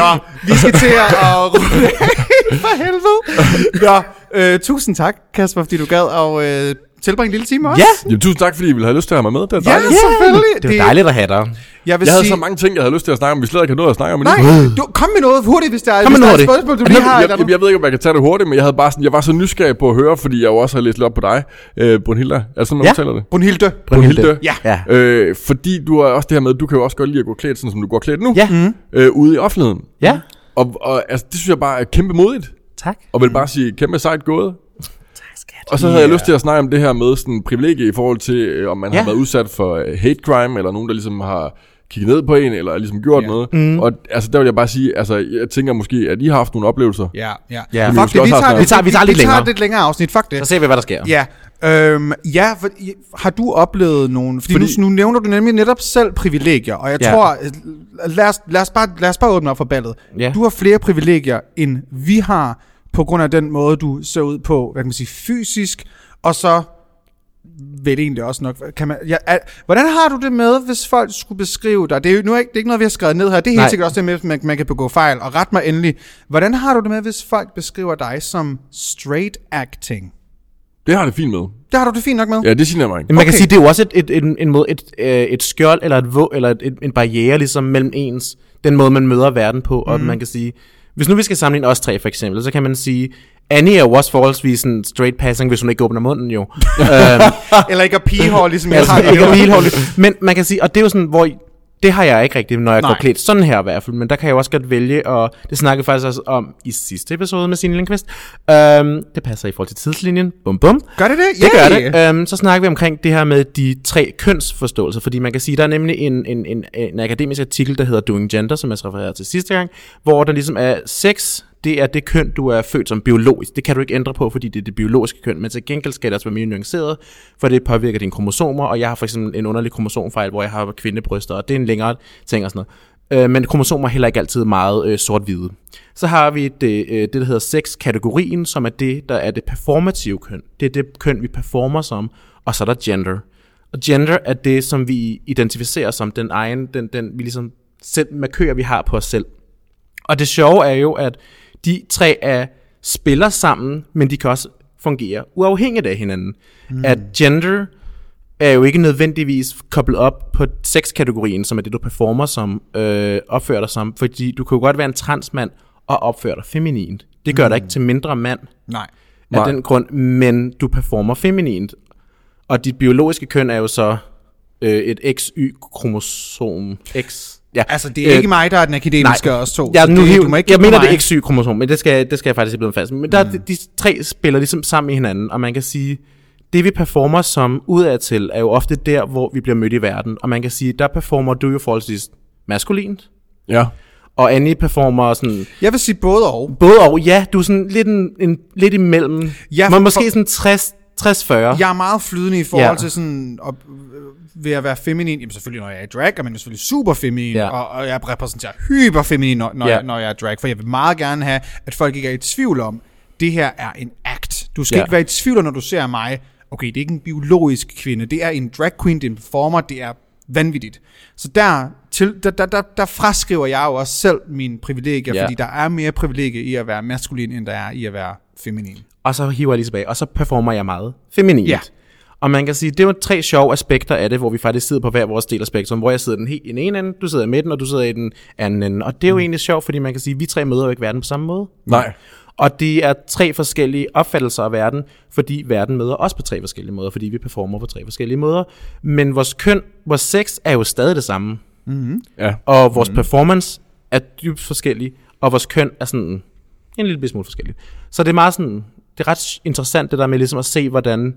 [SPEAKER 2] Nå, vi skal til at runde af. for helvede. Nå, øh, tusind tak, Kasper, fordi du gad og øh, tilbringe en lille time også.
[SPEAKER 1] Ja!
[SPEAKER 3] Jamen, tusind tak, fordi I ville have lyst til at have mig med. Det er
[SPEAKER 2] Ja,
[SPEAKER 3] dejligt.
[SPEAKER 2] selvfølgelig.
[SPEAKER 1] Det er jo dejligt at have dig.
[SPEAKER 2] Jeg, vil
[SPEAKER 3] Jeg havde
[SPEAKER 2] sige,
[SPEAKER 3] så mange ting, jeg havde lyst til at snakke om, vi slet ikke har nået at snakke om. endnu.
[SPEAKER 2] Nej, du, kom med noget hurtigt, hvis der er,
[SPEAKER 1] Kom
[SPEAKER 2] hvis
[SPEAKER 1] med
[SPEAKER 2] der er
[SPEAKER 1] noget
[SPEAKER 2] et
[SPEAKER 1] hurtigt.
[SPEAKER 2] spørgsmål, du
[SPEAKER 1] Er
[SPEAKER 2] lige
[SPEAKER 1] det-
[SPEAKER 2] har.
[SPEAKER 3] Jeg,
[SPEAKER 2] eller
[SPEAKER 3] jeg, jeg ved ikke, om jeg kan tage det hurtigt, men jeg, havde bare sådan, jeg var så nysgerrig på at høre, fordi jeg jo også havde læst lidt op på dig, øh, Brunhilde. Er det sådan, man
[SPEAKER 1] Ja.
[SPEAKER 3] udtaler det?
[SPEAKER 2] Brunhilde.
[SPEAKER 3] Brunhilde.
[SPEAKER 2] Ja.
[SPEAKER 1] Ja.
[SPEAKER 3] Øh, fordi du har også det her med, du kan jo også godt lide at gå klædt, sådan som du går klædt nu,
[SPEAKER 1] Ja. Mhm.
[SPEAKER 3] øh, ude i offentligheden.
[SPEAKER 1] Ja.
[SPEAKER 3] Og, og altså, det synes jeg bare er kæmpe modigt,
[SPEAKER 1] Tak.
[SPEAKER 3] og vil bare sige, kæmpe sejt gået. Og så havde yeah. jeg lyst til at snakke om det her med sådan privilegie i forhold til, øh, om man yeah.
[SPEAKER 1] Ja.
[SPEAKER 3] har været udsat for øh, hate crime, eller nogen, der ligesom har kigget ned på en, eller ligesom gjort yeah. noget. Mm. Og altså, der vil jeg bare sige, altså, jeg tænker måske, at I har haft nogle oplevelser.
[SPEAKER 2] Ja, ja.
[SPEAKER 1] Ja.
[SPEAKER 2] Fuck det, vi tager, det-
[SPEAKER 1] Vi tager- vi tager lidt
[SPEAKER 2] Vi tager
[SPEAKER 1] længere.
[SPEAKER 2] lidt længere afsnit, fuck det.
[SPEAKER 1] Så ser vi, hvad der sker.
[SPEAKER 2] Ja, øhm, ja for, i- har du oplevet nogen... Fordi, fordi
[SPEAKER 3] Fordi-
[SPEAKER 2] nu, nu nævner du nemlig netop selv privilegier, og jeg ja.
[SPEAKER 1] Ja.
[SPEAKER 2] tror... øh, Lad os, lad, os bare, lad os bare åbne op for ballet.
[SPEAKER 1] Ja.
[SPEAKER 2] Du har flere privilegier, end vi har, på grund af den måde, du ser ud på, hvad kan man sige, fysisk, og så vel egentlig også nok. Kan man, ja, er, hvordan har du det med, hvis folk skulle beskrive dig? Det er jo nu er ikke, det er ikke noget, vi har skrevet ned her. Det er helt
[SPEAKER 1] Nej.
[SPEAKER 2] sikkert også det med, at man, man kan begå fejl. Og ret mig endelig. Hvordan har du det med, hvis folk beskriver dig som straight acting?
[SPEAKER 3] Det har jeg det fint med.
[SPEAKER 2] Det har du det fint nok med?
[SPEAKER 3] Ja, det siger mig ikke.
[SPEAKER 1] Men man
[SPEAKER 2] Okay.
[SPEAKER 1] kan sige, det er jo også et, et, en, en måde, et, øh, et skjold eller, et vå, eller et, et, en barriere ligesom mellem ens, den måde, man møder verden på, og man kan sige, hvis nu vi skal sammenligne os tre for eksempel, så kan man sige, Annie er jo også forholdsvis en straight passing, hvis hun ikke åbner munden jo. øhm,
[SPEAKER 2] Eller ikke at pigehår, ligesom jeg
[SPEAKER 1] altså,
[SPEAKER 2] har
[SPEAKER 1] ikke
[SPEAKER 2] det.
[SPEAKER 1] er helt Men man kan sige, og det er jo sådan, hvor det har jeg ikke rigtigt, når jeg
[SPEAKER 2] Nej.
[SPEAKER 1] Nej. går klædt sådan her i hvert fald, men der kan jeg jo også godt vælge, og det snakkede jeg faktisk også om i sidste episode med Signe Lindqvist. Øhm, det passer i forhold til tidslinjen. Bum bum.
[SPEAKER 2] Gør det det?
[SPEAKER 1] Det gør
[SPEAKER 2] Yay!
[SPEAKER 1] det. Øhm, så snakker vi omkring det her med de tre kønsforståelser, fordi man kan sige, der er nemlig en, en, en, en akademisk artikel, der hedder Doing Gender, som jeg refererede til sidste gang, hvor der ligesom er sex, det er det køn, du er født som biologisk. Det kan du ikke ændre på, fordi det er det biologiske køn, men til gengæld skal det også være mere nuanceret, for det påvirker dine kromosomer, og jeg har for eksempel en underlig kromosomfejl, hvor jeg har kvindebryster, og det er en længere ting og sådan noget. Øh, men kromosomer er heller ikke altid meget øh, sort-hvide. Så har vi det, øh, det, der hedder sex-kategorien, som er det, der er det performative køn. Det er det køn, vi performer som. Og så er der gender. Og gender er det, som vi identificerer som den egen, den, den vi ligesom selv markører, vi har på os selv. Og det sjove er jo, at de tre er spiller sammen, men de kan også fungere uafhængigt af hinanden. Mm. At gender er jo ikke nødvendigvis koblet op på sexkategorien, som er det, du performer som, øh, opfører dig som, fordi du kan jo godt være en transmand og opføre dig feminint. Det gør mm. dig ikke til mindre mand
[SPEAKER 2] Nej.
[SPEAKER 1] af
[SPEAKER 3] Nej.
[SPEAKER 1] den grund, men du performer feminint. Og dit biologiske køn er jo så øh, et XY-kromosom. X. Ja.
[SPEAKER 2] Altså, det er ikke mig, der er den akademiske og os to.
[SPEAKER 1] Ja,
[SPEAKER 2] så
[SPEAKER 1] nu,
[SPEAKER 2] det,
[SPEAKER 1] det,
[SPEAKER 2] du må ikke
[SPEAKER 1] Øh, jeg
[SPEAKER 2] kigge på
[SPEAKER 1] mener, det
[SPEAKER 2] mig.
[SPEAKER 1] er XY-kromosom, men det skal, det skal jeg faktisk blive fast. Men der, mm. de, de tre spiller ligesom sammen i hinanden, og man kan sige, det vi performer som udadtil, er jo ofte der, hvor vi bliver mødt i verden. Og man kan sige, der performer du jo forholdsvis maskulint,
[SPEAKER 3] Ja.
[SPEAKER 1] og Annie performer sådan...
[SPEAKER 2] Jeg vil sige både og.
[SPEAKER 1] Både og, ja, du er sådan lidt, en, en, lidt imellem.
[SPEAKER 2] Ja,
[SPEAKER 1] Ja, Må,
[SPEAKER 2] for-
[SPEAKER 1] måske sådan 60, 60-40.
[SPEAKER 2] Jeg er meget flydende i forhold
[SPEAKER 1] Ja.
[SPEAKER 2] til sådan... Op, ved at være feminin, jamen selvfølgelig når jeg er i drag, er man jo selvfølgelig super feminin,
[SPEAKER 1] Ja.
[SPEAKER 2] og, og, jeg repræsenterer hyper feminin, når, når,
[SPEAKER 1] Ja.
[SPEAKER 2] jeg, når jeg er drag, for jeg vil meget gerne have, at folk ikke er i tvivl om, det her er en act. Du skal
[SPEAKER 1] Ja.
[SPEAKER 2] ikke være i tvivl, om, når du ser mig, okay, det er ikke en biologisk kvinde, det er en drag queen, det er en performer, det er vanvittigt. Så der, til, der, der, der, der fraskriver jeg jo også selv mine privilegier,
[SPEAKER 1] Ja.
[SPEAKER 2] fordi der er mere privilegier i at være maskulin, end der er i at være feminin.
[SPEAKER 1] og så hiver jeg lige tilbage, og så performer jeg meget feminint.
[SPEAKER 2] Ja.
[SPEAKER 1] Og man kan sige, det er jo tre sjove aspekter af det, hvor vi faktisk sidder på hver vores del af spektrum, hvor jeg sidder i den helt i den ene ende, du sidder i midten, og du sidder i den anden ende. Og det er jo egentlig sjovt, fordi man kan sige, at vi tre møder jo ikke verden på samme måde.
[SPEAKER 3] Nej.
[SPEAKER 1] Og det er tre forskellige opfattelser af verden, fordi verden møder os på tre forskellige måder, fordi vi performer på tre forskellige måder. Men vores køn, vores sex er jo stadig det samme,
[SPEAKER 3] Ja.
[SPEAKER 1] og vores performance er dybt forskellig, og vores køn er sådan en lille smule forskellig. Så det er meget sådan, det er ret interessant det der med ligesom at se, hvordan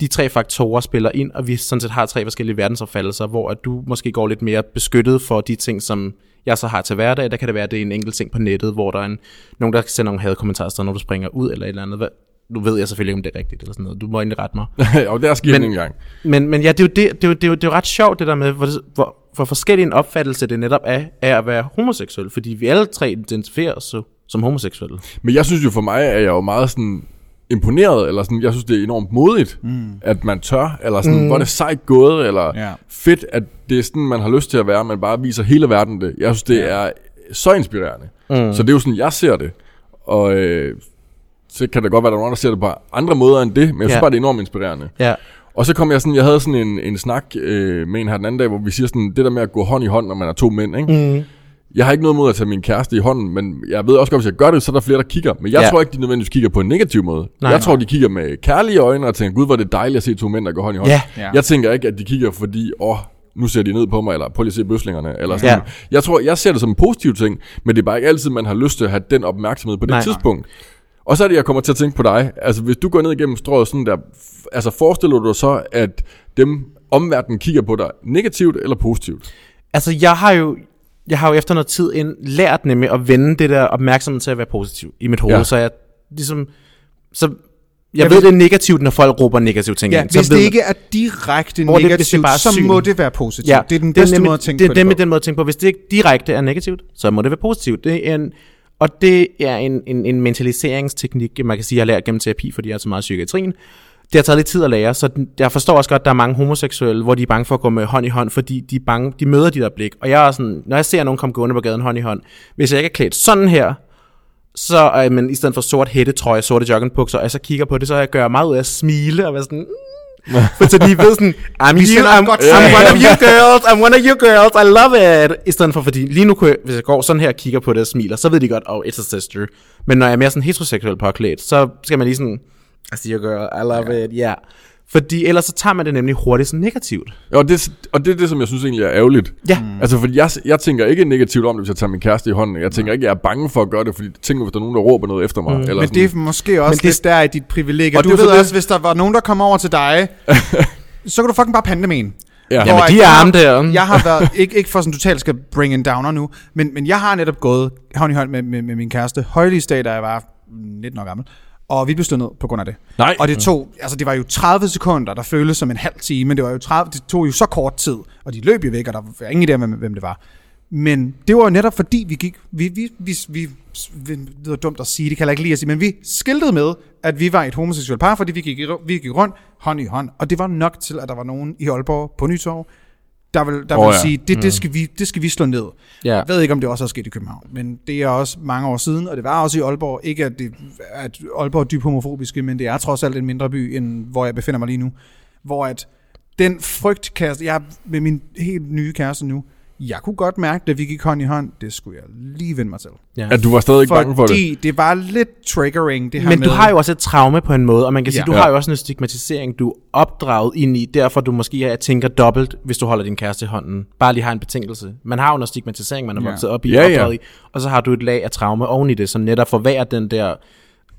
[SPEAKER 1] de tre faktorer spiller ind, og vi sådan set har tre forskellige verdensopfattelser, hvor at du måske går lidt mere beskyttet for de ting, som jeg så har til hverdag. Der kan det være, at det er en enkelt ting på nettet, hvor der er en, nogen, der sender nogle hadkommentarer, så når du springer ud eller et eller andet. Hvad- Nu ved jeg selvfølgelig ikke, om det er rigtigt eller sådan noget. Du må egentlig rette mig.
[SPEAKER 3] og der sker
[SPEAKER 1] Men-
[SPEAKER 3] den en gang.
[SPEAKER 1] Men, men ja, det er, jo det, det, er jo, det, er jo, det er jo ret sjovt, det der med, hvor, hvor, hvor forskellig en opfattelse det netop er, er at være homoseksuel, fordi vi alle tre identificerer os jo som homoseksuelle.
[SPEAKER 3] Men jeg synes jo for mig, at jeg er jo meget sådan imponeret, eller sådan, jeg synes, det er enormt modigt, mm. at man tør, eller sådan, mm. hvor er det sejt gået, eller
[SPEAKER 2] Ja.
[SPEAKER 3] ja. fedt, at det er sådan, man har lyst til at være, man bare viser hele verden det. Jeg synes, det ja. er så inspirerende. Mm. Så det er jo sådan, jeg ser det. Og øh, så kan det godt være, at der er nogen, der ser det på andre måder end det, men jeg synes
[SPEAKER 1] Ja.
[SPEAKER 3] bare, det er enormt inspirerende.
[SPEAKER 1] Ja.
[SPEAKER 3] Og så kom jeg sådan, jeg havde sådan en, en snak øh, med en her den anden dag, hvor vi siger sådan, det der med at gå hånd i hånd, når man er to mænd, ikke? Mm. Jeg har ikke noget mod at tage min kæreste i hånden, men jeg ved også godt, hvis jeg gør det, så er der flere, der kigger. Men jeg ja.
[SPEAKER 1] Ja.
[SPEAKER 3] tror ikke, de nødvendigvis kigger på en negativ måde. Nej, jeg tror, de kigger med kærlige øjne og tænker, gud, hvor er det dejligt at se to mænd, der går hånd i hånd.
[SPEAKER 1] Ja.
[SPEAKER 2] Ja.
[SPEAKER 3] Jeg tænker ikke, at de kigger, fordi, åh, nu ser de ned på mig, eller prøv lige at se bøslingerne, eller sådan.
[SPEAKER 1] Ja.
[SPEAKER 3] Ja. Jeg tror, jeg ser det som en positiv ting, men det er bare ikke altid, man har lyst til at have den opmærksomhed på det
[SPEAKER 1] Nej.
[SPEAKER 3] tidspunkt. Og så er det, jeg kommer til at tænke på dig. Altså, hvis du går ned igennem strået sådan der, f- altså forestiller du dig så, at dem omverdenen kigger på dig negativt eller positivt?
[SPEAKER 1] Altså, jeg har jo jeg har jo efter noget tid ind lært nemlig at vende det der opmærksomhed til at være positiv i mit hoved,
[SPEAKER 3] Ja.
[SPEAKER 1] ja. så jeg ligesom... Så jeg, jeg ved, det er negativt, når folk råber negative ting
[SPEAKER 2] Ja,
[SPEAKER 1] ind. Så
[SPEAKER 2] hvis
[SPEAKER 1] ved
[SPEAKER 2] det
[SPEAKER 1] man-
[SPEAKER 2] ikke er direkte
[SPEAKER 1] Hvor det- hvis det
[SPEAKER 2] negativt,
[SPEAKER 1] bare er
[SPEAKER 2] det, så
[SPEAKER 1] syn.
[SPEAKER 2] må det være positivt. Ja, det er den bedste
[SPEAKER 1] nemlig-
[SPEAKER 2] måde at tænke
[SPEAKER 1] det er
[SPEAKER 2] på
[SPEAKER 1] nemlig
[SPEAKER 2] det. på.
[SPEAKER 1] den måde at tænke på. Hvis det ikke direkte er negativt, så må det være positivt. Det er en, og det er en, en, en mentaliseringsteknik, man kan sige, jeg har lært gennem terapi, fordi jeg er så meget i psykiatrien. Det har taget lidt tid at lære, så den- jeg forstår også godt, at der er mange homoseksuelle, hvor de er bange for at gå med hånd i hånd, fordi de, er bange, de møder de der blik. Og jeg er sådan, når jeg ser nogen komme gående på gaden hånd i hånd, hvis jeg ikke er klædt sådan her, så øh, men i stedet for sort hættetrøje, sorte joggingbukser, og jeg så kigger på det, så jeg gør meget ud af at smile og være sådan, mm, for så de ved sådan, I'm, you,
[SPEAKER 2] sender et
[SPEAKER 1] I'm,
[SPEAKER 2] godt
[SPEAKER 1] I'm
[SPEAKER 2] signal.
[SPEAKER 1] one of you girls, I'm one of you girls, I love it. I stedet for, fordi lige nu, kunne jeg, hvis jeg går sådan her og kigger på det og smiler, så ved de godt, oh, it's a sister. Men når jeg er mere sådan heteroseksuel påklædt, så skal man lige sådan, I see you girl, I love yeah. it, ja. Yeah. Fordi ellers så tager man det nemlig hurtigt sådan negativt.
[SPEAKER 3] Og det, og det er det, som jeg synes egentlig er ærgerligt.
[SPEAKER 1] Ja. Mm.
[SPEAKER 3] Altså, fordi jeg, jeg tænker ikke negativt om det, hvis jeg tager min kæreste i hånden. Jeg tænker ikke, jeg er bange for at gøre det, fordi tænk nu, hvis der er nogen, der råber noget efter mig. Mm. Eller
[SPEAKER 2] Men det er måske også
[SPEAKER 1] det-
[SPEAKER 2] lidt der i dit privilegier.
[SPEAKER 3] Og
[SPEAKER 2] Du
[SPEAKER 3] det er så
[SPEAKER 2] ved
[SPEAKER 3] det-
[SPEAKER 2] også, hvis der var nogen, der kom over til dig, så kan du fucking bare pande dem en.
[SPEAKER 3] ja.
[SPEAKER 1] Jamen,
[SPEAKER 2] Hvor
[SPEAKER 1] de
[SPEAKER 2] at jeg-
[SPEAKER 1] arme der.
[SPEAKER 2] Jeg har været, ikke, ikke for sådan totalt skal bring en downer nu, men, men jeg har netop gået hånd i hånd med, med, med min kæreste højlysdag, da jeg var 19 år gammel. Og vi blev slået ned på grund af det.
[SPEAKER 3] Nej.
[SPEAKER 2] Og det tog, altså det var jo 30 sekunder, der føltes som en halv time, men det var jo 30, det tog jo så kort tid, og de løb jo væk, og der var ingen idé om, hvem- hvem det var. Men det var jo netop fordi, vi gik, vi, vi, vi, vi, vi det var dumt at sige, det kan jeg ikke lide at sige, men vi skiltede med, at vi var et homoseksuelt par, fordi vi gik, i- vi gik rundt hånd i hånd, og det var nok til, at der var nogen i Aalborg på Nytorv, der vil, der
[SPEAKER 3] Åh,
[SPEAKER 2] oh, vil ja.
[SPEAKER 3] ja.
[SPEAKER 2] sige, det, det, skal vi, det skal vi slå ned.
[SPEAKER 1] Mm. Ja.
[SPEAKER 2] Jeg ved ikke, om det også er sket i København, men det er også mange år siden, og det var også i Aalborg. Ikke at, det, at Aalborg er dybt homofobiske, men det er trods alt en mindre by, end hvor jeg befinder mig lige nu. Hvor at den frygt, kan jeg, jeg med min helt nye kæreste nu, jeg kunne godt mærke, da vi gik hånd i hånd, det skulle jeg lige vende mig til.
[SPEAKER 1] Ja.
[SPEAKER 3] at du var stadig ikke bange for det.
[SPEAKER 2] Fordi det var lidt triggering, det her
[SPEAKER 1] Men
[SPEAKER 2] med,
[SPEAKER 1] du har jo også et traume på en måde, og man kan sige,
[SPEAKER 2] Ja.
[SPEAKER 1] ja. du
[SPEAKER 3] Ja.
[SPEAKER 1] har jo også en stigmatisering, du er opdraget ind i, derfor du måske jeg tænker dobbelt, hvis du holder din kæreste i hånden. Bare lige har en betingelse. Man har jo noget stigmatisering, man er vokset op i,
[SPEAKER 3] Ja,
[SPEAKER 1] ja,
[SPEAKER 3] ja.
[SPEAKER 1] opdraget i, og så har du et lag af traume oven i det, som netop forværrer den der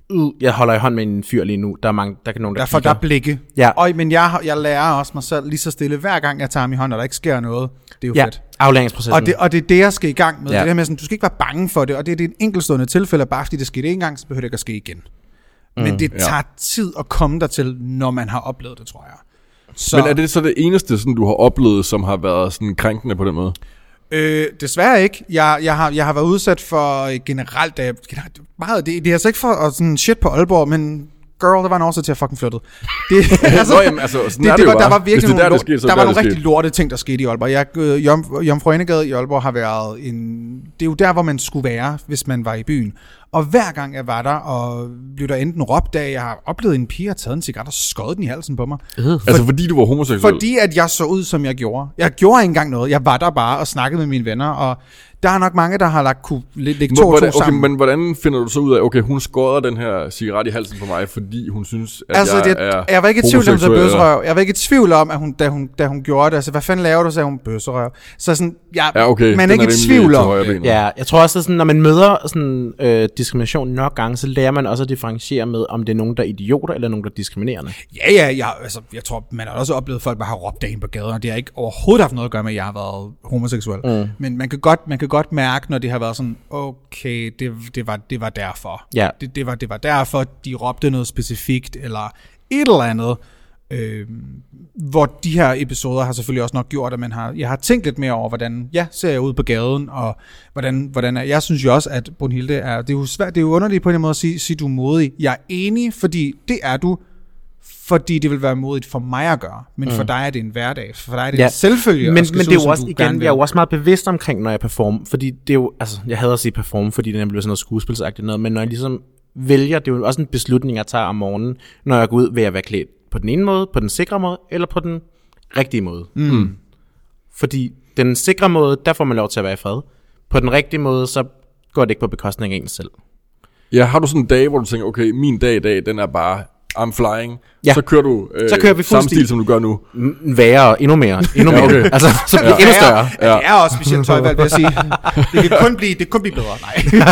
[SPEAKER 1] ud, jeg holder i hånd med en fyr lige nu, der er mange, der kan nogen, der,
[SPEAKER 2] Der får der
[SPEAKER 1] kigger.
[SPEAKER 2] er blikke.
[SPEAKER 1] Ja.
[SPEAKER 2] Og, men jeg, har- jeg lærer også mig selv lige så stille, hver gang jeg tager ham i hånden, og der ikke sker noget. Det er jo ja.
[SPEAKER 1] Ja,
[SPEAKER 2] fedt.
[SPEAKER 1] aflæringsprocessen.
[SPEAKER 2] Og det, og det er det, jeg skal i gang med. Ja.
[SPEAKER 1] Ja.
[SPEAKER 2] Det der med, sådan, du skal ikke være bange for det, og det, det er et enkeltstående tilfælde, og bare fordi det skete en gang, så behøver det ikke at ske igen. Men
[SPEAKER 3] Mm,
[SPEAKER 2] det tager tid at komme dertil, når man har oplevet det, tror jeg. Så,
[SPEAKER 3] Men er det så det eneste, sådan, du har oplevet, som har været sådan krænkende på den måde?
[SPEAKER 2] Øh, desværre ikke. Jeg, jeg, har, jeg har været udsat for øh, generelt, øh, generelt meget, det, det er altså ikke for at sådan shit på Aalborg, men girl, der var en årsag til, at jeg fucking flyttede. Det,
[SPEAKER 3] Nå, jamen, altså, sådan er det jo
[SPEAKER 2] var, der
[SPEAKER 3] bare.
[SPEAKER 2] var
[SPEAKER 3] Hvis det
[SPEAKER 2] virkelig
[SPEAKER 3] er der,
[SPEAKER 2] nogle,
[SPEAKER 3] det sker, så
[SPEAKER 2] der
[SPEAKER 3] er
[SPEAKER 2] var
[SPEAKER 3] der,
[SPEAKER 2] nogle
[SPEAKER 3] det sker.
[SPEAKER 2] rigtig lorte ting, der skete i Aalborg. Jeg, øh, Jom, Jomfru Enegade i Aalborg har været en... Det er jo der, hvor man skulle være, hvis man var i byen. Og hver gang jeg var der, og blev der enten råbt af, jeg har oplevet en pige, har taget en cigaret og skåret den i halsen på mig.
[SPEAKER 3] Altså, fordi du var homoseksuel?
[SPEAKER 2] Fordi at jeg så ud, som jeg gjorde. Jeg gjorde ikke engang noget. Jeg var der bare og snakkede med mine venner, og der er nok mange, der har lagt kunne læ- lægge to og
[SPEAKER 3] hvordan,
[SPEAKER 2] to
[SPEAKER 3] okay,
[SPEAKER 2] sammen.
[SPEAKER 3] men hvordan finder du så ud af, okay, hun skårede den her cigaret i halsen på mig, fordi hun synes, at
[SPEAKER 2] Altså,
[SPEAKER 3] jeg,
[SPEAKER 2] det,
[SPEAKER 3] er
[SPEAKER 2] jeg var ikke i tvivl om, så
[SPEAKER 3] homoseksuel, eller-
[SPEAKER 2] bøsserøv. Jeg var ikke i tvivl om, at hun, da, hun, da hun gjorde det, altså, hvad fanden laver du, sagde hun, bøsserøv. Så sådan, jeg,
[SPEAKER 3] Ja, okay. den
[SPEAKER 2] man er ikke i
[SPEAKER 3] rimelig
[SPEAKER 2] tvivl
[SPEAKER 3] til
[SPEAKER 2] om
[SPEAKER 3] højre
[SPEAKER 2] det.
[SPEAKER 3] benet.
[SPEAKER 1] Ja, jeg tror også, at sådan, når man møder sådan, øh, diskrimination nok gange, så lærer man også at differentiere med, om det er nogen, der er idioter, eller nogen, der er diskriminerende.
[SPEAKER 2] Ja, ja, jeg, altså, jeg tror, man har også oplevet, at folk bare har råbt af hende på gaden, og det har ikke overhovedet haft noget at gøre med, at jeg har været homoseksuel. Mm. Men man kan, godt, man kan godt mærke, når det har været sådan, okay, det, det, var, det var derfor.
[SPEAKER 1] Ja.
[SPEAKER 2] Det, det, var, det var derfor, de råbte noget specifikt, eller et eller andet. Øh, hvor de her episoder har selvfølgelig også nok gjort, at man har, jeg har tænkt lidt mere over, hvordan ja, ser jeg ud på gaden, og hvordan, hvordan er, jeg synes jo også, at Brunhilde er, det er jo svært, det er jo underligt på en eller anden måde at sige, sige du er modig. Jeg er enig, fordi det er du, fordi det vil være modigt for mig at gøre, men mm. for dig er det en hverdag, for dig er det ja. en selvfølge. at
[SPEAKER 1] Men,
[SPEAKER 2] skal
[SPEAKER 1] men
[SPEAKER 2] se
[SPEAKER 1] det er
[SPEAKER 2] ud,
[SPEAKER 1] jo
[SPEAKER 2] som
[SPEAKER 1] også,
[SPEAKER 2] du gerne
[SPEAKER 1] igen,
[SPEAKER 2] vil.
[SPEAKER 1] jeg er jo også meget bevidst omkring, når jeg performer, fordi det er jo, altså, jeg hader at sige performe, fordi det nemlig bliver sådan noget skuespilsagtigt noget, men når jeg ligesom vælger, det er jo også en beslutning, jeg tager om morgenen, når jeg går ud, vil jeg være klædt på den ene måde, på den sikre måde, eller på den rigtige måde. Mm. Fordi den sikre måde, der får man lov til at være i fred. På den rigtige måde, så går det ikke på bekostning af en selv.
[SPEAKER 3] Ja, har du sådan en dag, hvor du tænker, okay, min dag i dag, den er bare, I'm flying.
[SPEAKER 1] Ja.
[SPEAKER 3] Så kører du øh,
[SPEAKER 1] Så kører vi fuld
[SPEAKER 3] samme stil,
[SPEAKER 1] stil.
[SPEAKER 3] som du gør nu.
[SPEAKER 1] M- værre, endnu mere, endnu mere.
[SPEAKER 3] Ja, okay.
[SPEAKER 1] okay. Altså, så bliver det endnu større.
[SPEAKER 2] Ja. Det er også specielt tøjvalg, vil jeg sige. Det kan kun blive, det kan kun blive bedre. Nej.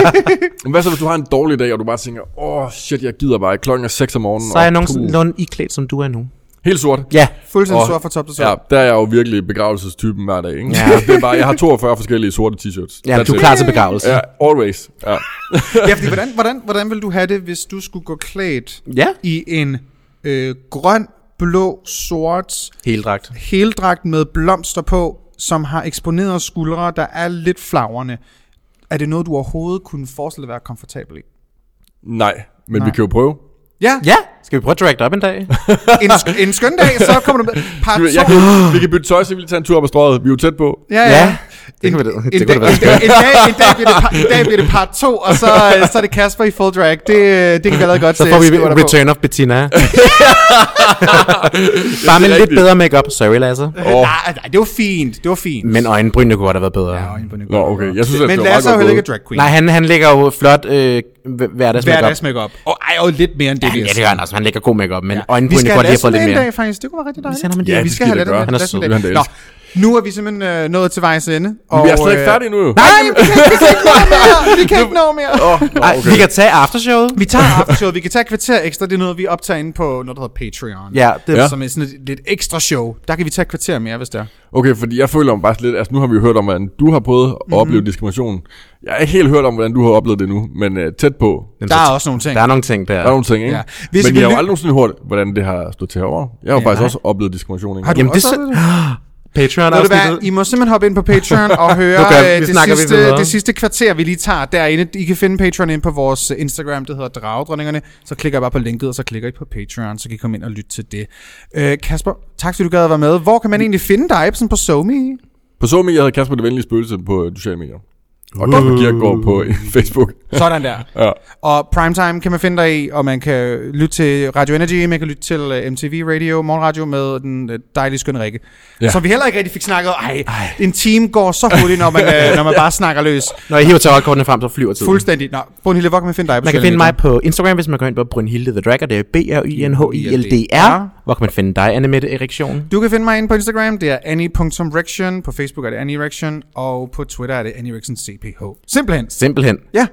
[SPEAKER 3] Men hvad så, hvis du har en dårlig dag, og du bare tænker, åh oh, shit, jeg gider bare ikke. Klokken er 6 om morgenen.
[SPEAKER 1] Så er jeg
[SPEAKER 3] og puh,
[SPEAKER 1] nogenlunde iklædt, som du er nu.
[SPEAKER 3] Helt sort.
[SPEAKER 1] Ja.
[SPEAKER 2] Fuldstændig
[SPEAKER 3] Og-
[SPEAKER 2] sort fra top til top.
[SPEAKER 3] Ja, der er jeg jo virkelig begravelsestypen hver dag, ikke? Ja. det er bare, jeg har 42 forskellige sorte t-shirts.
[SPEAKER 1] Ja,
[SPEAKER 3] That's
[SPEAKER 1] du er
[SPEAKER 3] it.
[SPEAKER 1] klar til begravelse.
[SPEAKER 3] Ja, always. Ja.
[SPEAKER 2] Ja, fordi hvordan, hvordan, hvordan ville du have det, hvis du skulle gå klædt
[SPEAKER 1] Ja.
[SPEAKER 2] i en øh, grøn, blå, sort
[SPEAKER 1] Heldragt.
[SPEAKER 2] heldragt med blomster på, som har eksponerede skuldre, der er lidt flagrende? Er det noget, du overhovedet kunne forestille dig at være komfortabel i?
[SPEAKER 3] Nej, men Nej. vi kan jo prøve.
[SPEAKER 2] Ja,
[SPEAKER 1] Ja, skal vi prøve at drag det op en dag?
[SPEAKER 2] En, sk- en skøn dag, så kommer du med. Part
[SPEAKER 3] Vi, jeg
[SPEAKER 2] to.
[SPEAKER 3] kan, vi kan bytte tøj, så vi lige tager en tur op ad strøget. Vi er jo tæt på.
[SPEAKER 2] Ja, ja.
[SPEAKER 1] Ja,
[SPEAKER 2] En,
[SPEAKER 1] det kan vi- det-
[SPEAKER 2] en,
[SPEAKER 1] det kunne
[SPEAKER 2] dag,
[SPEAKER 1] det være.
[SPEAKER 2] en, dag, en, dag, en dag bliver det par, en dag bliver det part 2, og så, øh, så er det Kasper i full drag. Det, øh, det kan vi allerede godt
[SPEAKER 1] Så
[SPEAKER 2] se.
[SPEAKER 1] får vi
[SPEAKER 2] skriver der på.
[SPEAKER 1] Return of Bettina. Bare med lidt
[SPEAKER 3] rigtigt.
[SPEAKER 1] bedre makeup. Sorry, Lasse.
[SPEAKER 2] Nej, nej, det var fint. Det var fint.
[SPEAKER 1] Men øjenbrynene kunne godt have været bedre.
[SPEAKER 3] Nå, okay. Jeg synes, at
[SPEAKER 2] Men
[SPEAKER 3] det var
[SPEAKER 2] Lasse er jo
[SPEAKER 3] meget godt
[SPEAKER 2] heller ikke
[SPEAKER 3] gået.
[SPEAKER 2] drag queen.
[SPEAKER 1] Nej, han, han lægger jo flot øh, hverdags makeup.
[SPEAKER 2] hverdags makeup. Og ej, og lidt mere end det,
[SPEAKER 1] Ja,
[SPEAKER 2] vil jeg
[SPEAKER 1] det gør han også. Han lægger god makeup, men
[SPEAKER 2] Vi
[SPEAKER 1] øjenbrynene
[SPEAKER 2] skal have
[SPEAKER 1] kunne godt lige have
[SPEAKER 2] Lasse
[SPEAKER 1] fået
[SPEAKER 2] med
[SPEAKER 1] lidt
[SPEAKER 2] en
[SPEAKER 1] mere.
[SPEAKER 2] dag, faktisk. Det kunne være rigtig
[SPEAKER 1] Vi
[SPEAKER 2] dejligt.
[SPEAKER 1] sender ham en
[SPEAKER 3] Ja,
[SPEAKER 1] dag.
[SPEAKER 2] Vi
[SPEAKER 3] det
[SPEAKER 2] skal
[SPEAKER 3] skal vi
[SPEAKER 2] have
[SPEAKER 3] da
[SPEAKER 2] Lasse med.
[SPEAKER 3] gøre.
[SPEAKER 1] Han er
[SPEAKER 2] Lasse med
[SPEAKER 1] sød.
[SPEAKER 2] en dag.
[SPEAKER 3] Han er
[SPEAKER 2] Nå, nu er vi simpelthen øh, nået til vejs ende. Og,
[SPEAKER 3] Vi er slet ikke
[SPEAKER 2] øh,
[SPEAKER 3] færdige nu. jo.
[SPEAKER 2] Nej, vi kan, vi kan ikke nå mere. Vi kan ikke nå mere.
[SPEAKER 3] Åh, nå,
[SPEAKER 1] Ej,
[SPEAKER 3] okay.
[SPEAKER 1] vi kan tage aftershowet.
[SPEAKER 2] Vi tager aftershowet. Vi kan tage et kvarter ekstra. Det er noget, vi optager inde på noget, der hedder Patreon.
[SPEAKER 1] Ja, det er
[SPEAKER 3] Ja.
[SPEAKER 2] Som er sådan et lidt ekstra show. Der kan vi tage et kvarter mere, hvis det er.
[SPEAKER 3] Okay, fordi jeg føler mig bare lidt... Altså, nu har vi jo hørt om, hvordan du har prøvet at
[SPEAKER 2] Mhm.
[SPEAKER 3] opleve diskrimination. Jeg har ikke helt hørt om, hvordan du har oplevet det nu, men øh, tæt på. Der
[SPEAKER 2] Der er også nogle ting.
[SPEAKER 1] Der er nogle ting der.
[SPEAKER 3] er nogle ting, ikke?
[SPEAKER 2] Ja.
[SPEAKER 3] Ja.
[SPEAKER 2] Hvis
[SPEAKER 3] men
[SPEAKER 2] vi
[SPEAKER 3] jeg har jo
[SPEAKER 2] ly-
[SPEAKER 3] aldrig nogensinde hørt, hvordan det har stået til herovre. Jeg har jo faktisk også oplevet diskrimination, ikke?
[SPEAKER 2] Har du
[SPEAKER 1] Jamen, det er
[SPEAKER 2] også
[SPEAKER 1] så- Patreon
[SPEAKER 2] Ved du hvad, I
[SPEAKER 1] afsnittet.
[SPEAKER 2] må simpelthen hoppe ind på Patreon og høre
[SPEAKER 1] Nu gør vi-
[SPEAKER 2] okay,
[SPEAKER 1] vi
[SPEAKER 2] det,
[SPEAKER 1] snakker vi
[SPEAKER 2] sidste,
[SPEAKER 1] videre.
[SPEAKER 2] det sidste kvarter, vi lige tager derinde. I kan finde Patreon ind på vores øh, Instagram, det hedder Dragedronningerne. Så klikker jeg bare på linket, og så klikker I på Patreon, så kan I komme ind og lytte til det. Øh, Kasper, tak fordi du gad at være med. Hvor kan man egentlig finde dig sådan på SoMe?
[SPEAKER 3] På SoMe, jeg hedder Kasper Det Venlige Spøgelse på øh, sociale medier. Og Kasper Kierkegaard på øh, Facebook.
[SPEAKER 2] Sådan der.
[SPEAKER 3] Ja.
[SPEAKER 2] Og Primetime kan man finde dig i, og man kan lytte til Radio Energy, man kan lytte til øh, MTV Radio, morgenradio med den øh, dejlige skønne Rikke. Ja.
[SPEAKER 3] Ja.
[SPEAKER 2] Som vi heller ikke rigtig fik snakket om. Ej, en time går så hurtigt, når man, øh, når man bare snakker løs.
[SPEAKER 1] Når jeg hiver tørrekortene frem, så flyver tiden.
[SPEAKER 2] Fuldstændig. Nå, Brunhilde, hvor kan man finde dig? på
[SPEAKER 1] Man kan
[SPEAKER 2] sociale
[SPEAKER 1] finde
[SPEAKER 2] medier?
[SPEAKER 1] mig på Instagram, hvis man går ind på Brynhilde The Dragger. Det er B-R-Y-N-H-I-L-D-R. Hvor kan man finde dig, Annemette Erektion?
[SPEAKER 2] Du kan finde mig inde på Instagram, det er annie.rection, på Facebook er det annierection, og på Twitter er det annierectioncph. Simpelthen.
[SPEAKER 1] Simpelthen.
[SPEAKER 2] Ja.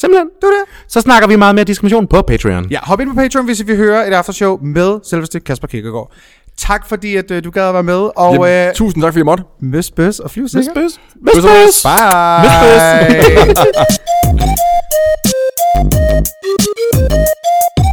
[SPEAKER 1] Simpelthen.
[SPEAKER 2] Det var det.
[SPEAKER 1] Så snakker vi meget mere diskrimination på Patreon.
[SPEAKER 2] Ja, hop ind på Patreon, hvis I vil høre et aftershow med selveste Kasper Kirkegaard. Tak fordi, at øh, du gad at være med, og
[SPEAKER 3] Jamen,
[SPEAKER 2] øh,
[SPEAKER 3] Tusind tak, fordi jeg måtte.
[SPEAKER 2] møs, bøs og flyv sikkert.
[SPEAKER 1] Miss Bøs.
[SPEAKER 2] Bye.
[SPEAKER 1] Miss Bøs.
[SPEAKER 2] Bye.